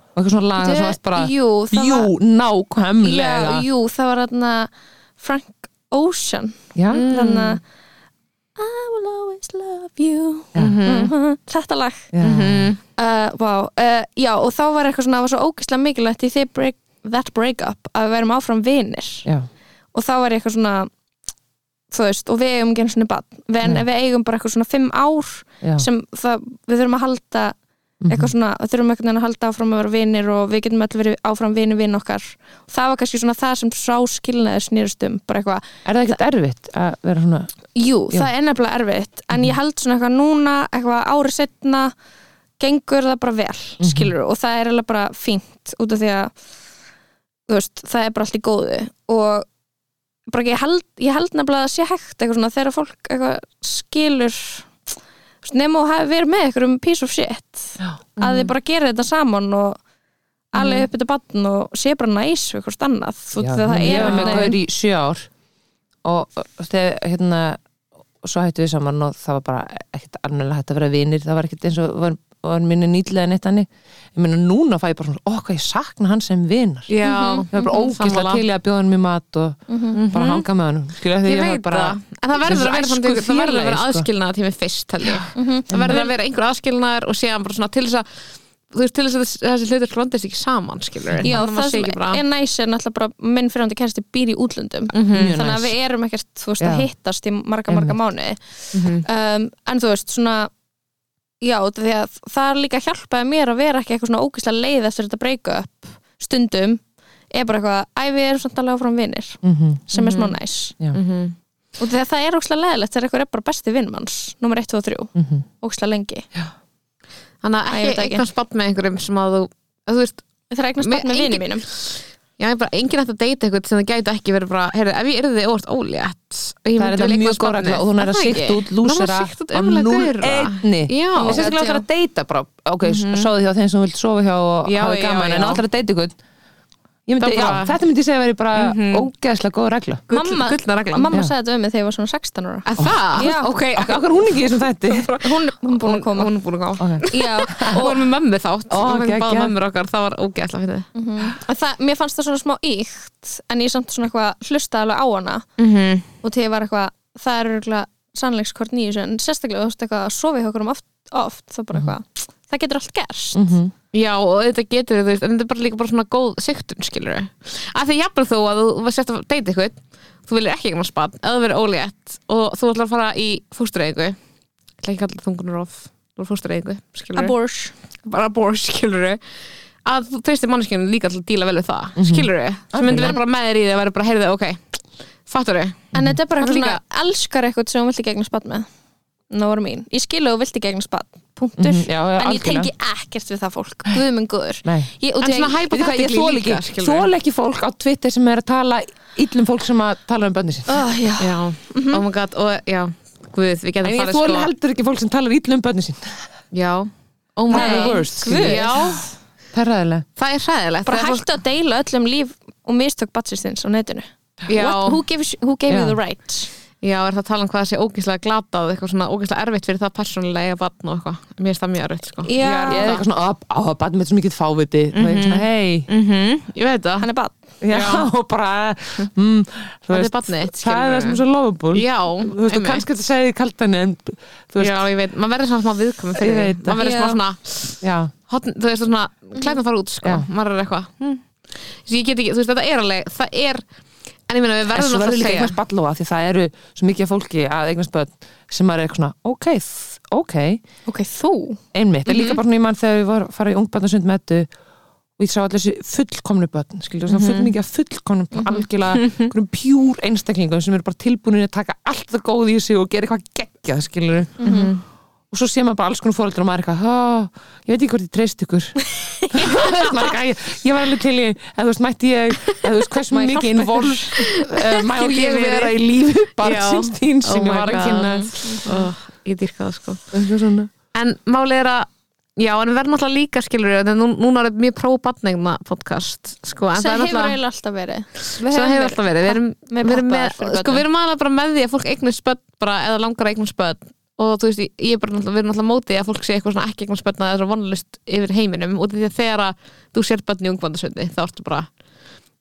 Speaker 4: Og eitthvað svona laga sem varst bara
Speaker 1: Jú, það
Speaker 4: Jú,
Speaker 1: var
Speaker 4: nákvæmlega
Speaker 1: já, Jú, það var þarna Frank Ocean
Speaker 4: Já,
Speaker 1: Þannig
Speaker 4: Mm.
Speaker 1: að I will always love you
Speaker 4: Já.
Speaker 1: Mhm. Þetta lag
Speaker 4: já,
Speaker 3: Mhm.
Speaker 1: uh, wow. uh, Já, og þá var eitthvað svona það var svo ógeðslega mikilvægt í því break, that breakup að við værum áfram vinir
Speaker 4: já,
Speaker 1: og þá var ég eitthvað svona þú veist, og við eigum ekki einu svona bann við, en
Speaker 4: Nei.
Speaker 1: við eigum bara eitthvað svona fimm ár
Speaker 4: já Mhm.
Speaker 1: sem það, við þurfum að halda eitthvað svona, við þurfum einhvern veginn að halda áfram að vera vinir og við getum öll verið áfram vinir vinn okkar það var kannski svona það sem sá skilnaði snýrust um, bara eitthvað
Speaker 4: Er það ekkert erfitt að vera svona
Speaker 1: Jú,
Speaker 4: Já. Mhm.
Speaker 1: það er nefnilega erfitt en ég held svona eitthvað núna, eitthvað ári setna gengur það bara vel
Speaker 4: Mhm.
Speaker 1: skilur og það er alveg bara fínt út af því að þú veist, það er bara allt í góðu og bara ég held, ég held nefnilega að það sé hægt eitthvað svona þegar fólk eitthvað skilur þú veist, nema og hafi verið með eitthvað um piece of shit
Speaker 4: Já.
Speaker 1: að þið bara gera þetta saman og alveg upp þetta bann og sé bara næs við hvort annað þú veist,
Speaker 4: Mhm. Já,
Speaker 1: það
Speaker 4: ég
Speaker 1: er
Speaker 4: var með
Speaker 1: einhvern
Speaker 4: gaur
Speaker 1: veginn-
Speaker 4: í sjö ár og og þegar hérna og svo hættu við saman og það var bara ekkert alveg hægt að vera vinir, það var ekkert eins og var, var minni nýtlega neitt hannig ég meina núna fæ ég bara svona, ó hvað ég sakna hann sem vinar
Speaker 3: Já,
Speaker 4: ég
Speaker 3: mhm,
Speaker 4: var bara ógislega til í að bjóða hann mér mat og bara hanga með hann skilja því
Speaker 3: Ég
Speaker 4: var
Speaker 3: veit
Speaker 4: bara
Speaker 3: það, en það verður að vera
Speaker 4: Þessi
Speaker 3: samt einhver- það verður að vera
Speaker 4: æskufélagi, sko. Mhm.
Speaker 3: aðskilnaða tími fyrst held ég, það verður að vera einhver aðskilnaðar og séðan bara svona til þess að þú veist til þess að þess- þessi hlutur blandist ekki saman skilur
Speaker 1: Já, það sem
Speaker 3: bara,
Speaker 1: er næs er náttúrulega bara minn fyrirhandi kæristi býr í útlöndum
Speaker 3: Mhm.
Speaker 4: Mjög
Speaker 1: þannig að
Speaker 4: næs.
Speaker 1: við erum ekkert, þú veist,
Speaker 4: Já.
Speaker 1: að hittast í marga, marga mánuði
Speaker 3: Mhm.
Speaker 1: um, en þú veist, svona já, út af því að það er líka hjálpaði mér að vera ekki eitthvað svona ógeðslega leið eftir þetta breyka upp stundum er bara eitthvað, æ, við erum samt alveg áfram vinnir
Speaker 4: Mhm.
Speaker 1: sem er smá næs
Speaker 4: Já.
Speaker 3: Mhm.
Speaker 1: og þegar það er ógeðslega leðilegt þegar eitthvað er bara besti vinnmanns nummer 1, 2 og 3,
Speaker 4: Mhm.
Speaker 1: ógeðslega lengi
Speaker 3: þannig að
Speaker 1: Æ, ég veit
Speaker 3: ekki
Speaker 1: ekki.
Speaker 3: eitthvað spatt með einhverjum sem að þú að þú veist,
Speaker 1: þegar eignast
Speaker 3: Mér-
Speaker 1: barn með vinnum
Speaker 3: engin-
Speaker 1: mínum
Speaker 3: já, ég bara enginn ætti að deyta eitthvað sem það gæti ekki verið bara, heyrðu, ef ég yrði orðt ólétt og ég
Speaker 4: það er
Speaker 3: myndi
Speaker 4: þetta
Speaker 3: vilja
Speaker 4: mjög
Speaker 3: eignast
Speaker 4: góð regla
Speaker 3: barnið,
Speaker 4: og þú
Speaker 3: er
Speaker 4: næri að
Speaker 3: það
Speaker 4: sikta
Speaker 3: ekki?
Speaker 4: út
Speaker 3: Nú
Speaker 4: lúsera
Speaker 3: er sikta út
Speaker 4: og
Speaker 3: ömurlega
Speaker 4: núl
Speaker 3: gaura.
Speaker 4: einni
Speaker 3: Já.
Speaker 4: og sérstaklega
Speaker 1: Já.
Speaker 4: þegar að deyta bara ok, mm -hmm. sáðu hjá þeim sem þú vilt sofa hjá og
Speaker 3: Mhm. Já,
Speaker 4: hafa
Speaker 3: já,
Speaker 4: gaman
Speaker 3: já.
Speaker 4: en allar að deyta ykkur Ég
Speaker 3: Það
Speaker 4: myndi, já,
Speaker 3: bara- Mhm.
Speaker 4: þetta myndi ég segja að vera bara ógeðslega góð regla
Speaker 3: Gull-
Speaker 1: Mamma-
Speaker 3: gullna regla
Speaker 1: mamma
Speaker 4: Já.
Speaker 1: sagði þetta um mig þegar ég var svona 16 ára
Speaker 3: Að það,
Speaker 1: Já.
Speaker 3: ok
Speaker 4: Akkur hún ekki í þessum þætti
Speaker 1: hún, hún er búin að koma
Speaker 3: hún er búin að koma
Speaker 4: Ok.
Speaker 1: Já,
Speaker 3: og hún er með mömmu þátt
Speaker 4: Ó,
Speaker 3: Við fengum
Speaker 4: geggjað.
Speaker 3: báðar mömmur okkar, það var ógæðslega fyrir þið
Speaker 1: En það, mér fannst það svona smá íkt en ég samt svona eitthvað hlustaði alveg á hana
Speaker 3: -hmm.
Speaker 1: og til ég var eitthvað, það er eitthvað sannleikskort nýjus en sérstaklega þú veist eitthvað að sofa hjá okkur um oft, oft það er bara eitthvað, það getur allt gerst
Speaker 3: Já, og þetta getur þú veist, en þetta er bara líka bara svona góð siktun, skilur við. Af því jafnvel þú að þú var sett að deyta eitthvað, þú vilir ekki ekki spann, eða verið ólétt og þú ætlar að fara í fóstureyðingu, ég ætla ekki að kalla það þungunarof, þú er fóstureyðingu, skilur við.
Speaker 1: Abortion
Speaker 3: Bara bor, skilur við. Að þú treystir manneskinu líka til að díla vel við það, skilur við. Það myndi vera bara með þér í því að vera bara, heyrðu, ok, fattur við.
Speaker 1: En þetta er bara eitthvað
Speaker 3: Líka-
Speaker 1: svona, elskar eitthvað sem hún vilti gegna spatt með Nóra mín, ég skilu að þú vilti gegna spatt punktur,
Speaker 4: Mhm, já,
Speaker 1: en
Speaker 4: já,
Speaker 1: ég
Speaker 4: algjörlega.
Speaker 1: tengi ekkert við það fólk, guðminn guður
Speaker 4: Nei.
Speaker 1: ég, og
Speaker 3: En
Speaker 1: þegar-
Speaker 3: svona hæpa
Speaker 4: Veitu hvað, ég
Speaker 3: Practically
Speaker 4: þól
Speaker 3: líka,
Speaker 4: ekki
Speaker 3: skilurðu.
Speaker 4: Þól ekki fólk á Twitter sem er að tala illum fólk sem að tala um bönni sín
Speaker 1: Ó, já.
Speaker 3: Já, oh my god, og já, guð, við
Speaker 4: En
Speaker 3: getum sko.
Speaker 4: ég þól heldur ekki fólk sem talar illum bönni sín
Speaker 3: Já, oh my
Speaker 1: Nei,
Speaker 3: god.
Speaker 4: worst, skilur
Speaker 1: guð.
Speaker 3: Já,
Speaker 4: Það er ræðilega
Speaker 3: það er hræðilegt.
Speaker 1: bara
Speaker 3: þegar fólk-
Speaker 1: hættu að deila öllum líf og mistök batsistins á netinu
Speaker 3: Já.
Speaker 1: What, who gave, you- who gave
Speaker 4: Já.
Speaker 1: you the right?
Speaker 3: Já, er það að tala um hvað það sé ógæslega glatað og eitthvað svona ógæslega erfitt fyrir það persónulega eiga barn og eitthvað. Mér finnst það mjög erfitt, sko.
Speaker 1: Já.
Speaker 4: Ég er eitthvað svona, á, á, bann með svo mikið fáviti og ég er svona, hei
Speaker 3: Mm Ég veit það.
Speaker 1: hann er bann
Speaker 4: Já, og bara mm, þú
Speaker 3: Þetta er
Speaker 4: veist,
Speaker 3: barnið þitt,
Speaker 4: Það er
Speaker 3: skilurðu.
Speaker 4: það sem er svo lofaból
Speaker 3: Já,
Speaker 4: Þú veist, og
Speaker 3: einmitt.
Speaker 4: kannski þetta segið kaldan en þú veist,
Speaker 3: Já, ég veit. Man verður svona smá viðkomin fyrir
Speaker 4: Ég
Speaker 3: því.
Speaker 4: veit það.
Speaker 3: Man verður smá
Speaker 1: Já.
Speaker 3: svona,
Speaker 4: já, Mm.
Speaker 3: hotn, þú veist, svona, klæðan fara út, sko.
Speaker 4: Já.
Speaker 3: Maður er eitthvað. Hm. Þessi, Ég get ekki, þú veist, þetta er alveg, það er, en ég meina, við
Speaker 4: en
Speaker 3: verðum
Speaker 4: svo
Speaker 3: náttúrulega
Speaker 4: verður líka
Speaker 3: segja.
Speaker 4: einhvers ballóa því það eru svo mikið af fólki að eignast börn sem maður er eitthvað svona, ok, þ- ok
Speaker 1: ok, þú
Speaker 4: einmitt, en líka bara svona í mann þegar við var að fara í ungbarnasund með þetta og ég sá allir þessi fullkomnu börn skilur, mm -hmm. full mikið af fullkomnum algjörlega, einhverjum pjúr einstaklingum sem eru bara tilbúinir að taka allt það góð í sig og gera eitthvað geggjað, skilur og svo sé maður bara alls konar fóreldur og maður er eitthvað, "Ah, ég veit ekki hvort ég treyst ykkur Maður er eitthvað, ég, ég var alveg til í, eða þú veist, mætti ég eða þú veist, hversu
Speaker 1: Má ég
Speaker 4: mikið
Speaker 1: hjálpa
Speaker 4: involv uh, má ég
Speaker 3: Lífið
Speaker 4: vera í lífi barnsins þín
Speaker 3: Oh
Speaker 4: sem ég
Speaker 3: my
Speaker 4: var að
Speaker 3: god.
Speaker 4: kynna
Speaker 3: Ó, Ég dýrka það, sko.
Speaker 4: Eitthvað svona.
Speaker 3: En málið er að Já, en við verðum alltaf líka skilur en nú, núna er þetta mjög próf-batnegna podcast sko, en
Speaker 1: Svo
Speaker 3: það er
Speaker 1: hefur
Speaker 3: alltaf
Speaker 1: eiginlega alltaf verið
Speaker 3: Svo hefur alltaf verið, við erum,
Speaker 1: með
Speaker 3: við erum, með,
Speaker 1: pappaðar fyrir
Speaker 3: sko,
Speaker 1: börnin.
Speaker 3: við erum aðalega bara með því að fólk eignast spöld bara, eða langar að eignast spöld og þú veist, ég ég er bara náttúrulega, við erum náttúrulega mótið að fólk sé eitthvað svona ekki eignast spöldna eða svona vonlust yfir heiminum og því að þegar að þú sér börn í ungvandasöndi þá ertu bara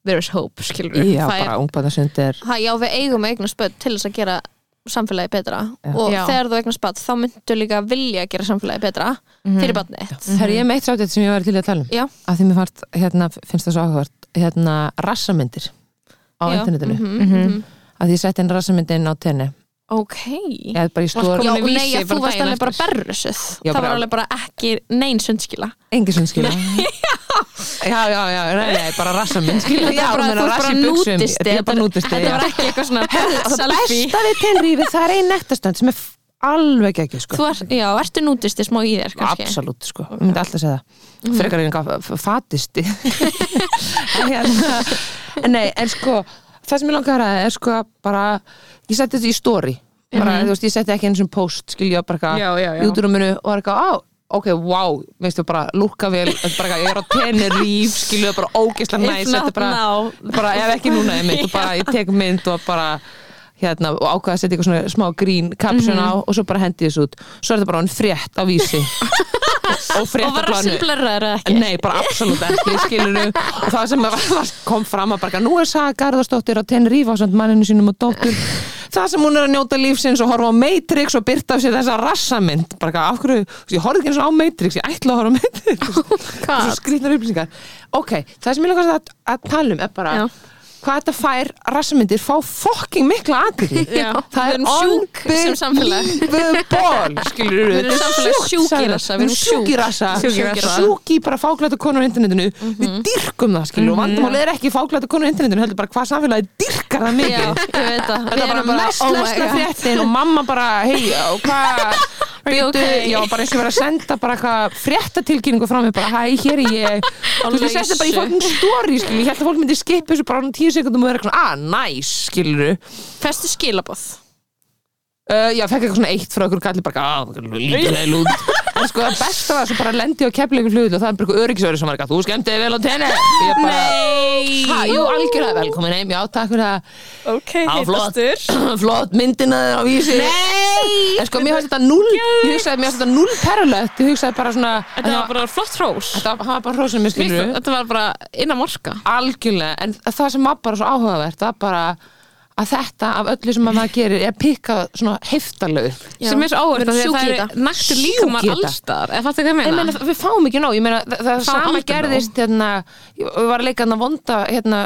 Speaker 3: there is hope, skilur
Speaker 4: Já,
Speaker 3: það
Speaker 4: bara ungbæðasund er
Speaker 1: ha, Já, við eigum að eignast börn til þess að gera samfélagi betra
Speaker 4: Já.
Speaker 1: og
Speaker 3: Já.
Speaker 1: þegar þú eignast börn þá myndu líka vilja að gera samfélagi betra fyrir barnið þitt
Speaker 4: Það er ég meitt sátt þetta sem ég var til í að tala um
Speaker 1: Mhm. Já.
Speaker 4: að því mér fannst, hérna, finnst það svo áhugavert hérna, rassamyndir á
Speaker 1: Já.
Speaker 4: internetinu,
Speaker 1: Mhm,
Speaker 3: Mhm.
Speaker 1: mhm.
Speaker 4: að því ég setti inn rassamyndin á tenni,
Speaker 1: Ok
Speaker 4: ég hef bara í
Speaker 3: Varst
Speaker 4: stór
Speaker 1: Já,
Speaker 3: Komin í
Speaker 1: nei,
Speaker 3: Vísi
Speaker 1: að
Speaker 3: bara
Speaker 1: þú varst
Speaker 3: daginn
Speaker 1: alveg bara
Speaker 3: eftir.
Speaker 1: berrusuð
Speaker 4: Já,
Speaker 1: Það var
Speaker 4: bara-
Speaker 1: alveg bara ekki nein sundskila
Speaker 4: engi sem skilja Já, já, já, nei, nei, bara rassamynd skilja,
Speaker 1: Þetta
Speaker 4: já,
Speaker 1: er bara-
Speaker 4: meina
Speaker 1: þú ert
Speaker 4: rass
Speaker 1: bara
Speaker 4: í buxum,
Speaker 1: nútisti,
Speaker 4: ég er bara
Speaker 1: þetta-
Speaker 4: nútisti
Speaker 1: Þetta
Speaker 4: já.
Speaker 1: var ekki eitthvað svona selfie
Speaker 4: Besta við tenrífið, það er ein nettastönd sem er f- alveg ekki, sko
Speaker 1: Þú er, já, ertu nútisti smá í þér kannski Mhm.
Speaker 4: Absolutt, sko, ég myndi alltaf segja það frekar en eitthvað fatisti En hérna, en nei, en sko það sem ég langar að ræða er sko bara, ég setti þetta í story bara,
Speaker 1: Mhm.
Speaker 4: þú veist, ég setti ekki eins og post skilja bara
Speaker 3: Já, já, já.
Speaker 4: eitthvað, júturuminu og var eitthvað, á, ok, wow, veistu bara lúka vel, þetta er bara eitthvað, ég er á teneríf skilja bara ógeðslega
Speaker 1: If
Speaker 4: næs þetta
Speaker 1: not
Speaker 4: er bara,
Speaker 1: now.
Speaker 4: bara, ef ekki núna ég mynd og bara, ég tek mynd og bara hérna, og ákvaða að setja eitthvað svona smá grín caption
Speaker 1: Mhm.
Speaker 4: á og svo bara hendi þessu út svo er þetta bara hann frétt á vísi og frétt
Speaker 1: Og var rassin blörraður eða ekki
Speaker 4: Nei, bara absolutt ekki, skilur og það sem var, var, kom fram að bara nú er Saga Garðarsdóttir á Tenerife á samt manninu sínum og dóttur það sem hún er að njóta lífsins og horfa á Matrix og byrta af sér þessa rassamynd bara eitthvað, af hverju, ég horfði ekki eins og á Matrix ég ætla að horfa á Matrix
Speaker 1: Oh
Speaker 3: God.
Speaker 4: svo skrýtnar upplýsingar ok, það sem ég langast að, að tala um er bara
Speaker 1: Já.
Speaker 4: hvað þetta fær rassamyndir fá fokking mikla aðgriði
Speaker 1: Já.
Speaker 4: það
Speaker 1: Við
Speaker 4: er
Speaker 1: erum sjúk sem samfélag.
Speaker 4: unbelievable, skilur
Speaker 1: Við erum samfélag sjúk í rassa, við
Speaker 4: við
Speaker 1: erum
Speaker 4: erum sjúk í rassa
Speaker 3: Sjúk í rassa.
Speaker 4: sjúki bara fáklæta konur á internetinu
Speaker 1: Mhm.
Speaker 4: við dyrkum það skilur og vandamáli er ekki fáklæta konur á internetinu heldur bara hvað samfélagi dyrkar það
Speaker 1: Já,
Speaker 4: mikið
Speaker 1: ég veit það
Speaker 4: þetta
Speaker 1: Við
Speaker 4: er bara,
Speaker 1: erum oh
Speaker 4: bara mest
Speaker 1: mest
Speaker 4: lesna
Speaker 1: lesna
Speaker 4: fréttin og mamma bara hei og hvað
Speaker 1: you
Speaker 4: Býtu,
Speaker 1: okay?
Speaker 4: já, bara eins og vera að senda bara eitthvað fréttatilkynningu frá mig, bara hæ, hér er ég
Speaker 1: Á
Speaker 4: þú veist, ég seti þetta bara í
Speaker 1: lausu.
Speaker 4: fólkum stóri, skilur, ég held að fólk myndi skipa þessu bara á tíu sekundum og vera eitthvað, "Ah, að, næs, skilur
Speaker 1: Festu skilabóð
Speaker 4: Uh, já, fekk eitthvað svona eitt frá okkur kallir bara, "Ah, að, lítið leil út En sko, það besta var svo bara lendi á kefleikur flugul og það er bara eitthvað öryggisöri sem var eitthvað, þú skemmtið vel á tenni Ég bara,
Speaker 1: Nei
Speaker 4: ha, jú, algjörlega velkomin heim, já, takk fyrir það
Speaker 1: Ok,
Speaker 4: Á, flott,
Speaker 1: heitastur
Speaker 4: flott myndina þér á vísi Nei En sko, mér fannst þetta null, ég hugsaði, mér fannst þetta null perulegt Ég hugsaði bara svona,
Speaker 3: Þetta var bara flott hrós
Speaker 4: þetta var- hann var bara hrósinn mér skilur
Speaker 3: Þetta var bara innan morska
Speaker 4: algjörlega, en það sem var bara svo áhugavert var bara að þetta af öllu sem að maður gerir er pikkað svona heftalegu upp
Speaker 1: Já.
Speaker 3: sem er svo
Speaker 1: Við
Speaker 3: óvert
Speaker 1: erum
Speaker 3: af því að
Speaker 1: sjúk í
Speaker 3: það
Speaker 1: þetta.
Speaker 3: eru nættur
Speaker 4: Sjúk
Speaker 3: líkamar
Speaker 4: í þetta.
Speaker 3: allstar eða fattu hvað ég
Speaker 4: Ég
Speaker 3: meina
Speaker 4: meina, við fáum ekki nóg, ég meina, það,
Speaker 3: Hérna.
Speaker 4: það
Speaker 3: Fáum
Speaker 4: sama
Speaker 3: aldrei
Speaker 4: gerðist hérna, ég ég var að leika hérna vonda hérna,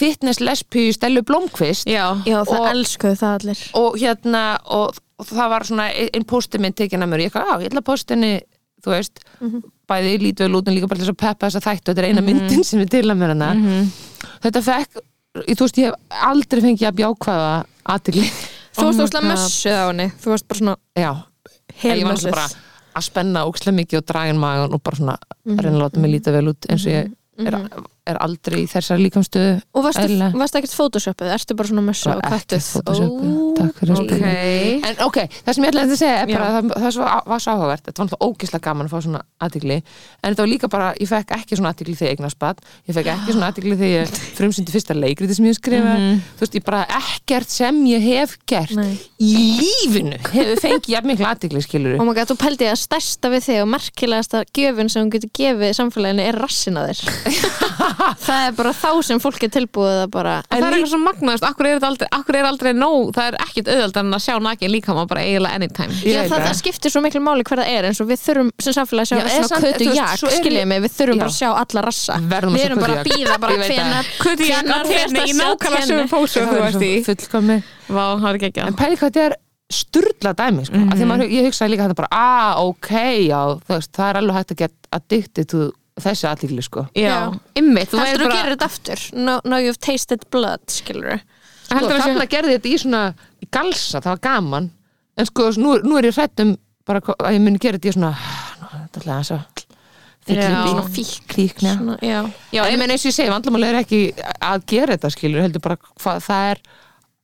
Speaker 4: fitness lesbí Stellu Blomqvist
Speaker 3: já,
Speaker 1: Já, það
Speaker 4: Og-
Speaker 1: elskuðu það allir
Speaker 4: og hérna, og, og það var svona e- ein- einn posti minn tekin að mér, ég eitthvað, á, ég ætla að postinni þú veist,
Speaker 3: Mhm.
Speaker 4: bæði lítu vel út en líka bara til þess að peppa þess að þættu þetta er eina myndin sem er til að mér hana
Speaker 3: Mhm.
Speaker 4: þetta fekk, ég, þú veist, ég hef aldrei fengið að bjákvæða aðtigli
Speaker 1: Þú varst
Speaker 3: my
Speaker 1: óslega
Speaker 3: God.
Speaker 1: mössuð á henni Þú varst bara svona
Speaker 4: já, En ég var
Speaker 1: helmössuð
Speaker 4: náttúrulega bara að spenna ókslega mikið og draga inn magan og bara svona
Speaker 1: Mhm.
Speaker 4: reyna að láta mig líta vel út eins og ég er, er aldrei í þessari líkamstöðu
Speaker 1: Og varstu,
Speaker 4: eðlilega.
Speaker 1: varstu ekkert photoshopuð, ertu bara svona mössuð og
Speaker 4: Bara ekkert
Speaker 1: kattuð
Speaker 4: photoshopuð. Takk fyrir að
Speaker 1: okay.
Speaker 4: spyrja.
Speaker 3: ok
Speaker 4: En ok, það sem ég ætlaði að segja er bara
Speaker 1: Já.
Speaker 4: að það, það svo, var svo áhugavert, þetta var náttúrulega ógislega gaman að fá svona aðtikli, en þetta var líka bara ég fekk ekki svona aðtikli þegar ég eignast bann ég fekk ekki svona aðtikli þegar ég frumsyndi fyrsta leikriti sem ég skrifa, þú veist, ég bara ekkert sem ég hef gert
Speaker 1: Mhm. Nei.
Speaker 4: í lífinu hefur fengið jafn mikla aðtikli skilur
Speaker 1: Oh my god, þú pældi að stærsta við þig og merkilegasta gjöfun sem hún getur gefið samfélaginu er rassin að þér Það er bara þá sem fólk er tilbúið að bara
Speaker 3: En það er eitthvað sem magnaðist, akkur er, þetta aldrei, akkur er aldrei nóg, það er ekkert auðveld en að sjá nakin líkama bara eiginlega anytime
Speaker 1: Já, það, það skiptir svo miklu máli hver það er eins og við þurfum sem samfélag að
Speaker 4: Já,
Speaker 1: sjá
Speaker 4: eða
Speaker 1: svona
Speaker 4: samt,
Speaker 1: kötu
Speaker 4: þú veist,
Speaker 1: jak,
Speaker 4: svo er ég-
Speaker 1: skiljið mig við þurfum
Speaker 4: Já.
Speaker 1: bara að sjá alla rassa
Speaker 4: Verðum að
Speaker 1: við
Speaker 4: sjá
Speaker 1: erum bara
Speaker 4: Kötu
Speaker 1: að býða
Speaker 4: Jak.
Speaker 1: bara
Speaker 4: Ég
Speaker 3: Hvað er það að
Speaker 1: hvenar hvenar fer
Speaker 4: veit
Speaker 1: það
Speaker 3: í nákvæmlega sömu pósu og þú varst í?
Speaker 4: fullkomi
Speaker 3: Vá, það er ekki ekki
Speaker 4: en pæli hvað þetta er sturla dæmi sko. mm -hmm. maður, ég hugsaði líka þetta bara ah, ok, já, þú veist, það er alveg hægt að get addicted to þessi aðlíkli sko.
Speaker 3: Já,
Speaker 1: Já.
Speaker 3: ymmið, þú
Speaker 1: Heldur
Speaker 3: væri
Speaker 1: þú að
Speaker 3: bara
Speaker 1: gera þetta aftur? No, no you've tasted blood, skilur
Speaker 4: sko,
Speaker 3: heldur að
Speaker 4: þannig
Speaker 3: sé-
Speaker 4: að gerði þetta í svona í galsa, það var gaman en sko, nú, nú er ég hrætt um bara hva- að ég muni gera þetta í svona "Ah, nú, þetta er alltaf að
Speaker 3: Já.
Speaker 1: Svona
Speaker 4: fyllir
Speaker 1: fík
Speaker 4: kríkna
Speaker 1: svona, Já,
Speaker 3: Já,
Speaker 4: Já, ég
Speaker 3: einmitt.
Speaker 4: meina eins og ég segi, vandlamáli er ekki að gera þetta skilur, heldur bara hvað það er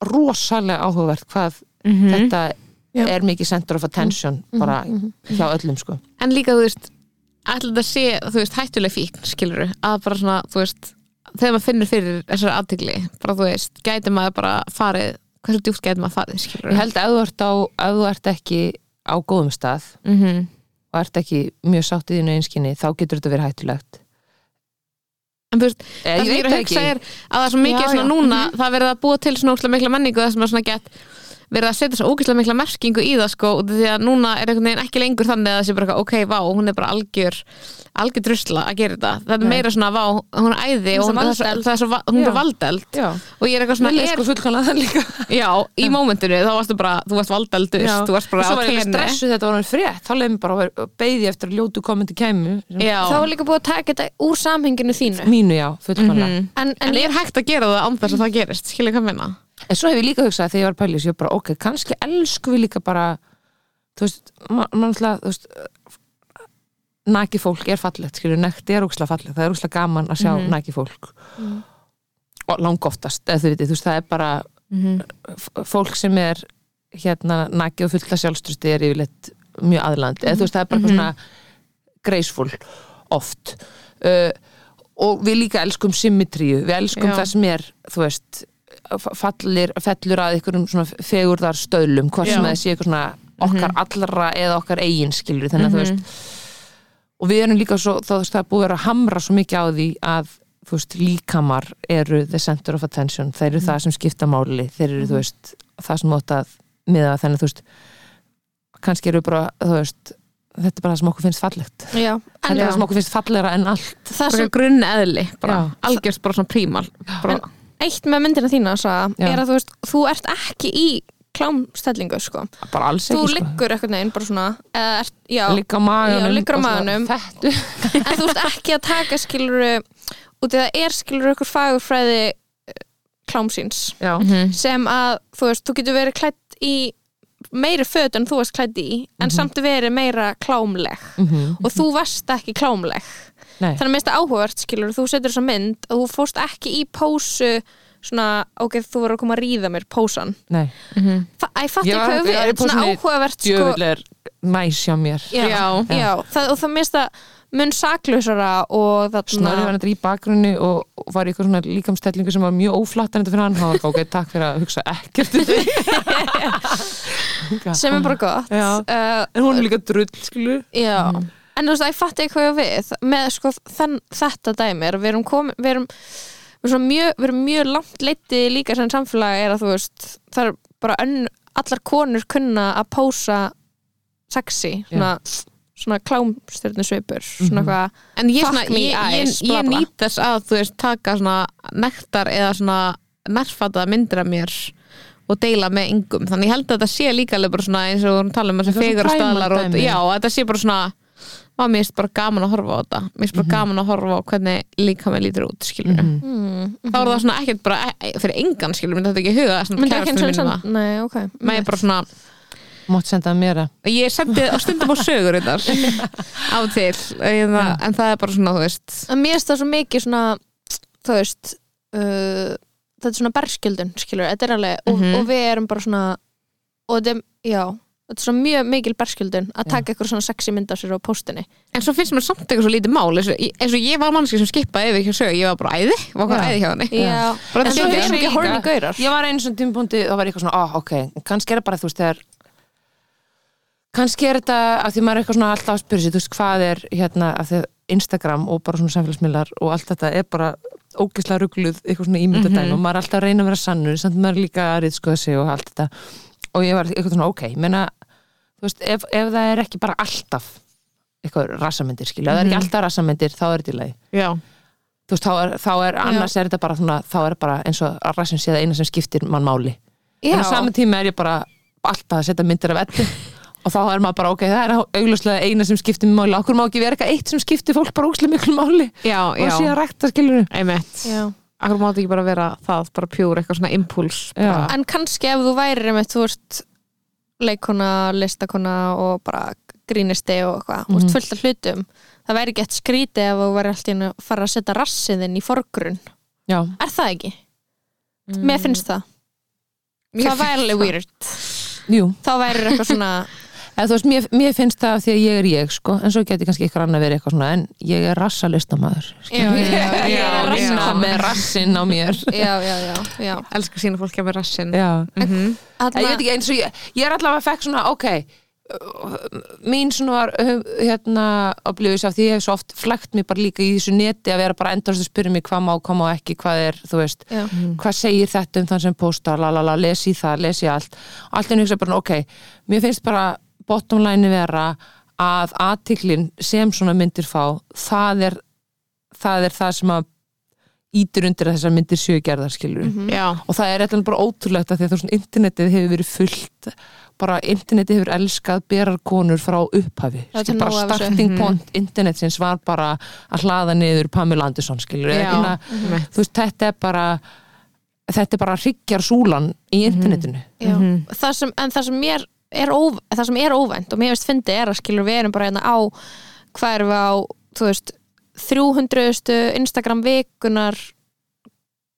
Speaker 4: rosalega áhugavert hvað þetta
Speaker 1: Já.
Speaker 4: Mhm. er mikið center of attention bara hjá öllum sko.
Speaker 3: en líka þú veist ætla þetta sé, þú veist, hættuleg fíkn skilur að bara svona, þú veist þegar maður finnur fyrir þessari aðtigli bara þú veist, gæti maður bara farið hversu djúpt gæti maður farið skilur
Speaker 4: Ég held að ef þú ert, á, ef þú ert ekki á góðum stað
Speaker 3: mm
Speaker 4: Mhm. og ert ekki mjög sátt í þínu einskinni þá getur þetta verið hættulegt
Speaker 3: en þú veist,
Speaker 4: Eh,
Speaker 3: það sem ég er að hugsa er að það er svo mikið
Speaker 4: Já,
Speaker 3: svona
Speaker 4: já. Mhm.
Speaker 3: núna það er verið að búa til svona ógæslega mikla menningu það sem er svona gett verið að setja svo ógæslega mikla merkingu í það sko, út af því að núna er einhvern veginn ekki lengur þannig að það sé bara eitthvað, ok, vá, hún er bara algjör algjör drusla að gera þetta það er meira svona, vá, hún er æði
Speaker 1: er
Speaker 3: og
Speaker 1: svo
Speaker 3: hún, það er svo-
Speaker 1: valdeld.
Speaker 3: það er svo, va- hún er
Speaker 4: Já.
Speaker 3: bara valdeld
Speaker 4: Já,
Speaker 3: og ég er eitthvað svona,
Speaker 4: Lilja
Speaker 3: er,
Speaker 4: sko fullkomlega það líka
Speaker 3: já, í momentinu þá varstu bara, þú varst valdeldur
Speaker 4: Já.
Speaker 3: þú varst bara á
Speaker 4: Svo var ég
Speaker 3: tenni
Speaker 4: stressu þetta var hann frétt þá leiðum bara að beði eftir að ljótu komandi kæmu
Speaker 3: já,
Speaker 1: þá er líka búið að taka þetta úr samhenginu þínu
Speaker 4: mínu já, fullkomlega
Speaker 3: Mhm.
Speaker 1: en, Mm. en,
Speaker 3: en er hægt að gera það án þess að það gerist, skilja hvað minna
Speaker 4: en svo hef ég líka hugsað þegar ég var pælis ég var bara ok, kannski elsku við líka bara þú veist, ma- mann alltaf þú veist naki fólk er fallegt, skilur, nekti er úkslega fallegt það er úkslega gaman að sjá
Speaker 3: Mhm.
Speaker 4: mm naki fólk og langoftast eða þú veitir, þú veist, það er bara
Speaker 3: Mhm.
Speaker 4: f- fólk sem er hérna naki og fulla sjálfstrusti er yfirleitt mjög aðlandi, eða þú veist, það er bara
Speaker 3: Mhm.
Speaker 4: eitthvað svona graceful oft uh, og við líka elskum symmetríu, við elskum
Speaker 3: Já.
Speaker 4: það sem er þú veist f- fallir, fellur að einhverjum svona fegurðar stöðlum, hvað sem
Speaker 3: Já. Mhm.
Speaker 4: það sé eitthvað svona okkar allra eða okkar eigin skilur þannig að þú veist og við erum líka svo, þá þú veist, það er búið að vera að hamra svo mikið á því að þú veist, líkamar eru the center of attention þeir eru
Speaker 1: Mm.
Speaker 4: það sem skipta máli þeir eru, þú veist, það sem þú átt að miða þannig að þú veist kannski eru bara, þú veist þetta er bara það sem okkur finnst fallegt
Speaker 1: já,
Speaker 4: þetta
Speaker 1: en
Speaker 4: er það sem okkur finnst fallera en allt
Speaker 1: það
Speaker 3: bara
Speaker 1: sem
Speaker 3: grunn eðli bara,
Speaker 4: Já.
Speaker 3: algjörst bara svona prímal bara,
Speaker 1: En- eitt með myndina þína Saga,
Speaker 4: Já.
Speaker 1: er að þú veist, þú ert ekki í klámstellingu sko
Speaker 4: bara alls
Speaker 1: þú
Speaker 4: ekki sko.
Speaker 1: liggur eitthvað neginn bara svona eða ert, já,
Speaker 4: liggur á maganum
Speaker 1: Já, liggur á
Speaker 4: og svona
Speaker 1: maganum.
Speaker 4: fettu.
Speaker 1: en þú ert ekki að taka skilur út í það er skilur ykkur fagurfræði eh, klámsins
Speaker 4: já,
Speaker 1: sem að þú veist, þú getur verið klætt í meiri föt en þú varst klætt í
Speaker 4: Mhm.
Speaker 1: en samt verið meira klámleg og þú varst ekki klámleg
Speaker 4: nei,
Speaker 1: þannig að mér finnst það áhugavert skilur þú setur þessa mynd og þú fórst ekki í pósu svona, ok, þú verður að koma að ríða mér pósan,
Speaker 4: nei
Speaker 1: Fa- æ, fattu
Speaker 4: Ég var-
Speaker 1: hvað
Speaker 4: ég var í
Speaker 1: við, svona
Speaker 4: pósunni
Speaker 1: áhugavert sko,
Speaker 4: djöfull er næs hjá mér
Speaker 1: já, já. það, og það mér finnst það mun saklausara og
Speaker 4: Snorri var
Speaker 1: þarna
Speaker 4: þetta í bakgrunni og og var í eitthvað svona líkamstellingu sem var mjög óflattanandi fyrir hann, hann var bara, ok, takk fyrir að hugsa ekkert um þig."
Speaker 1: sem er bara gott
Speaker 4: Já. Mm.
Speaker 1: uh,
Speaker 4: en hún er líka drull, skilu
Speaker 1: Já, en þú veist, að ég fatti eitthvað ég á við með sko, þann, þetta dæmi er að við erum komin, við erum við erum, svona mjög, við erum mjög langt leiti líka sem samfélagi er að þú veist það er bara önn, allar konur kunna að pósa sexy svona, svona klámstjörnusveipur
Speaker 4: Mhm.
Speaker 1: svona eitthvað
Speaker 3: en ég,
Speaker 1: Fuck
Speaker 3: svona,
Speaker 1: me
Speaker 3: ég, ég,
Speaker 1: eyes, bla,
Speaker 3: ég
Speaker 1: bla.
Speaker 3: nýt þess að þú veist taka svona nektar eða svona nærfata myndir af mér og deila með yngum, þannig ég held að þetta sé líka alveg bara svona eins og hún tala um þessi
Speaker 4: Þetta er
Speaker 3: fegur
Speaker 4: svo primal
Speaker 3: staðlar og
Speaker 4: dæmi.
Speaker 3: já, að þetta sé bara svona maður mér finnst bara gaman að horfa á þetta mér finnst bara
Speaker 1: Mhm.
Speaker 3: gaman að horfa á hvernig líka með lítur út skilur þá er það svona ekkert bara e- e- fyrir engan skilur, myndi þetta ekki í huga svona
Speaker 1: myndi ekki eins
Speaker 3: kærastunum
Speaker 1: og
Speaker 3: mínum
Speaker 1: sann
Speaker 3: það.
Speaker 1: nei, ok
Speaker 3: maður er bara svona,
Speaker 4: mátt senda það mér að
Speaker 3: ég sendi á stundum á sögur þetta á til en það- en það er bara svona, þú veist
Speaker 1: en mér finnst það svo mikið svona þú veist uh, þetta er svona berskjöldun, skilur þetta er alveg,
Speaker 3: Mhm.
Speaker 1: og, og við erum bara svona og þetta er, já þetta er svona mjög mikil berskjöldun að taka eitthvað svona sexy mynd af sér á póstinni
Speaker 3: En svo finnst mér samt eitthvað svo lítið mál eins og, eins og ég var mannski sem skipaði yfir ekki að sög Ég var bara æði, var hvað
Speaker 4: Já.
Speaker 3: æði hjá henni
Speaker 1: já,
Speaker 3: Bara
Speaker 1: en
Speaker 3: þetta
Speaker 1: svo
Speaker 3: er
Speaker 1: við erum
Speaker 3: líka-
Speaker 1: ekki horni gaurar
Speaker 4: ég var einu svona tímpúndi og var ég eitthvað svona, ah, ok, kannski er það bara þú veist, þegar kannski er þetta, af því maður er eitthvað svona alltaf að spyrja sér, þú veist, hvað er hérna af því að Instagram og bara svona samfélagsmiðlar og allt þetta er bara ógislega rugluð eitthvað svona ímyndadæmi og maður er alltaf að reyna að vera sannur, samt maður er líka að rýðskoða sig og allt þetta, og ég var eitthvað svona, ok, ég meina, þú veist, ef, ef það er ekki bara alltaf eitthvað rassamyndir, skilja, mm það er ekki alltaf rassamyndir þá er þetta í lagi
Speaker 3: Já,
Speaker 4: þú veist, þá er, þá er annars er þetta bara svona, þá er bara eins og að ræsum sé það eina sem skiptir mann máli
Speaker 1: Já.
Speaker 4: en á saman tíma er ég bara alltaf að setja myndir af ellu og þá er maður bara, ok, það er augljóslega eina sem skiptir mér máli, okkur má ekki vera eitthvað eitt sem skiptir fólk bara ógslum miklu máli
Speaker 3: já,
Speaker 4: og sé
Speaker 3: já
Speaker 4: að rækta skilur
Speaker 3: Einmitt
Speaker 1: Já.
Speaker 3: Akkur mátti ekki bara vera það, bara pjúr, eitthvað svona impuls
Speaker 4: Já.
Speaker 1: en kannski ef þú væri með þú ert leikona, listakona og bara grínisti og eitthvað mm
Speaker 3: Mhm.
Speaker 1: -hmm. fullt af hlutum, það væri gett skrítið ef þú væri alltaf að fara að setja rassiðin í forgrunn,
Speaker 4: já,
Speaker 1: er það ekki? mér finnst það
Speaker 3: Mm. Mér
Speaker 1: það væri
Speaker 3: finnst
Speaker 1: alveg weird
Speaker 4: jú,
Speaker 1: þá væri eitthvað svona
Speaker 4: eða þú veist, mér, mér finnst það af því að ég er ég sko, en svo geti kannski ykkur annað verið eitthvað svona en ég er rassalistamaður
Speaker 1: já, já,
Speaker 3: Ég er
Speaker 1: já,
Speaker 3: rassi-
Speaker 1: já.
Speaker 4: með rassinn á mér
Speaker 1: já, já, já, já.
Speaker 3: elska sína fólki að vera rassin
Speaker 4: já,
Speaker 1: Þarna,
Speaker 4: Ég veit ekki eins og ég, ég er allavega fekk svona, ok uh, mín svona var uh, hérna obliðis af því ég hef svo oft flækt mér bara líka í þessu neti að vera bara endast að spyrja mig hvað má, hvað má ekki, hvað er þú veist,
Speaker 1: Já.
Speaker 4: hvað segir þetta um þann sem postar, lalala, lesi það, lesi allt allt er nýgsa bara, ok mér finnst bara bottom line vera að aðtiklin sem svona myndir fá, það er það er það sem að ítir undir að þessar myndir séu gerðar skilur
Speaker 3: já,
Speaker 4: og það er eitthvað bara ótrúlegt að því að þú veist, internetið hefur verið fullt bara internetið hefur elskað berar konur frá upphafi
Speaker 1: Það er
Speaker 4: Skil,
Speaker 1: til
Speaker 4: bara
Speaker 1: nóg af þessu.
Speaker 4: starting point internetsins var bara að hlaða niður Pamela Anderson skilur
Speaker 3: Já.
Speaker 4: þú veist, þetta er bara þetta er bara hryggjar súlan í internetinu
Speaker 1: já. það sem, en það sem mér er, óv, það sem er óvænt og mér veist fyndi er að skilur við erum bara hérna á hvað erum við á, þú veist 300. Instagram vikunar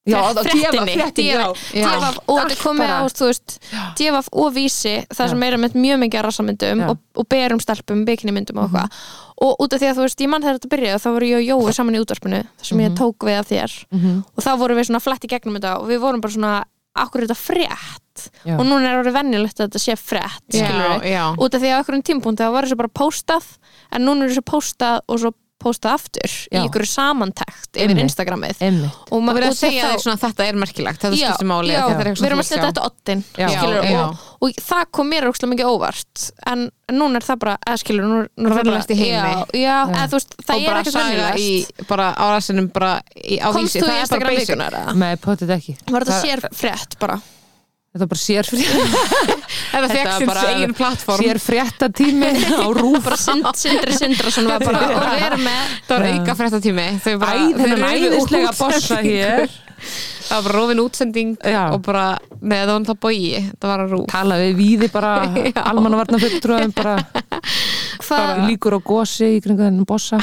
Speaker 4: Já, það-
Speaker 1: fréttinni,
Speaker 4: djöfa- fréttin, já.
Speaker 1: djöfa- djöfa- og þetta er komið á,
Speaker 4: bara.
Speaker 1: þú veist divaf og vísi, það sem er með mjög mikið af rassamyndum
Speaker 4: Já. Mhm.
Speaker 1: og, og berum stelpum bikinimyndum og eitthvað og út af því að þú veist, ég mann þegar þetta byrjaði þá voru ég og Jói saman í útvarpinu þar sem ég tók við af þér
Speaker 4: Mhm.
Speaker 1: og þá vorum við svona flett í gegnum þetta og við vorum bara svona akkur er þetta frétt
Speaker 4: Já.
Speaker 1: og núna er orðið venjulegt að þetta sé frétt skilur
Speaker 3: já,
Speaker 1: við,
Speaker 3: já.
Speaker 1: út af því að okkur um tímpúndi þá var þessu bara postað en núna er þessu postað og svo postað aftur í
Speaker 4: Já.
Speaker 1: ykkur samantækt yfir
Speaker 4: Einmitt.
Speaker 1: Instagramið
Speaker 4: Einmitt.
Speaker 1: og
Speaker 3: og
Speaker 1: maður
Speaker 3: verið að segja þér svona þetta er merkilegt þetta skiptir máli
Speaker 1: já,
Speaker 3: þetta er
Speaker 1: við erum að setja þetta ottin
Speaker 4: Já.
Speaker 1: skilur,
Speaker 3: Já,
Speaker 1: og, og það kom mér ókslega mikið óvart en en núna er það bara, eða skilur nú, nú er
Speaker 3: Venjulegast í heimi.
Speaker 1: já, já, eða þú veist,
Speaker 3: og
Speaker 1: það er
Speaker 3: bara
Speaker 1: ekkert
Speaker 3: saga í
Speaker 1: venjulegast
Speaker 3: bara á rassinum bara í, á
Speaker 1: komst
Speaker 3: vísi
Speaker 1: þú
Speaker 3: það er
Speaker 1: í
Speaker 3: bara
Speaker 1: Instagram
Speaker 3: basic.
Speaker 1: vikunar eða?
Speaker 4: Nei, potið ekki
Speaker 1: var þetta
Speaker 4: Það-
Speaker 1: sér frétt bara
Speaker 4: Þetta er bara sérfrétt
Speaker 3: þetta er
Speaker 4: Þetta er
Speaker 3: þekksins
Speaker 4: bara-
Speaker 3: eigin plattform
Speaker 4: sérfréttatími á rúf
Speaker 1: bara Sind- Sindri Sindrason var bara og við erum með
Speaker 3: það var auka fréttatími þau bara
Speaker 4: Æ, þennan
Speaker 3: þeir eru
Speaker 4: æðislega
Speaker 3: útsending.
Speaker 4: bossa hér
Speaker 3: það var bara rofin útsending
Speaker 4: Já.
Speaker 3: og bara nei það var um það bogi það var að rú
Speaker 4: tala við víði bara almannavarna fulltrúðum bara
Speaker 1: hvað
Speaker 4: líkur á gósi í kringu þennan bossa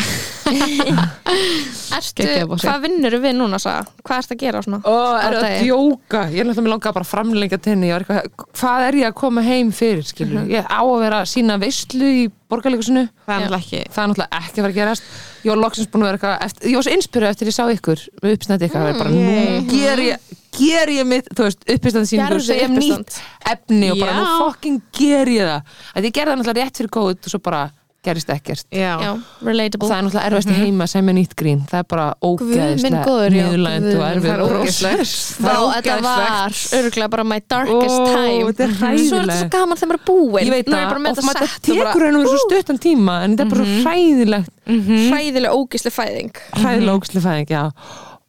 Speaker 1: ertu,
Speaker 3: Gekkið að bósi.
Speaker 1: hvað vinnur við núna Saga? hvað ertu að gera svona
Speaker 4: og
Speaker 1: er að
Speaker 4: djóka ég er náttúrulega með langa bara að framlengja tenni hvað er ég að koma heim fyrir skilur ég á að vera að sína veistlu í borgarleikusinu
Speaker 3: það er náttúrulega ekki
Speaker 4: Mhm. það er náttúrulega ekki að fara að gerast ég var loksins búin að vera eitthvað eftir, ég var svo inspyrir eftir ég sá ykkur með uppstændi ykkar mm, bara, nú ger ég, ger ég mitt þú veist, uppistandi síningur
Speaker 1: Gerðu
Speaker 4: sem
Speaker 1: uppistand.
Speaker 4: nýtt efni og bara
Speaker 3: Já.
Speaker 4: nú fucking ger ég það að ég gerði það náttúrulega rétt fyrir góð og svo bara gerist ekkert
Speaker 1: já,
Speaker 3: já
Speaker 1: relatable
Speaker 4: og það er náttúrulega erfast í heima sem er nýtt grín það er bara
Speaker 1: Mhm. minn
Speaker 4: ógeðislega
Speaker 1: góður, já.
Speaker 4: niðurlægandi
Speaker 1: Guð
Speaker 4: og
Speaker 1: minn,
Speaker 4: erfið
Speaker 3: það er ógeðslegt.
Speaker 1: Vá, þetta var örgulega bara my darkest
Speaker 4: Ó,
Speaker 1: time Mhm.
Speaker 4: þetta er
Speaker 1: Svo er þetta svo
Speaker 4: hræðilegt.
Speaker 1: gaman þegar maður er búin
Speaker 4: ég veit
Speaker 1: Nú er
Speaker 4: það,
Speaker 1: ég bara með
Speaker 4: og
Speaker 1: þetta
Speaker 4: maður
Speaker 1: sett og
Speaker 4: tekur
Speaker 1: bara Mhm.
Speaker 4: hennu svo stuttan tíma en þetta er bara svo hræðilegt
Speaker 1: hræðileg ógisli fæðing
Speaker 4: hræðilega ógislega fæðing, já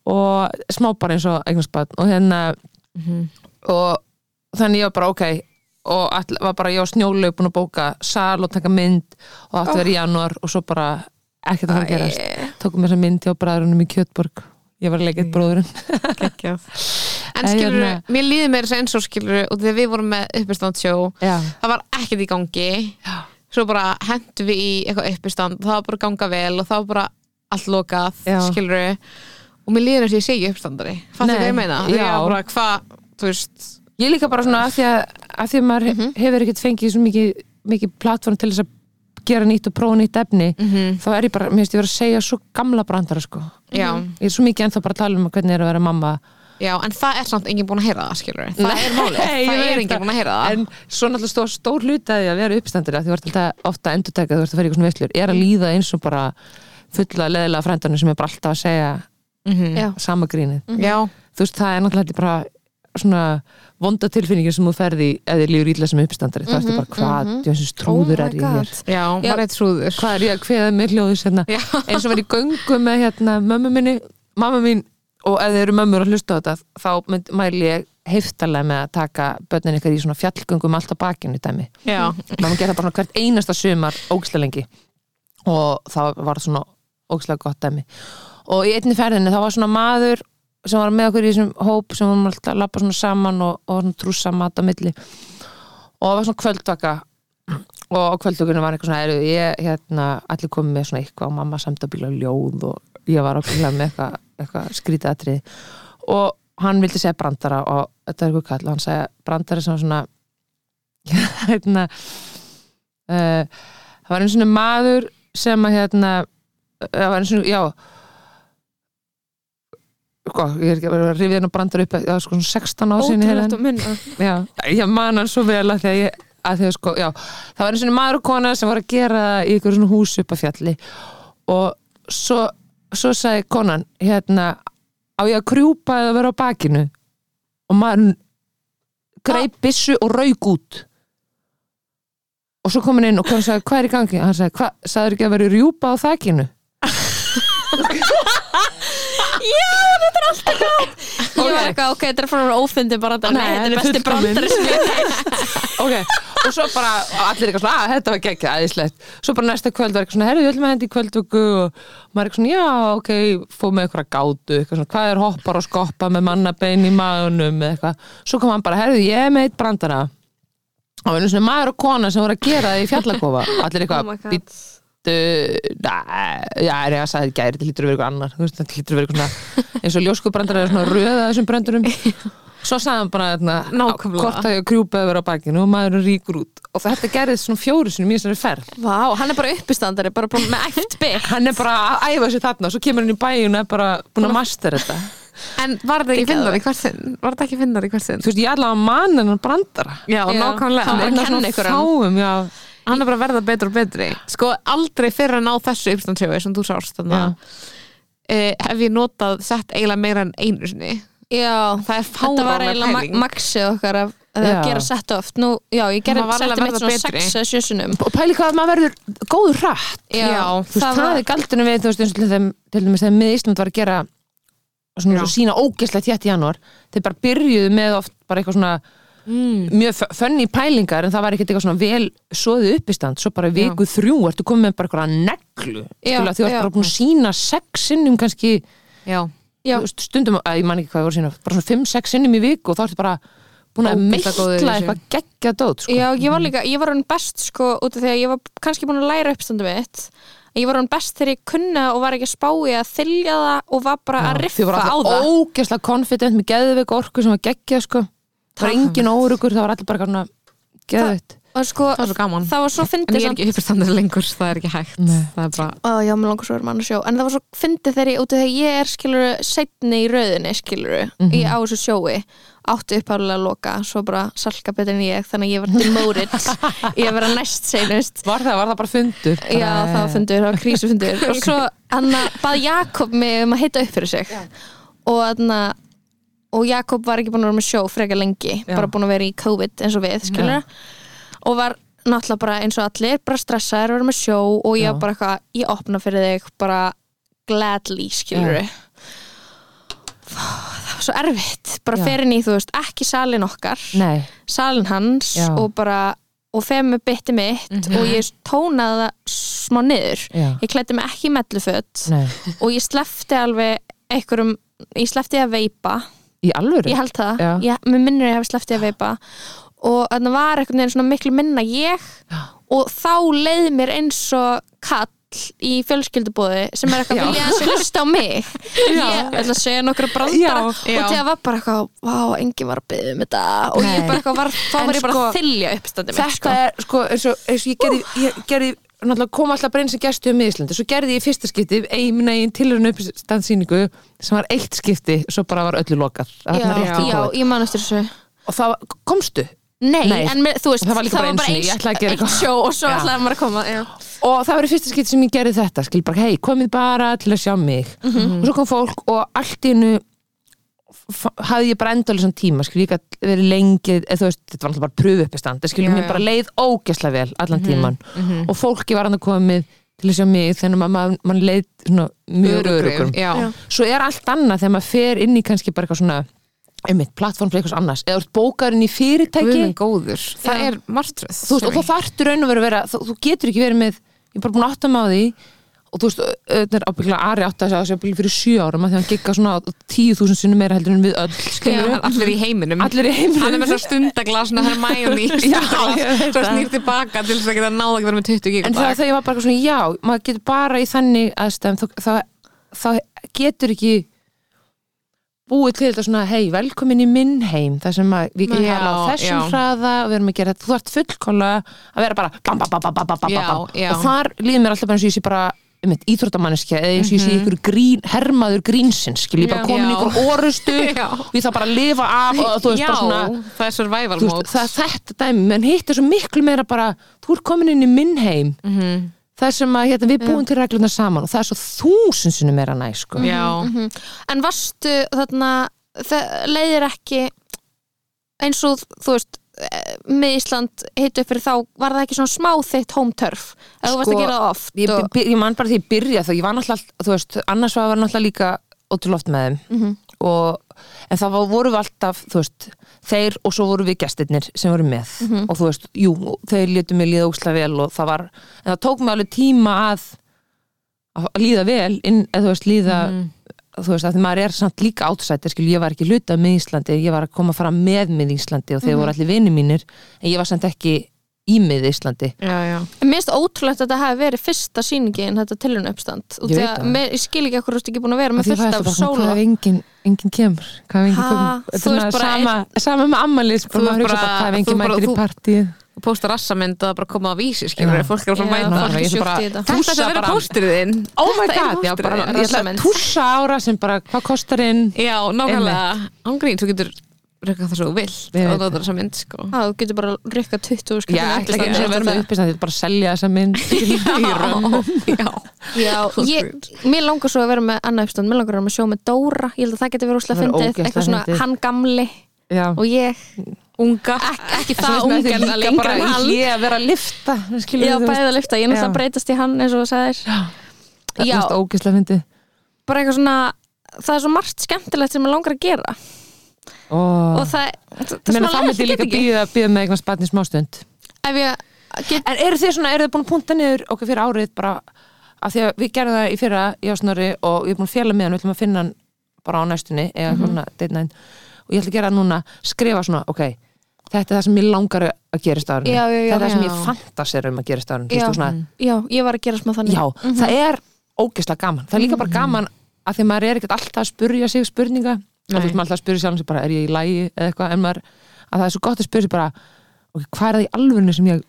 Speaker 4: og smá bara eins og eignarspann og hérna
Speaker 1: Mhm.
Speaker 4: og þannig ég var bara ok og all, var bara ég á snjólaug búin að bóka sal og taka mynd og það átti að vera í
Speaker 1: Oh.
Speaker 4: janúar og svo bara ekkert að fara að gerast tókum þess að mynd hjá bræðrunum í Kjötborg ég var að
Speaker 1: Mm.
Speaker 4: leika eitt bróðurinn
Speaker 3: geggjað en
Speaker 4: Æ,
Speaker 3: skilur
Speaker 4: hérna.
Speaker 3: mér líður mér þess eins og skilur og þegar við vorum með uppistandsjó
Speaker 4: já,
Speaker 3: það var ekkert í gangi
Speaker 4: Já.
Speaker 3: svo bara hendum við í eitthvað uppistand það var bara að ganga vel og það var bara allt lokað,
Speaker 4: Já.
Speaker 3: skilur við og mér líður eins og ég sé ekki uppstandari fattu
Speaker 4: Nei,
Speaker 3: hvað ég meina,
Speaker 4: já.
Speaker 3: þegar ég var bara hvað þú veist,
Speaker 4: Ég líka bara svona að því að, að, því að maður
Speaker 1: Mhm.
Speaker 4: hefur ekkert fengið svo mikið, mikið platform til þess að gera nýtt og prófa nýtt efni
Speaker 1: Mhm.
Speaker 4: þá er ég bara, mér finnst ég vera að segja svo gamla brandara sko.
Speaker 3: já,
Speaker 4: Ég er svo mikið ennþá bara að tala um hvernig er að vera mamma
Speaker 3: já en það er samt enginn búin að heyra það, skilur við það er málið,
Speaker 4: Nei, ég
Speaker 3: það
Speaker 4: veit
Speaker 3: er enginn
Speaker 4: það.
Speaker 3: búin að heyra
Speaker 1: Ah.
Speaker 3: það
Speaker 4: En svo náttúrulega stór, stór hluti að því að vera uppstandari að því var þetta ofta endurtæka þú ert að fara í eitthvað svona veislur er
Speaker 1: Mm.
Speaker 4: að líða eins og bara fulla leðilega frændarnir sem er bara alltaf að segja
Speaker 1: Já,
Speaker 4: sama grínið
Speaker 3: Mhm.
Speaker 1: Mm.
Speaker 3: já,
Speaker 4: þú veist, það er náttúrulega þetta bara svona vonda tilfinningin sem þú ferði eða þið lífur ítla sem uppstandari þá ertu bara hvað, mm -hmm. þessi strúður
Speaker 1: Mhm, Oh
Speaker 4: er
Speaker 1: my
Speaker 4: í
Speaker 1: God.
Speaker 4: hér
Speaker 3: já, maður eitt trúður
Speaker 4: hvað er ég að kveða með hljóðis hérna
Speaker 3: Já.
Speaker 4: eins og var í göngu með hérna mömmu minni, mamma mín og ef þið eru mömmur að hlusta á þetta þá mynd, mæli ég heiftalega með að taka börnin ykkar í svona fjallgöngum allt á bakinu dæmi
Speaker 3: já,
Speaker 4: maður gerði það bara svona hvert einasta sumar ógislega lengi og það var svona ógislega gott dæmi og í einni ferðinni þá var svona maður sem var með okkur í þessum hóp sem var alltaf að lappa svona saman og, og svona trússa mat á milli og það var svona kvöldvaka og á kvöldvökunum var eitthvað svona "Heyrðu, ég hérna allir komið með svona eitthvað og mamma samt að bíla ljóð og ég var að bíla með eitthvað, eitthvað skrýtaðatrið og hann vildi segja brandara og þetta er eitthvað kall og hann segja brandara sem var svona hérna uh, það var einn svona maður sem að hérna uh, það var einn svona, já hvað, ég er ekki að vera að rifja henn og brandar upp það var sko svona 16 á sinni
Speaker 1: Ótrúlegt að munna
Speaker 4: já, ég man hann svo vel að því að ég að því að sko, já, það var einn svona maður og kona sem var að gera það í ykkur svona hús upp að fjalli og svo, svo sagði konan hérna, á ég að krjúpa eða vera á bakinu og maður greip
Speaker 1: Ah.
Speaker 4: byssu og rauk út og svo kom hann inn og konan sagði, hvað er í gangi? hann sagði, hvað, sagður ekki að vera rjúpa á þakinu?
Speaker 1: Ég var eitthvað, ok, þetta er frá ófundi bara þetta, nei, þetta er besti brandari sem ég
Speaker 4: ok, og svo bara og allir eitthvað svona, að þetta var geggjað, aðeinslegt svo bara næsta kvöld var eitthvað svona, herðu, við ætlum að henda í kvöldvöku og maður eitthvað svona, já, ok fóð með eitthvað gátu, eitthvað svona, hvað er hoppar og skoppa með mannabein í maðunum eða eitthvað, svo kom hann bara, herðu, ég er með eitt brandara og einu svona maður og kona sem voru að gera það í fjallakofa allir eitthvað, oh býttu já, er ég að sagði gæri þetta lítur að vera eitthvað annar, þú veist, þetta lítur að vera eitthvað svona eins og ljóskubrandara er svona röða þessum brandurum svo sagði hann bara þarna,
Speaker 3: Nákvæmlega.
Speaker 4: hvort að ég krjúpa yfir á bakinu og maður ríkur út og þetta gerðist svona fjóru sinni mjög þessari ferð
Speaker 1: Vá, hann er bara uppistandari, bara búin með æft bygg
Speaker 4: hann er bara að æfa sér þarna og svo kemur hann í bæin og er bara búin að master þetta
Speaker 3: En var það ekki finnar í hvert sinn? Var það ekki finnar í hvert sinn?
Speaker 4: þú veist, ég allavega man en hann brandara Hérna,
Speaker 3: Já,
Speaker 1: Já.
Speaker 3: nákvæmlega
Speaker 1: Hann
Speaker 3: Hann er
Speaker 1: er að
Speaker 3: einn af
Speaker 1: kenna
Speaker 3: svona
Speaker 1: ykkur hann.
Speaker 4: fáum, já,
Speaker 3: hann er bara að verða betur og betri sko aldrei fyrir að ná þessu uppstandsjói sem þú sást þannig
Speaker 4: Já.
Speaker 3: að hef ég notað sett eiginlega meira en einu sinni
Speaker 1: Já,
Speaker 3: það er
Speaker 1: þetta var
Speaker 3: fáránlega
Speaker 1: eiginlega
Speaker 3: pæling
Speaker 1: ma- maxið okkar af að
Speaker 4: Já.
Speaker 1: gera sett oft Nú, já, ég gerði
Speaker 3: Maður var alveg
Speaker 1: setti
Speaker 3: að
Speaker 1: mitt
Speaker 3: verða
Speaker 1: svona
Speaker 3: betri.
Speaker 1: 6 eða 7 sunum
Speaker 4: og pæli hvað maður verður góður hratt
Speaker 1: Já,
Speaker 4: þú veist, það, er galdunum við, þú veist, eins og til þeim til dæmis þegar mið Ísland var að gera svona
Speaker 3: Já.
Speaker 4: sína ógeðslega tjætt í janúar þeir bara byrjuðu með oft bara eitthvað svona Mm. mjög fö- fönni pælingar en það var ekkert eitthvað svona vel soðið uppistand svo bara í viku þrjú ertu komið með bara eitthvað neglu
Speaker 1: Já,
Speaker 4: skilur, því þú ert
Speaker 1: já.
Speaker 4: bara búin að sína sex sinnum kannski
Speaker 3: já,
Speaker 1: Já.
Speaker 4: þú veist, stundum, að, ég man ekki hvað það voru sína bara svona fimm, sex sinnum í viku og þá ertu bara búin að
Speaker 3: Ógeðslega
Speaker 4: meitla
Speaker 3: góður í þessu.
Speaker 4: eitthvað geggja dót sko.
Speaker 1: Já, ég var líka, ég var hann best sko út af því að ég var kannski búin að læra uppstandu mitt en ég var hann best þegar ég kunna það og var ekki að spá í að þylja það og var bara að
Speaker 4: þið
Speaker 1: riffa
Speaker 4: voru
Speaker 1: á
Speaker 4: alltaf
Speaker 1: það
Speaker 4: ógeðslega confident með geðveik orku sem var geggja sko. það var engin órugur, það var allir bara eitthvað svona geðveikt
Speaker 1: og sko,
Speaker 3: það var svo gaman
Speaker 1: það var svo
Speaker 3: en
Speaker 1: fyndið
Speaker 3: ég er
Speaker 1: samt
Speaker 3: ekki uppstandar lengur, það er ekki hægt það er bara,
Speaker 1: Ó, já, mér langar svo að vera mann að sjó en það var svo fyndið þegar ég, út af því að ég er skiluru setni í rauðinni skiluru mm
Speaker 3: Mhm.
Speaker 1: á þessu sjói, átti uppháðulega að loka svo bara salka betur en ég þannig að ég var demoted, ég var að næst seinust
Speaker 4: var það, var það bara fundur Ah.
Speaker 1: Já, það var fundur, það var krísufundur og svo hann bað Jakob mig um að hitta upp fyrir sig og hann og Jakob var ekki búin að vera með sjó frekar lengi,
Speaker 4: Já.
Speaker 1: bara búin að vera í COVID eins og við, skilur og var náttúrulega bara eins og allir bara stressaður að vera með sjó og ég
Speaker 4: Já.
Speaker 1: var bara eitthvað, ég opna fyrir þig bara gladly, skilur það var svo erfitt bara
Speaker 4: Já.
Speaker 1: fer inn í, þú veist, ekki salin okkar
Speaker 4: Nei,
Speaker 1: salin hans
Speaker 4: Já. Mhm.
Speaker 1: og bara og femi bytti mitt og ég tónaði það smá niður
Speaker 4: já,
Speaker 1: ég klætti mig ekki í melluföt
Speaker 4: nei
Speaker 1: og ég slefti alveg einhverjum, ég slefti að veipa
Speaker 4: Í alvöru?
Speaker 1: ég held það,
Speaker 4: Já.
Speaker 1: ég, mér minnir að ég hafi slefti að veipa og þannig var einhvern veginn svona miklu minna ég og þá leið mér eins og kall í fjölskyldubóði sem er eitthvað
Speaker 4: Já.
Speaker 1: vilja að hlusta á mig ég ætla að segja nokkra brandara
Speaker 4: Já,
Speaker 3: já.
Speaker 1: og það var bara eitthvað, vá, engin var að byggja um þetta og ég
Speaker 4: Nei.
Speaker 1: bara eitthvað var, þá
Speaker 4: En
Speaker 1: var ég bara
Speaker 4: sko,
Speaker 1: að þylja uppstandi mitt
Speaker 4: þetta
Speaker 1: sko.
Speaker 4: er sko eins og, eins og ég gerði, ég gerði náttúrulega kom alltaf bara eins og gestu um Íslandi svo gerði ég í fyrsta skipti einu einn tilhörun uppstandsýningu sem var eitt skipti svo bara var öllu lokað
Speaker 1: já,
Speaker 4: Þarna rétt í
Speaker 1: já,
Speaker 4: COVID.
Speaker 1: ég man eftir þessu
Speaker 4: og það var- komstu
Speaker 1: Nei,
Speaker 4: Nei.
Speaker 1: en mér, þú veist,
Speaker 4: Og það var líka bara einu sinni, ég
Speaker 1: eins-
Speaker 4: ætlaði að gera
Speaker 1: eitt
Speaker 4: eitthvað.
Speaker 1: sjó og svo
Speaker 4: Já.
Speaker 1: ætlaði maður að koma já.
Speaker 4: og það var í fyrsta skipti sem ég gerði þetta skil bara, hei, komið bara til að sjá mig
Speaker 3: Mhm.
Speaker 4: og svo kom fólk og allt í hennu hafði ég bara endalísan tíma skil, ég gæti verið lengi eða, þú veist, þetta var alltaf bara pröfu uppistand skil,
Speaker 3: Já, já.
Speaker 4: mér
Speaker 3: Mhm,
Speaker 4: bara leið ógesla vel allan tíman og fólki var hann að komið til að sjá mig þannig að maður ma leið svona, mjög örugum
Speaker 3: já,
Speaker 1: Já.
Speaker 4: svo er allt annað þegar maður fer inn í kannski bara eitthvað svona einmitt, plattform fyrir eitthvað annars eða þú ert bókaður inn í fyrirtæki
Speaker 3: guðminn góður það
Speaker 1: Já.
Speaker 3: er martröð
Speaker 4: þú veist, og þá þarftu raun og veru að vera þú, þú getur ekki verið með, ég er bara búin að átta mig á því og þú veist, auðvitað er ábygglega Ari átta þess að þessi ábygglega fyrir sjö árum að því hann gikka svona tíu þúsund sinni meira heldur en við öll skilur,
Speaker 3: allir í heiminum
Speaker 4: allir í heiminum
Speaker 3: hann er með svo stundaglasna, hann er mæjum í
Speaker 4: Já, ég veit
Speaker 3: stundaglas, svo
Speaker 4: það.
Speaker 3: snýr tilbaka til þess að geta náða að vera með 20
Speaker 4: en þegar
Speaker 3: gigadag
Speaker 4: þegar ég var bara eitthvað svona, já, maður getur bara í þannig aðstæðum, þá, þá, þá getur ekki búið til þetta svona, hei, velkomin í minn heim það sem að við getum
Speaker 3: Já,
Speaker 4: hala á þessum
Speaker 3: já.
Speaker 4: hraða og við erum að gera þetta, þú ert fullkóla að vera bara bam, bam, bam, bam, bam, bam, bam,
Speaker 3: Já,
Speaker 4: bam.
Speaker 3: já.
Speaker 4: og þar líður mér alltaf bara eins og ég sé bara um eitt íþróttamanneskja eða eins og ég sé ykkur grín, hermaður grínsins skil ég bara
Speaker 3: Mhm. Já.
Speaker 4: komin í
Speaker 3: Já.
Speaker 4: ykkur orustu
Speaker 3: Já.
Speaker 4: við það bara að lifa af og þú veist
Speaker 3: já,
Speaker 4: bara svona
Speaker 3: það er survival
Speaker 4: þú
Speaker 3: mode
Speaker 4: veist, það, er þetta dæmi, menn hitt er svo miklu meira bara, þú ert komin inn í minn heim
Speaker 3: mm
Speaker 4: það sem að hérna, við búum til reglurnar saman og það er svo þúsinsinu meira næ sko.
Speaker 3: já,
Speaker 1: Mhm. en varstu þarna það leiðir ekki eins og þú veist eh, með Ísland hitt upp fyrir þá var það ekki svona smá þitt home turf eða þú varst
Speaker 4: Sko,
Speaker 1: að gera það oft
Speaker 4: ég,
Speaker 1: og,
Speaker 4: by- ég man bara því ég byrja þá ég var náttúrulega, þú veist, annars var ég náttúrulega líka ótrúlega oft með þeim
Speaker 1: Mhm.
Speaker 4: og, en það var, voru við alltaf, þú veist þeir og svo voru við gestirnir sem voru með
Speaker 1: Mhm.
Speaker 4: og þú veist, jú, þeir létu mig líða ókslega vel og það var en það tók mig alveg tíma að að líða vel, inn, eða þú veist, líða
Speaker 1: Mhm.
Speaker 4: þú veist, að því maður er samt líka átsættir, skil, ég var ekki hluta með Íslandi ég var að koma að fara með með Íslandi og þeir
Speaker 1: Mhm.
Speaker 4: voru allir vini mínir, en ég var samt ekki í með Íslandi
Speaker 3: já, já
Speaker 1: mér finnst ótrúlegt að þetta hafi verið fyrsta sýningin þetta tilhjörn uppstand
Speaker 4: Ég
Speaker 1: ég,
Speaker 4: veit
Speaker 1: að,
Speaker 4: það.
Speaker 1: mér, ég skil ekki ekkur þú ert ekki búin að vera
Speaker 4: Og
Speaker 1: með
Speaker 4: því
Speaker 1: fullt
Speaker 4: fæðist
Speaker 1: af
Speaker 4: bara svona,
Speaker 1: sóla
Speaker 4: hvað ef enginn engin kemur hvað ef enginn
Speaker 1: Ha? Þú
Speaker 4: komur þetta er
Speaker 1: ert
Speaker 4: svona
Speaker 1: bara
Speaker 4: sama, sama með ammalis
Speaker 3: Þú
Speaker 4: bara
Speaker 3: ert
Speaker 4: maður hugsa
Speaker 3: bara-
Speaker 4: bara hvað ef
Speaker 3: þú
Speaker 4: enginn
Speaker 3: bara-
Speaker 4: mætir í
Speaker 3: þú-
Speaker 4: partíu
Speaker 3: og pósta rassamynd að bara koma á vísi skilur,
Speaker 4: Já.
Speaker 3: fólk er að fara að
Speaker 1: Já.
Speaker 3: mæta
Speaker 1: Ná,
Speaker 3: fólk
Speaker 1: ég
Speaker 3: í
Speaker 1: ætla
Speaker 3: sjúkt
Speaker 1: bara
Speaker 3: í
Speaker 1: að
Speaker 3: þetta þetta
Speaker 4: tússa
Speaker 3: sem verið
Speaker 4: bara-
Speaker 3: pósturinn þinn
Speaker 4: oh my
Speaker 3: Þetta er
Speaker 4: god, já
Speaker 3: pósturinn
Speaker 4: bara
Speaker 3: þinn.
Speaker 4: ég ætla að
Speaker 1: Rassamynd.
Speaker 4: tússa ára sem bara hvað kostar inn
Speaker 3: já, nákvæmlega, ángrín, þú getur rökkað það svo vill
Speaker 4: Ég veit
Speaker 3: og það er rassamynd sko
Speaker 1: Já, þú getur bara að rykka 20 skall
Speaker 4: ég ætla
Speaker 3: ekki
Speaker 4: ekki
Speaker 3: að
Speaker 4: að vera með uppistand þetta er bara að selja þessa mynd í raun
Speaker 3: já,
Speaker 1: Já, ég, mér langar svo að vera með annað uppstand, mér langar að vera með sjó með Dóra ég held að það getur verið úslega
Speaker 4: Það verður
Speaker 1: fyndið,
Speaker 4: ógeðslega
Speaker 1: eitthvað svona
Speaker 4: fyndið.
Speaker 1: hann gamli
Speaker 4: já
Speaker 1: og ég,
Speaker 3: unga
Speaker 1: ekki, ekki
Speaker 4: Svo
Speaker 1: það
Speaker 4: veist maður, þetta
Speaker 1: ungan
Speaker 4: er
Speaker 1: að
Speaker 4: líka
Speaker 1: lengra
Speaker 4: bara
Speaker 1: en
Speaker 4: í
Speaker 1: hann
Speaker 4: hlé að vera að lifta skilur
Speaker 1: Já,
Speaker 4: þú veist,
Speaker 1: bæðið að lifta, ég er náttúrulega
Speaker 4: Já.
Speaker 1: að breytast í hann eins og það sagðir
Speaker 4: það
Speaker 1: Já,
Speaker 4: er ógæslega fyndi
Speaker 1: bara eitthvað svona það er svo margt skemmtilegt sem maður langar að gera og það, það sem
Speaker 4: Menna,
Speaker 1: maður
Speaker 4: það myndi
Speaker 1: lærði
Speaker 4: líka
Speaker 1: get ekki
Speaker 4: býða, býða með einhvern spatni smástund
Speaker 1: ef ég get,
Speaker 4: En eru þið svona, eru þið búin að punta niður okkur fyrir árið bara af því að við gerðum það í fyrra ég og Snorri og við erum búin að fjalla með hann við ætlum að finna hann bara á næstunni eða
Speaker 1: Mhm.
Speaker 4: svona date night og ég ætla að gera það núna, skrifa svona, ok þetta er það sem ég langar að gerist á árinu
Speaker 1: Já, já, já,
Speaker 4: þetta er það sem
Speaker 3: já.
Speaker 4: ég fantasir um að gerist á
Speaker 1: Já.
Speaker 4: árinu
Speaker 1: Mm.
Speaker 4: já, svona,
Speaker 1: já, ég var að gera smá þannig
Speaker 4: já það er ógeðslega gaman það er líka bara gaman að því að maður er ekkert alltaf að spurja sig spurninga og þú
Speaker 3: Nei.
Speaker 4: veist maður alltaf að spurja sjálfum sig bara er ég í lægi eða eitthvað en maður, að það er svo gott að spurja sig bara ok, hvað er það í alvörinu sem ég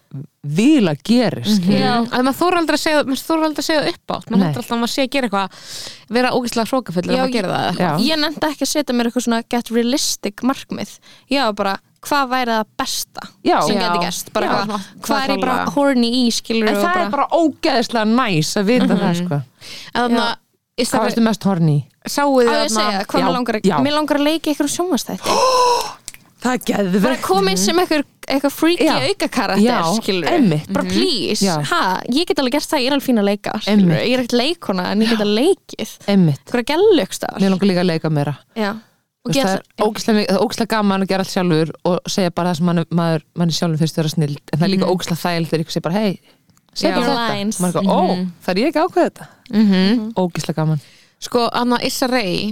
Speaker 4: vil að gerist
Speaker 1: Já.
Speaker 3: að maður þóra aldrei að segja maður þóra aldrei að segja það upp átt maður
Speaker 4: Nei.
Speaker 3: heldur alltaf að maður sé að gera eitthvað vera ógeðslega hrókafullur
Speaker 1: Já,
Speaker 3: að maður gera það eða eitthvað.
Speaker 4: Já.
Speaker 1: ég nefndi ekki að setja mér eitthvað svona get realistic markmið ég var bara, hvað væri það besta
Speaker 4: Já.
Speaker 1: sem
Speaker 3: Já.
Speaker 1: geti gerst bara
Speaker 3: Já,
Speaker 1: hvað,
Speaker 3: svona-
Speaker 1: hvað er ég bara
Speaker 3: nákvæmlega.
Speaker 1: horny í skilur
Speaker 4: En það er bara ógeðslega næs að vita það sko.
Speaker 3: en þannig að í
Speaker 4: Hvað
Speaker 3: staðar-
Speaker 4: veistu mest horni?
Speaker 3: sáu þið
Speaker 1: á ég að
Speaker 3: þarna-
Speaker 1: segja, hvað
Speaker 4: Já,
Speaker 1: mér langar
Speaker 4: já.
Speaker 1: að mér langar að leika eitthvað sjónvastætti
Speaker 4: Það er geðvegt.
Speaker 1: bara koma inn sem eitthvað, eitthvað freaky
Speaker 4: Já. Já,
Speaker 1: aukakarakter skilur
Speaker 4: einmitt. Mhm.
Speaker 1: bara please,
Speaker 4: Já.
Speaker 1: ha, ég get alveg gert það ég er alveg fín að leika, skilur
Speaker 4: Einmitt.
Speaker 1: ég er ekkert leikona en ég get að leikið
Speaker 4: Emmitt.
Speaker 1: eitthvað gællugstafar
Speaker 4: Mér langar líka að leika meira.
Speaker 1: og
Speaker 4: Þú veist,
Speaker 1: gera það
Speaker 4: Það er ógeðslega mikið- það er ógeðslega gaman að gera allt sjálfur og segja bara það sem mann, maður, mann sjálfur finnst vera snild. En það er líka ógeðslega þægild þegar ykkur segir bara, hei, segja
Speaker 1: Já.
Speaker 4: þetta.
Speaker 1: Lines.
Speaker 4: Maður er eitthvað, ó, það er ég ekki að ákveða þetta. Ógeðslega gaman.
Speaker 3: sko, hann að Issa Rae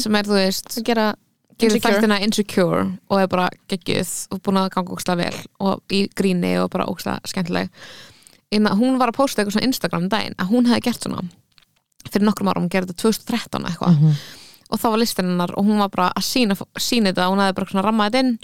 Speaker 3: sem er, þú veist,
Speaker 1: og gera
Speaker 3: gerir
Speaker 1: Mhm. Insecure.
Speaker 3: þættina Insecure og er bara geggjuð og búin að ganga óksla vel og í gríni og bara óksla skemmtileg Inna, hún var að posta eitthvað svona Instagram um daginn að hún hefði gert svona fyrir nokkrum árum, hún gerði þetta 2013 eitthvað
Speaker 1: Mhm.
Speaker 3: og þá var listin hennar og hún var bara að sína, sína þetta, hún hefði bara svona rammað þetta inn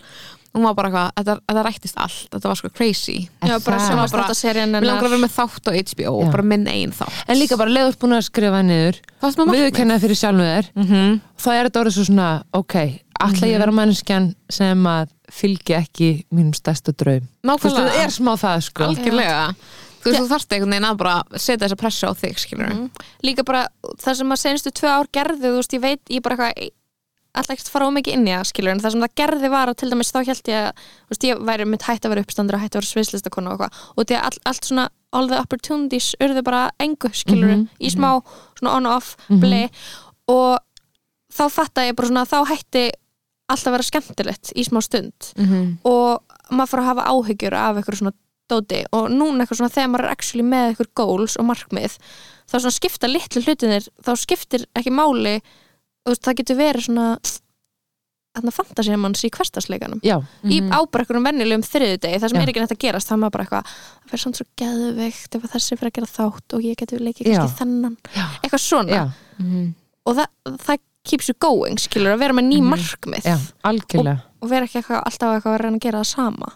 Speaker 3: hún var bara eitthvað, þetta, þetta rættist allt þetta var sko crazy
Speaker 1: já, bara
Speaker 4: Það-
Speaker 1: sjónvastættaserían
Speaker 3: Mér langar að vera með þátt á HBO,
Speaker 4: Já.
Speaker 3: bara minn einn þátt
Speaker 4: En líka bara leiður búin að skrifa niður,
Speaker 3: Það sem er markmið.
Speaker 4: viðurkenna það fyrir sjálfum þér,
Speaker 3: Mhm.
Speaker 4: þá er þetta orðið svo svona, ok, ætla ég að vera manneskjan sem að fylgi ekki mínum stærsta draum. Þú veist,
Speaker 3: Nákvæmlega
Speaker 4: það er smá það, sko.
Speaker 3: algjörlega þú veist, þú þarft einhvern veginn að bara setja þessa pressu á þig, skilur
Speaker 1: líka bara það sem að senstu tvö ár gerði þú veist, ég veit, ég bara eitthvað alltaf ekkert fara á mikið inn í það, skilur en það sem það gerði var að til dæmis þá held ég að þú veist, ég væri mitt hætt að vera uppstandur og hætt að vera sviðslistakonu og eitthvað, og því að all, allt svona all the opportunities urðu bara engu skilur, í smá, svona on off mm og þá fatta ég bara svona, þá hætti allt að vera skemmtilegt í smá stund
Speaker 3: mm -hmm.
Speaker 1: og maður fór að hafa áhyggjur af eitthvað svona dóti og núna eitthvað svona þegar maður er actually með eitthvað goals og markmið þá svona skipta litlu hlutinir þá skiptir ekki máli þú veist, það getur verið svona þarna fantasíum hans í hverstasleikanum
Speaker 4: Já,
Speaker 1: mm -hmm. í ábrekkurum venjulegum þriðudegi það sem
Speaker 4: Mhm. Já.
Speaker 1: er ekki nætt að gerast, það er maður bara eitthvað það fyrir samt svo geðveikt ef að þessi fyrir að gera þátt og ég getur leikið
Speaker 4: Já.
Speaker 1: kannski þennan
Speaker 4: Já.
Speaker 1: eitthvað svona
Speaker 4: já,
Speaker 1: og það, það keeps you going, skilur, að vera með ný markmið
Speaker 4: Mhm. já, algjörlega
Speaker 1: og vera ekki eitthvað, alltaf eitthvað að reyna að gera það sama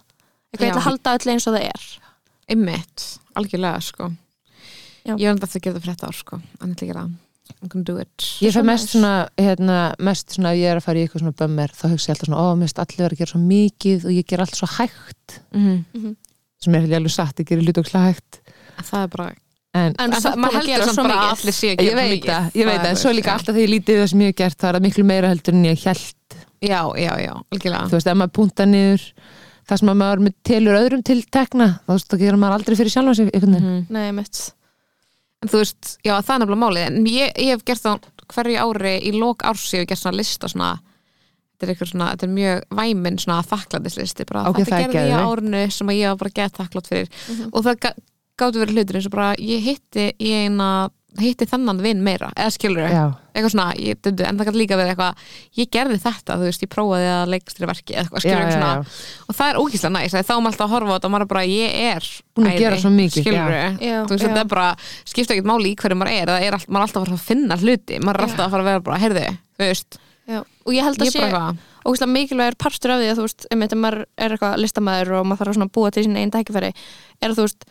Speaker 1: eitthvað
Speaker 3: Já.
Speaker 1: ég ætla að halda öll eins og það er
Speaker 3: Einmitt, algjörlega sko
Speaker 1: Já.
Speaker 3: Ég er enda eftir að gera það fyrir þetta ár sko En ætla að gera það I'm gonna do it
Speaker 4: Ég fæ
Speaker 1: Svo
Speaker 4: mest
Speaker 1: næs.
Speaker 4: svona, hérna, mest svona ef ég er að fara í eitthvað svona bömmir þá hugsa ég alltaf svona, ó, mér finnst allir vera að gera svo mikið og ég ger allt svo hægt
Speaker 3: mm.
Speaker 4: sem er alveg satt, ég gerir lutokkslega hægt
Speaker 3: Það er bara
Speaker 4: en
Speaker 1: en, en
Speaker 3: maður heldur samt bara að
Speaker 1: mikið
Speaker 3: allir séu að
Speaker 4: ég
Speaker 3: gera
Speaker 4: veit
Speaker 3: mikið.
Speaker 4: það, ég veit
Speaker 3: er
Speaker 4: það, en svo
Speaker 3: veist,
Speaker 4: líka
Speaker 3: já.
Speaker 4: alltaf þegar ég lítið það sem ég hef gert, það er það miklu meira heldur en ég held,
Speaker 3: Já, já, já, algjörlega
Speaker 4: þú veist, ef maður púnta niður það sem að maður með telur öðrum til tekna, þá veist, það gerir maður aldrei fyrir sjálfan sig einhvern veginn,
Speaker 1: Nei, mitt.
Speaker 3: En þú veist, já, það er nefnilega málið En ég, ég hef gert það hverju ári í lok árs ég hef gert svona lista svona Þetta er eitthvað svona, þetta er mjög væminn svona þakklæðislisti, bara
Speaker 4: Ok,
Speaker 3: þetta
Speaker 4: það er
Speaker 3: gerði ég á
Speaker 4: geðveikt. Mhm.
Speaker 3: árinu sem að ég var bara gett þakklátt fyrir og það ga- gátu verið hlutur eins og bara ég hitti, ég eina hitti þennan vinn meira, eða skilur
Speaker 4: já,
Speaker 3: eitthvað svona, ég, dundu, en það kann líka verið eitthvað ég gerði þetta, þú veist, ég prófaði að leikstri verki eða eitthvað,
Speaker 4: já,
Speaker 3: skilur
Speaker 4: já,
Speaker 3: eitthvað
Speaker 4: já,
Speaker 3: um svona og það er ógíslega næs, að þá er maður alltaf að horfa á þetta og maður er bara, ég er
Speaker 4: Búin að gera svo mikið,
Speaker 3: skilur,
Speaker 1: Já,
Speaker 3: þú veist,
Speaker 1: já.
Speaker 3: þetta er bara skipta ekkert máli í hverju maður er, það er allt, maður er alltaf að fara að finna hluti, maður er alltaf að fara að vera bara, heyrðu, þú veist,
Speaker 1: Já. og ég held að
Speaker 3: ég
Speaker 1: sé
Speaker 3: bara eitthvað
Speaker 1: ógæslega mikilvægur partur af því að þú veist um þetta maður er eitthvað listamaður og maður þarf að svona búa til sín einn tækifæri er að þú veist,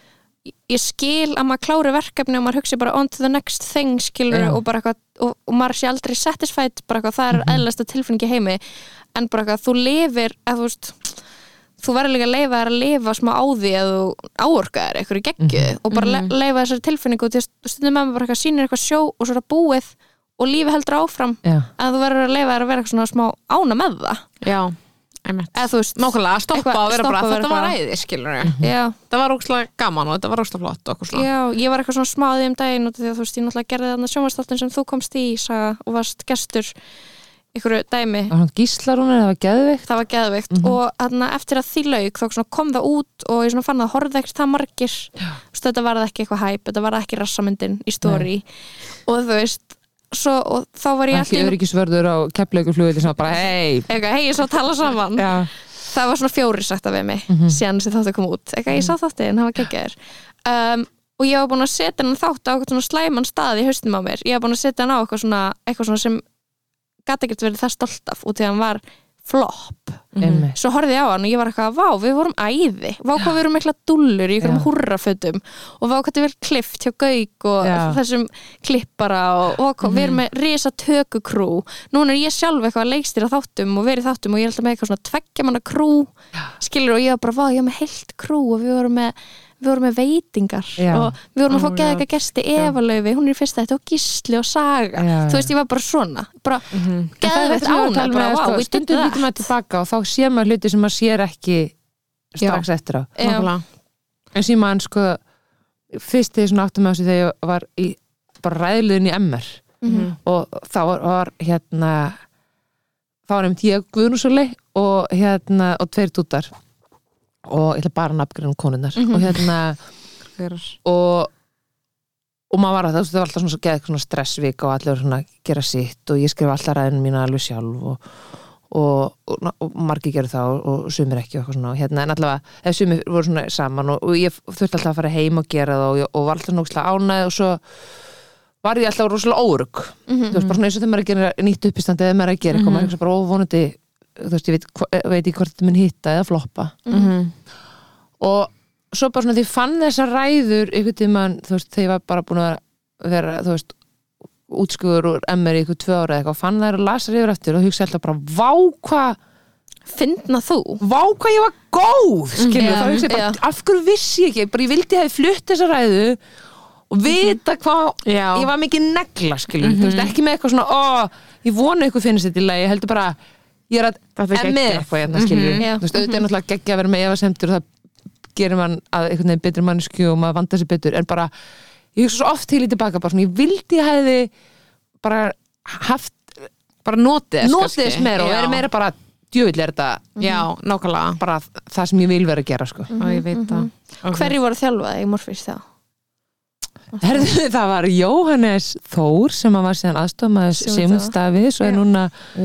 Speaker 1: ég skil að maður klári verkefni og maður hugsi bara on to the next thing skilur
Speaker 4: Já.
Speaker 1: og bara eitthvað og, og maður sé aldrei satisfied, bara eitthvað það er
Speaker 3: Mhm.
Speaker 1: mm tilfinningi heimi, en bara eitthvað þú lifir, að þú veist þú verður líka að leifa þér að lifa smá á því að þú áorkaðir eitthvað í geggju
Speaker 3: Mhm.
Speaker 1: og bara mm leifa þessari tilfinningu og til stundum að maður bara eitthvað sýnir eitthvað sjó og svo er það búið og lífi heldur áfram
Speaker 4: já,
Speaker 1: að þú verður að leifa þér að vera eitthvað svona smá ána með það
Speaker 3: já, einmitt,
Speaker 1: eða þú veist,
Speaker 3: nákvæmlega, að stoppa
Speaker 1: Eitthvað-
Speaker 3: og vera bara,
Speaker 1: stoppa og vera
Speaker 3: þetta var
Speaker 1: bara-
Speaker 3: æði, skilur
Speaker 4: Mhm.
Speaker 1: já,
Speaker 3: þetta var ógíslega gaman og þetta var ógíslega flott og okkur svona,
Speaker 1: já, ég var eitthvað svona smá að því um daginn út af því að þú veist, ég náttúrulega gerði þarna sjónvastáttin sem þú komst í saga, og varst gestur ykkur dæmi,
Speaker 4: var hann gíslarúnar, það var geðveikt
Speaker 1: það var geðveikt og þarna, eftir að því laug þá svona kom það út og ég svona fann að horfði ekkert það margir Þú veist, þetta var ekki eitthvað hæp, þetta var ekki rassamyndin í stóri og þú veist svo, og þá var ég
Speaker 4: ekki
Speaker 1: allir
Speaker 4: öryggisvörður á kepplaukurflugið sem var bara, hei,
Speaker 1: eitthvað, hei, ég svo að tala saman
Speaker 4: já,
Speaker 1: það var svona fjóri sagt af mig síðan sem þáttu kom út, eitthvað ég sá þátti en það var geggjaður um, og ég var búin að setja hann þátt á eitthvað svona slæman stað í haustum á mér, ég var búin að setja hann á eitthvað svona, eitthvað svona sem gæti ekkert verið það stolt af út því að hann var flop,
Speaker 4: emmi
Speaker 1: svo horfði ég á hann og ég var eitthvað, vá, við vorum æði vá hvað við erum eitthvað dullur í einhverjum
Speaker 4: Já.
Speaker 1: húrrafötum og vá hvað þetta er vel klift hjá Gauk og
Speaker 4: Já. Mhm.
Speaker 1: þessum klippara og, og hvað, við erum með risa tökukrú núna er ég sjálf eitthvað að leikstýra þáttum og verið í þáttum og ég er alltaf með eitthvað svona tveggja manna krú skilur og ég var bara, vá, ég var með heilt krú og við vorum með við vorum með veitingar
Speaker 4: Já.
Speaker 1: og við vorum að fá
Speaker 4: Ó,
Speaker 1: geða
Speaker 4: já.
Speaker 1: eitthvað gesti Eva Laufi, hún er í fyrsta þetta og Gísli og Saga
Speaker 4: Já,
Speaker 1: þú
Speaker 4: já.
Speaker 1: veist, ég var bara svona bara mm -hmm.
Speaker 4: En það er
Speaker 1: geðveitt
Speaker 4: þetta sem ég var að
Speaker 1: ánægð,
Speaker 4: tala um,
Speaker 1: bara,
Speaker 4: eða,
Speaker 1: vá,
Speaker 4: sko,
Speaker 1: we did
Speaker 4: stundum
Speaker 1: that
Speaker 4: lítum maður tilbaka og þá sé maður hluti sem maður sér ekki strax eftir á
Speaker 1: Já.
Speaker 3: nákvæmlega
Speaker 4: en síma hann sko fyrst þegar ég svona áttum á þessu þegar ég var í, bara ræðliðin í MR
Speaker 3: Mhm.
Speaker 1: Mhm.
Speaker 4: og þá var, var hérna þá var nefnt ég Guðnúsöli og hérna og tveir tútar og ég ætla bara að nafngrinum konunnar
Speaker 1: Mhm.
Speaker 4: og hérna
Speaker 3: Fyrir.
Speaker 4: og og maður var að það, það var alltaf svona, geða eitthvað svona stressvík og allir voru svona að gera sitt og ég skrif alltaf ræðin mína alveg sjálf og, og, og, og margir gerir það og, og sumir ekki og eitthvað svona og hérna, en allavega, eða sumir voru svona saman og, og ég þurfti alltaf að fara heim og gera það og, ég- og var alltaf nógslega ánæð og svo var ég alltaf rosalega órug þú veist, bara svona eins og þegar maður er að gera nýtt uppistandi eða maður er að gera eitthvað, maður er bara óvonandi þú veist, ég veit, hva- veit ég hvort þetta mun hitta eða floppa Mhm. og svo bara svona því ég fann þessar ræður einhvern tímann, þú veist, þegar ég var bara búin að vera, þú veist útskuður úr MR í einhver tvö ára eða eitthvað og fann þær og lasar yfir eftir og hugsa alltaf bara vá hvað,
Speaker 1: finna þú
Speaker 4: vá hvað ég var góð skilur,
Speaker 1: Já,
Speaker 4: þá hugsa ég bara,
Speaker 1: já.
Speaker 4: af hverju vissi ég ekki bara ég vildi að ég flutt þessa ræðu og
Speaker 1: Mhm.
Speaker 4: vita hvað
Speaker 3: Já. Mhm.
Speaker 4: ég var mikið negla, skilur, þú veist, ekki með eitthvað svona, ó, ég vona ykkur finnst þetta í lagi, ég heldur bara, ég er
Speaker 3: Þetta
Speaker 4: að
Speaker 3: er
Speaker 4: emmi
Speaker 3: geggjað. Mhm.
Speaker 4: eitthvað hérna, skilur
Speaker 1: Já.
Speaker 4: þú veist, auðvitað er náttúrulega geggja að vera með efasemtur og það gerir mann að einhvern veginn betri mannsku og maður vandar sér betur, en bara ég hugsa svo oft til í tilbaka, bara svona, ég vildi ég hefði bara haft
Speaker 3: bara notið þess
Speaker 4: notið þess
Speaker 3: kannski.
Speaker 4: meira og
Speaker 3: Já.
Speaker 4: verið meira bara djövill er þetta
Speaker 3: já, nákvæmlega
Speaker 4: bara það sem ég vil vera að gera, sko
Speaker 3: og ég veit það
Speaker 1: Hverju voru þjálfaði í Morfís þá?
Speaker 4: Herðu, það var Jóhannes Þór sem að var síðan aðstofmaður
Speaker 1: Sigmund
Speaker 4: Sigmund Davids og er
Speaker 1: Já.
Speaker 4: núna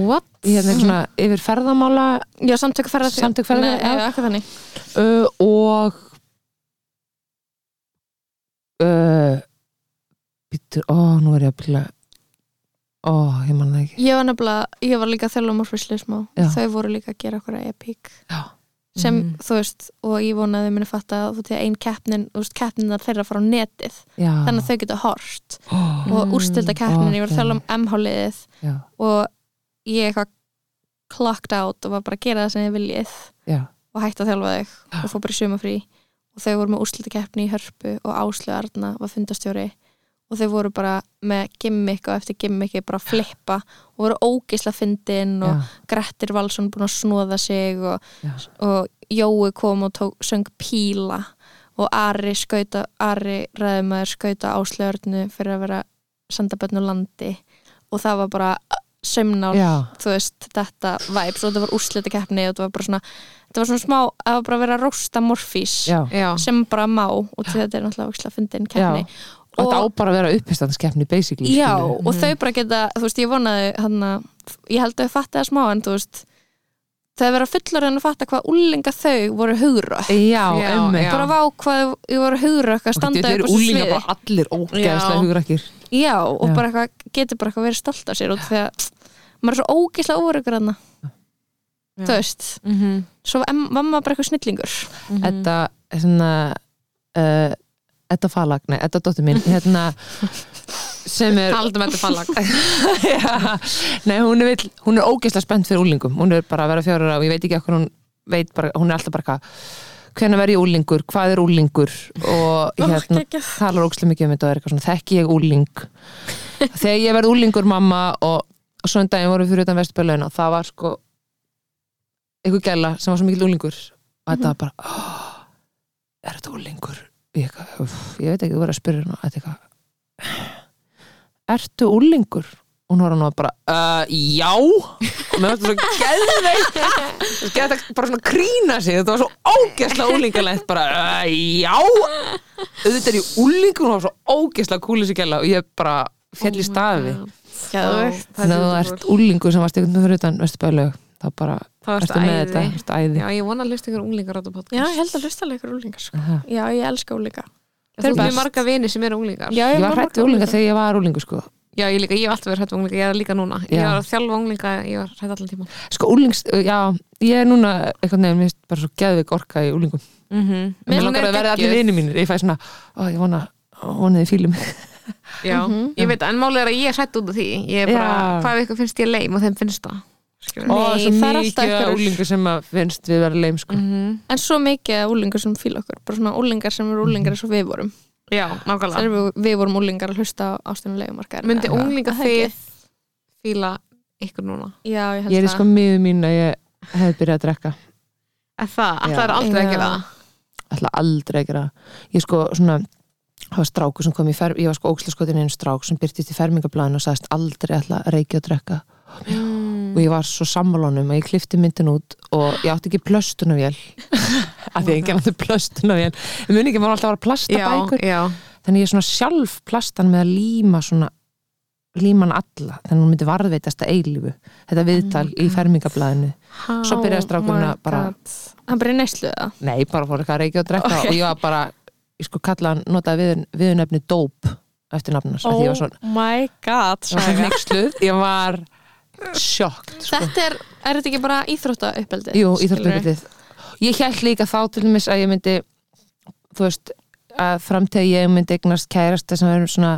Speaker 3: What?
Speaker 4: í hérna eitthvað svona yfir ferðamála
Speaker 1: Já, samtök ferðar
Speaker 4: Samtök ferðar-
Speaker 1: Nei, já, ekki þannig
Speaker 4: uh, og uh, býttu, ó, nú er ég að pilla ó, ég man það ekki
Speaker 1: Ég var nefnilega, ég var líka að þjálfa mórfrislu smá
Speaker 4: Já.
Speaker 1: Þau voru líka að gera okkur epík
Speaker 4: já,
Speaker 1: sem,
Speaker 4: Mhm.
Speaker 1: þú veist, og ég vona að þau muni fatta að þú til að ein keppnin, þú veist, keppninar þeirra fara á netið,
Speaker 4: já,
Speaker 1: þannig að þau geta horst
Speaker 4: ó,
Speaker 1: og
Speaker 3: Mm,
Speaker 1: úrstilda keppnin, ég var að þjálfa um MH-liðið
Speaker 4: já,
Speaker 1: og ég eitthvað clocked out og var bara að gera það sem ég viljið
Speaker 4: já,
Speaker 1: og hætti að þjálfa þau
Speaker 4: Já.
Speaker 1: og fór bara í sumafrí og þau voru með úrstilda keppni í hörpu og Áslu Arna var fundastjóri og þau voru bara með gimmick og eftir gimmicki bara að flippa og voru ógisla fyndin og
Speaker 4: já,
Speaker 1: Grettir Valsson búin að snóða sig og,
Speaker 4: já.
Speaker 1: og Jói kom og tók, söng píla og Ari skauta Ari ræðumæður skauta áslöðurnu fyrir að vera sendabönn úr landi og það var bara sömnál,
Speaker 4: já.
Speaker 1: þú veist, þetta væps og þetta var úrslita keppni og þetta var bara svona þetta var svona smá, það var bara að vera að rósta morfís
Speaker 4: já.
Speaker 3: já,
Speaker 1: sem bara má og þetta er náttúrulega ógislega fyndin keppni
Speaker 4: Og þetta á
Speaker 1: Og-
Speaker 4: bara að vera uppistandskeppni basically
Speaker 1: Já,
Speaker 4: skilurðu. Mhm.
Speaker 1: og þau bara geta, þú veist, ég vonaði hann að, ég held að þau fatti það smá en þú veist, þau vera fullur en að fatta hvað úlinga þau voru hugra
Speaker 4: Já,
Speaker 3: Já,
Speaker 4: emmi
Speaker 3: já.
Speaker 1: bara vá hvað þau voru hugra að standa upp á
Speaker 4: úlinga
Speaker 1: sviði
Speaker 4: bara allir ógeðslega
Speaker 3: Já.
Speaker 4: hugrakir
Speaker 1: Já, og
Speaker 4: Já.
Speaker 1: bara eitthvað, getur bara eitthvað verið stolt af sér út því að maður er svo ógislega óurugur hann
Speaker 3: Já.
Speaker 1: þú veist,
Speaker 3: Mhm,
Speaker 1: svo em, var maður bara eitthvað snillingur
Speaker 3: mhm.
Speaker 4: Edda, svona uh, Edda Falag, nei, Edda dóttir mín hérna, sem er
Speaker 3: Taldum þetta fallag
Speaker 4: já, nei, hún er, vill, hún er ógeðslega spennt fyrir úlingum, hún er bara að vera fjóra og ég veit ekki okkur hún veit bara, hún er alltaf bara eitthvað hvenær verð ég úlingur, hvað er úlingur og hérna, talar ógeðslega mikið um þetta og er eitthvað svona, þekki ég úling þegar ég verð úlingur mamma og, og svona daginn vorum við fyrir utan vesturbælaun og það var sko einhver gæla sem var svo mikill úlingur og þetta var bara "Ah, er þetta úlingur ég, eitthvað, "Uff," ég veit ekki, þú verður að spyrja hérna þetta er eitthvað ertu úlingur? og hún var hann og bara, uh, já og mér var þetta svo geðveikt þetta bara svona krína sig þetta var svo ógeðslega úlingalegt bara, uh, já auðvitað er ég úlingur og hún var svo ógeðslega kúlis í gæla og ég bara fjall í stafi
Speaker 3: Ó,
Speaker 1: Geðveikt.
Speaker 3: Oh það er
Speaker 4: þannig að þú
Speaker 3: beautiful.
Speaker 4: ert úlingur sem varst ykkur með fyrir utan vestubælaug þá bara,
Speaker 3: Þá ertu
Speaker 4: ertu með
Speaker 3: æði.
Speaker 4: þetta, ertu æði
Speaker 3: Já, ég vona að hlusta ykkur unglingar á þetta podcast
Speaker 1: Já, ég held að lusta leikur úlingar sko.
Speaker 4: Aha.
Speaker 1: Já, ég elska úlinga
Speaker 3: Þú ert
Speaker 1: best.
Speaker 3: með marga vini sem eru unglingar
Speaker 1: Já,
Speaker 4: ég var
Speaker 1: marga
Speaker 4: hrætt úlinga þegar ég var úlingur sko.
Speaker 3: Já, ég líka, ég hef alltaf verið hrætt við unglinga, ég er líka núna Ég
Speaker 4: Já.
Speaker 3: var að þjálfa unglinga, ég var hrætt allan tímann
Speaker 4: sko úlings, já, ég er núna eitthvað nefn, mér finnst bara svo geðveik orka í úlingum
Speaker 3: mm -hmm.
Speaker 4: mér langar að verða allir vini mínir ég fæ svona, ó, ég vona, vonaði fílum
Speaker 3: Já, ég veit, en málið er að ég er hrætt út af því Ég er bara,
Speaker 4: Já.
Speaker 3: hvað ef ykkur finnst ég leim og þeim finnst það Skilur.
Speaker 4: og svo
Speaker 1: það er alltaf
Speaker 4: mikið
Speaker 1: einhverjur.
Speaker 4: úlingur sem að finnst við vera leim sko.
Speaker 3: Mhm,
Speaker 1: En svo mikið af úlingar sem fíla okkur bara svona úlingar sem
Speaker 4: Mhm.
Speaker 1: eru úlingar eins og við vorum
Speaker 3: Já,
Speaker 1: þegar
Speaker 3: nákvæmlega
Speaker 1: við, við vorum úlingar að hlusta á ástunum leikumarkar
Speaker 3: Myndi unglinga
Speaker 1: Það er
Speaker 3: þið fíla ykkur núna
Speaker 1: Já, ég held
Speaker 4: ég er í
Speaker 1: það
Speaker 4: sko miður mín að ég hef byrjað að drekka
Speaker 3: En það, alltaf er aldrei
Speaker 1: Já.
Speaker 3: að gera það
Speaker 4: ætla aldrei að gera það. ég sko svona það var stráku sem kom í ferm, ég var sko ógslaskotin einu strák sem byrtist í fermingablaðinu og sagðist aldrei ætla að reykja og drekka og ég var svo sammálónum að ég klifti myndin út og ég átti ekki plöstunavél af því að enginn átti plöstunavél ég muni ekki, maður alltaf var að plasta
Speaker 3: Já,
Speaker 4: bækur
Speaker 3: já,
Speaker 4: þannig ég er svona sjálf plastan með að líma svona líman alla, þannig hún myndi varðveitast að eilífu þetta viðtal í fermingablaðinu
Speaker 1: Oh
Speaker 4: svo byrjaði strákurinn að bara
Speaker 1: Hann bara í neyslu það
Speaker 4: Nei, bara fór eitthvað að reykja og drekka og ég var bara, ég sko kalla hann notaði við, viðunefni dóp eftir nafnars oh. ég var svona,
Speaker 1: my god
Speaker 4: ég var svona nexluð ég var sjokkt sko.
Speaker 1: Þetta er, er þetta ekki bara íþrótta uppeldið?
Speaker 4: Jú, íþrótturbyrðið Ég held líka þá til dæmis að ég myndi þú veist, að framtíð ég myndi eignast kærasta sem verður svona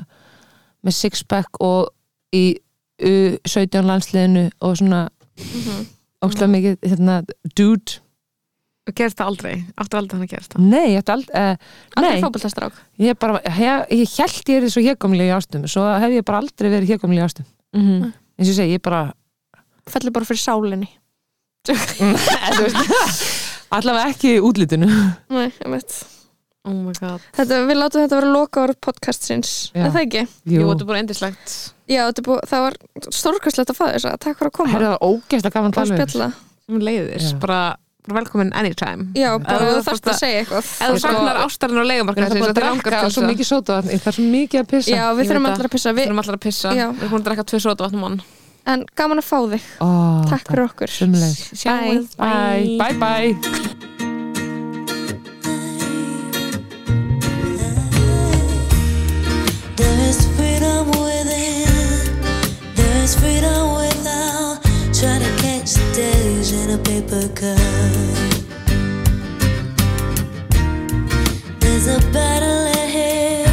Speaker 4: með sixpack og í U17 landsliðinu og svona
Speaker 1: Mhm.
Speaker 4: ógstlega mikið hérna, dude,
Speaker 3: og gerist það aldrei Áttu aldrei hann að gerist það
Speaker 4: nei, ég ætti aldrei uh,
Speaker 1: Aldrei
Speaker 4: nei,
Speaker 1: fótboltastrák
Speaker 4: ég bara, ég, ég held ég er svo hérkomlega í ástum, svo hef ég bara aldrei verið hérkomlega í ástum,
Speaker 3: Mhm.
Speaker 4: eins og ég segi, ég bara
Speaker 1: Fellur bara fyrir sálinni
Speaker 4: þú veist, allavega ekki í útlitinu
Speaker 1: Nei, ég veit
Speaker 3: Oh my god
Speaker 1: Þetta, Við látum þetta vera lokaður podcastsins
Speaker 4: Já.
Speaker 1: Er það ekki?
Speaker 3: Jú, þetta er bara endislegt
Speaker 1: Já, þetta er búið, það var stórkastlegt að fá þess að takk fyrir að koma
Speaker 4: Herra, það var ógeðslega gaman að
Speaker 1: og
Speaker 4: tala um
Speaker 1: spjalla
Speaker 3: sem leiðis,
Speaker 4: Já.
Speaker 3: bara, bara velkomin anytime
Speaker 1: Já, bara
Speaker 3: Ef
Speaker 1: ef þú
Speaker 3: þú
Speaker 1: þarft
Speaker 3: þarft
Speaker 1: að
Speaker 3: að-
Speaker 1: segja eitthvað
Speaker 3: Ef þú
Speaker 1: Sko,
Speaker 3: saknar ástarinn og
Speaker 4: Ég
Speaker 3: leiðumarkað
Speaker 4: ætla bara að drakka svo mikið sótavatn Það er svo mikið að pissa
Speaker 1: Já, við
Speaker 3: Ég
Speaker 1: þurfum
Speaker 3: veit
Speaker 1: allir að pissa
Speaker 3: Við
Speaker 1: við,
Speaker 3: erum allar að pissa,
Speaker 1: Já.
Speaker 3: við erum búin að drekka tvö um sota vatnum mann
Speaker 1: En gaman að fá þig,
Speaker 4: Ó,
Speaker 1: takk fyrir okkur
Speaker 4: Sömuleiðis.
Speaker 3: Sjáumst,
Speaker 4: Bye, bye, bye
Speaker 5: There is freedom within. There paper cut. There's a battle ahead.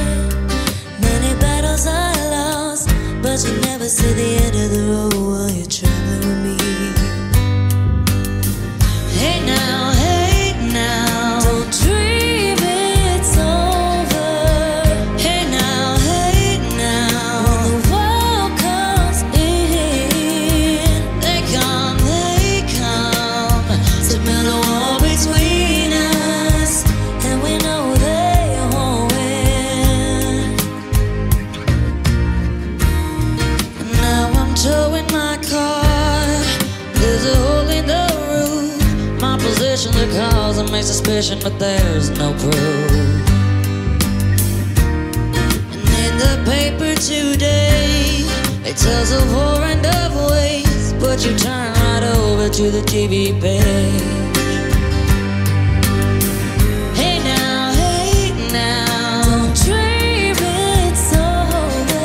Speaker 5: Many battles are lost, but you never see the end of the road while you're traveling with me. Hey now, hey now, don't dream it's over. Hey now, hey now, when the world comes in, they come, they come to build a wall between us, and we know they won't win. Now I'm towing my car. There's a hole in the roof. My position the cause of my suspicion, but there's no proof. And in the paper today, it tells of war and of ways, but you turn right over to the TV page. Hey now, hey now, don't dream it's over.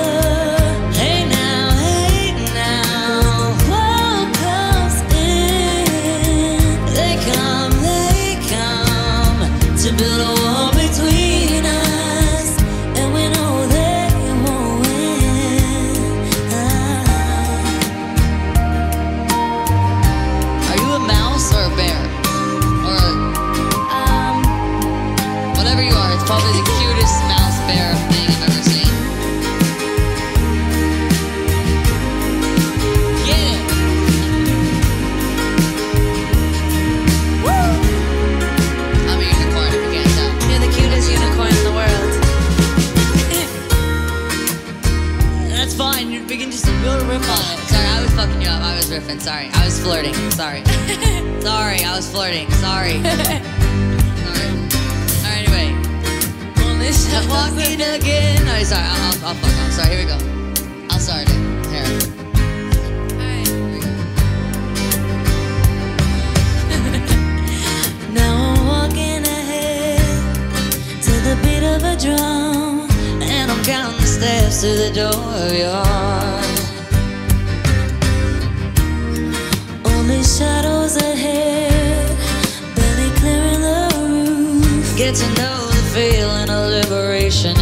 Speaker 5: Hey now, hey now, world comes in. They come, they come to build a wall between us, and we know they won't win. Are you a mouse or a bear or a? Um. Whatever you are, it's probably the cutest mouse bear thing I've ever seen. Get it! Woo! I'm a unicorn if you can't tell. You're the cutest unicorn in the world. That's fine, you begin just to build a riff on it. Sorry, I was fucking you up. I was riffing, sorry. I was flirting, sorry. sorry, I was flirting, sorry. sorry. Alright, anyway. I'm walking again. No, Oh, sorry, I'll, I'll, I'll fuck off. Sorry, here we go. I'll start it. Here. Alright, here we go. Now I'm walking ahead to the beat of a drum, and I'm counting the steps to the door of your heart. Only shadows ahead, barely clearing the roof. Get to know the feeling of liberation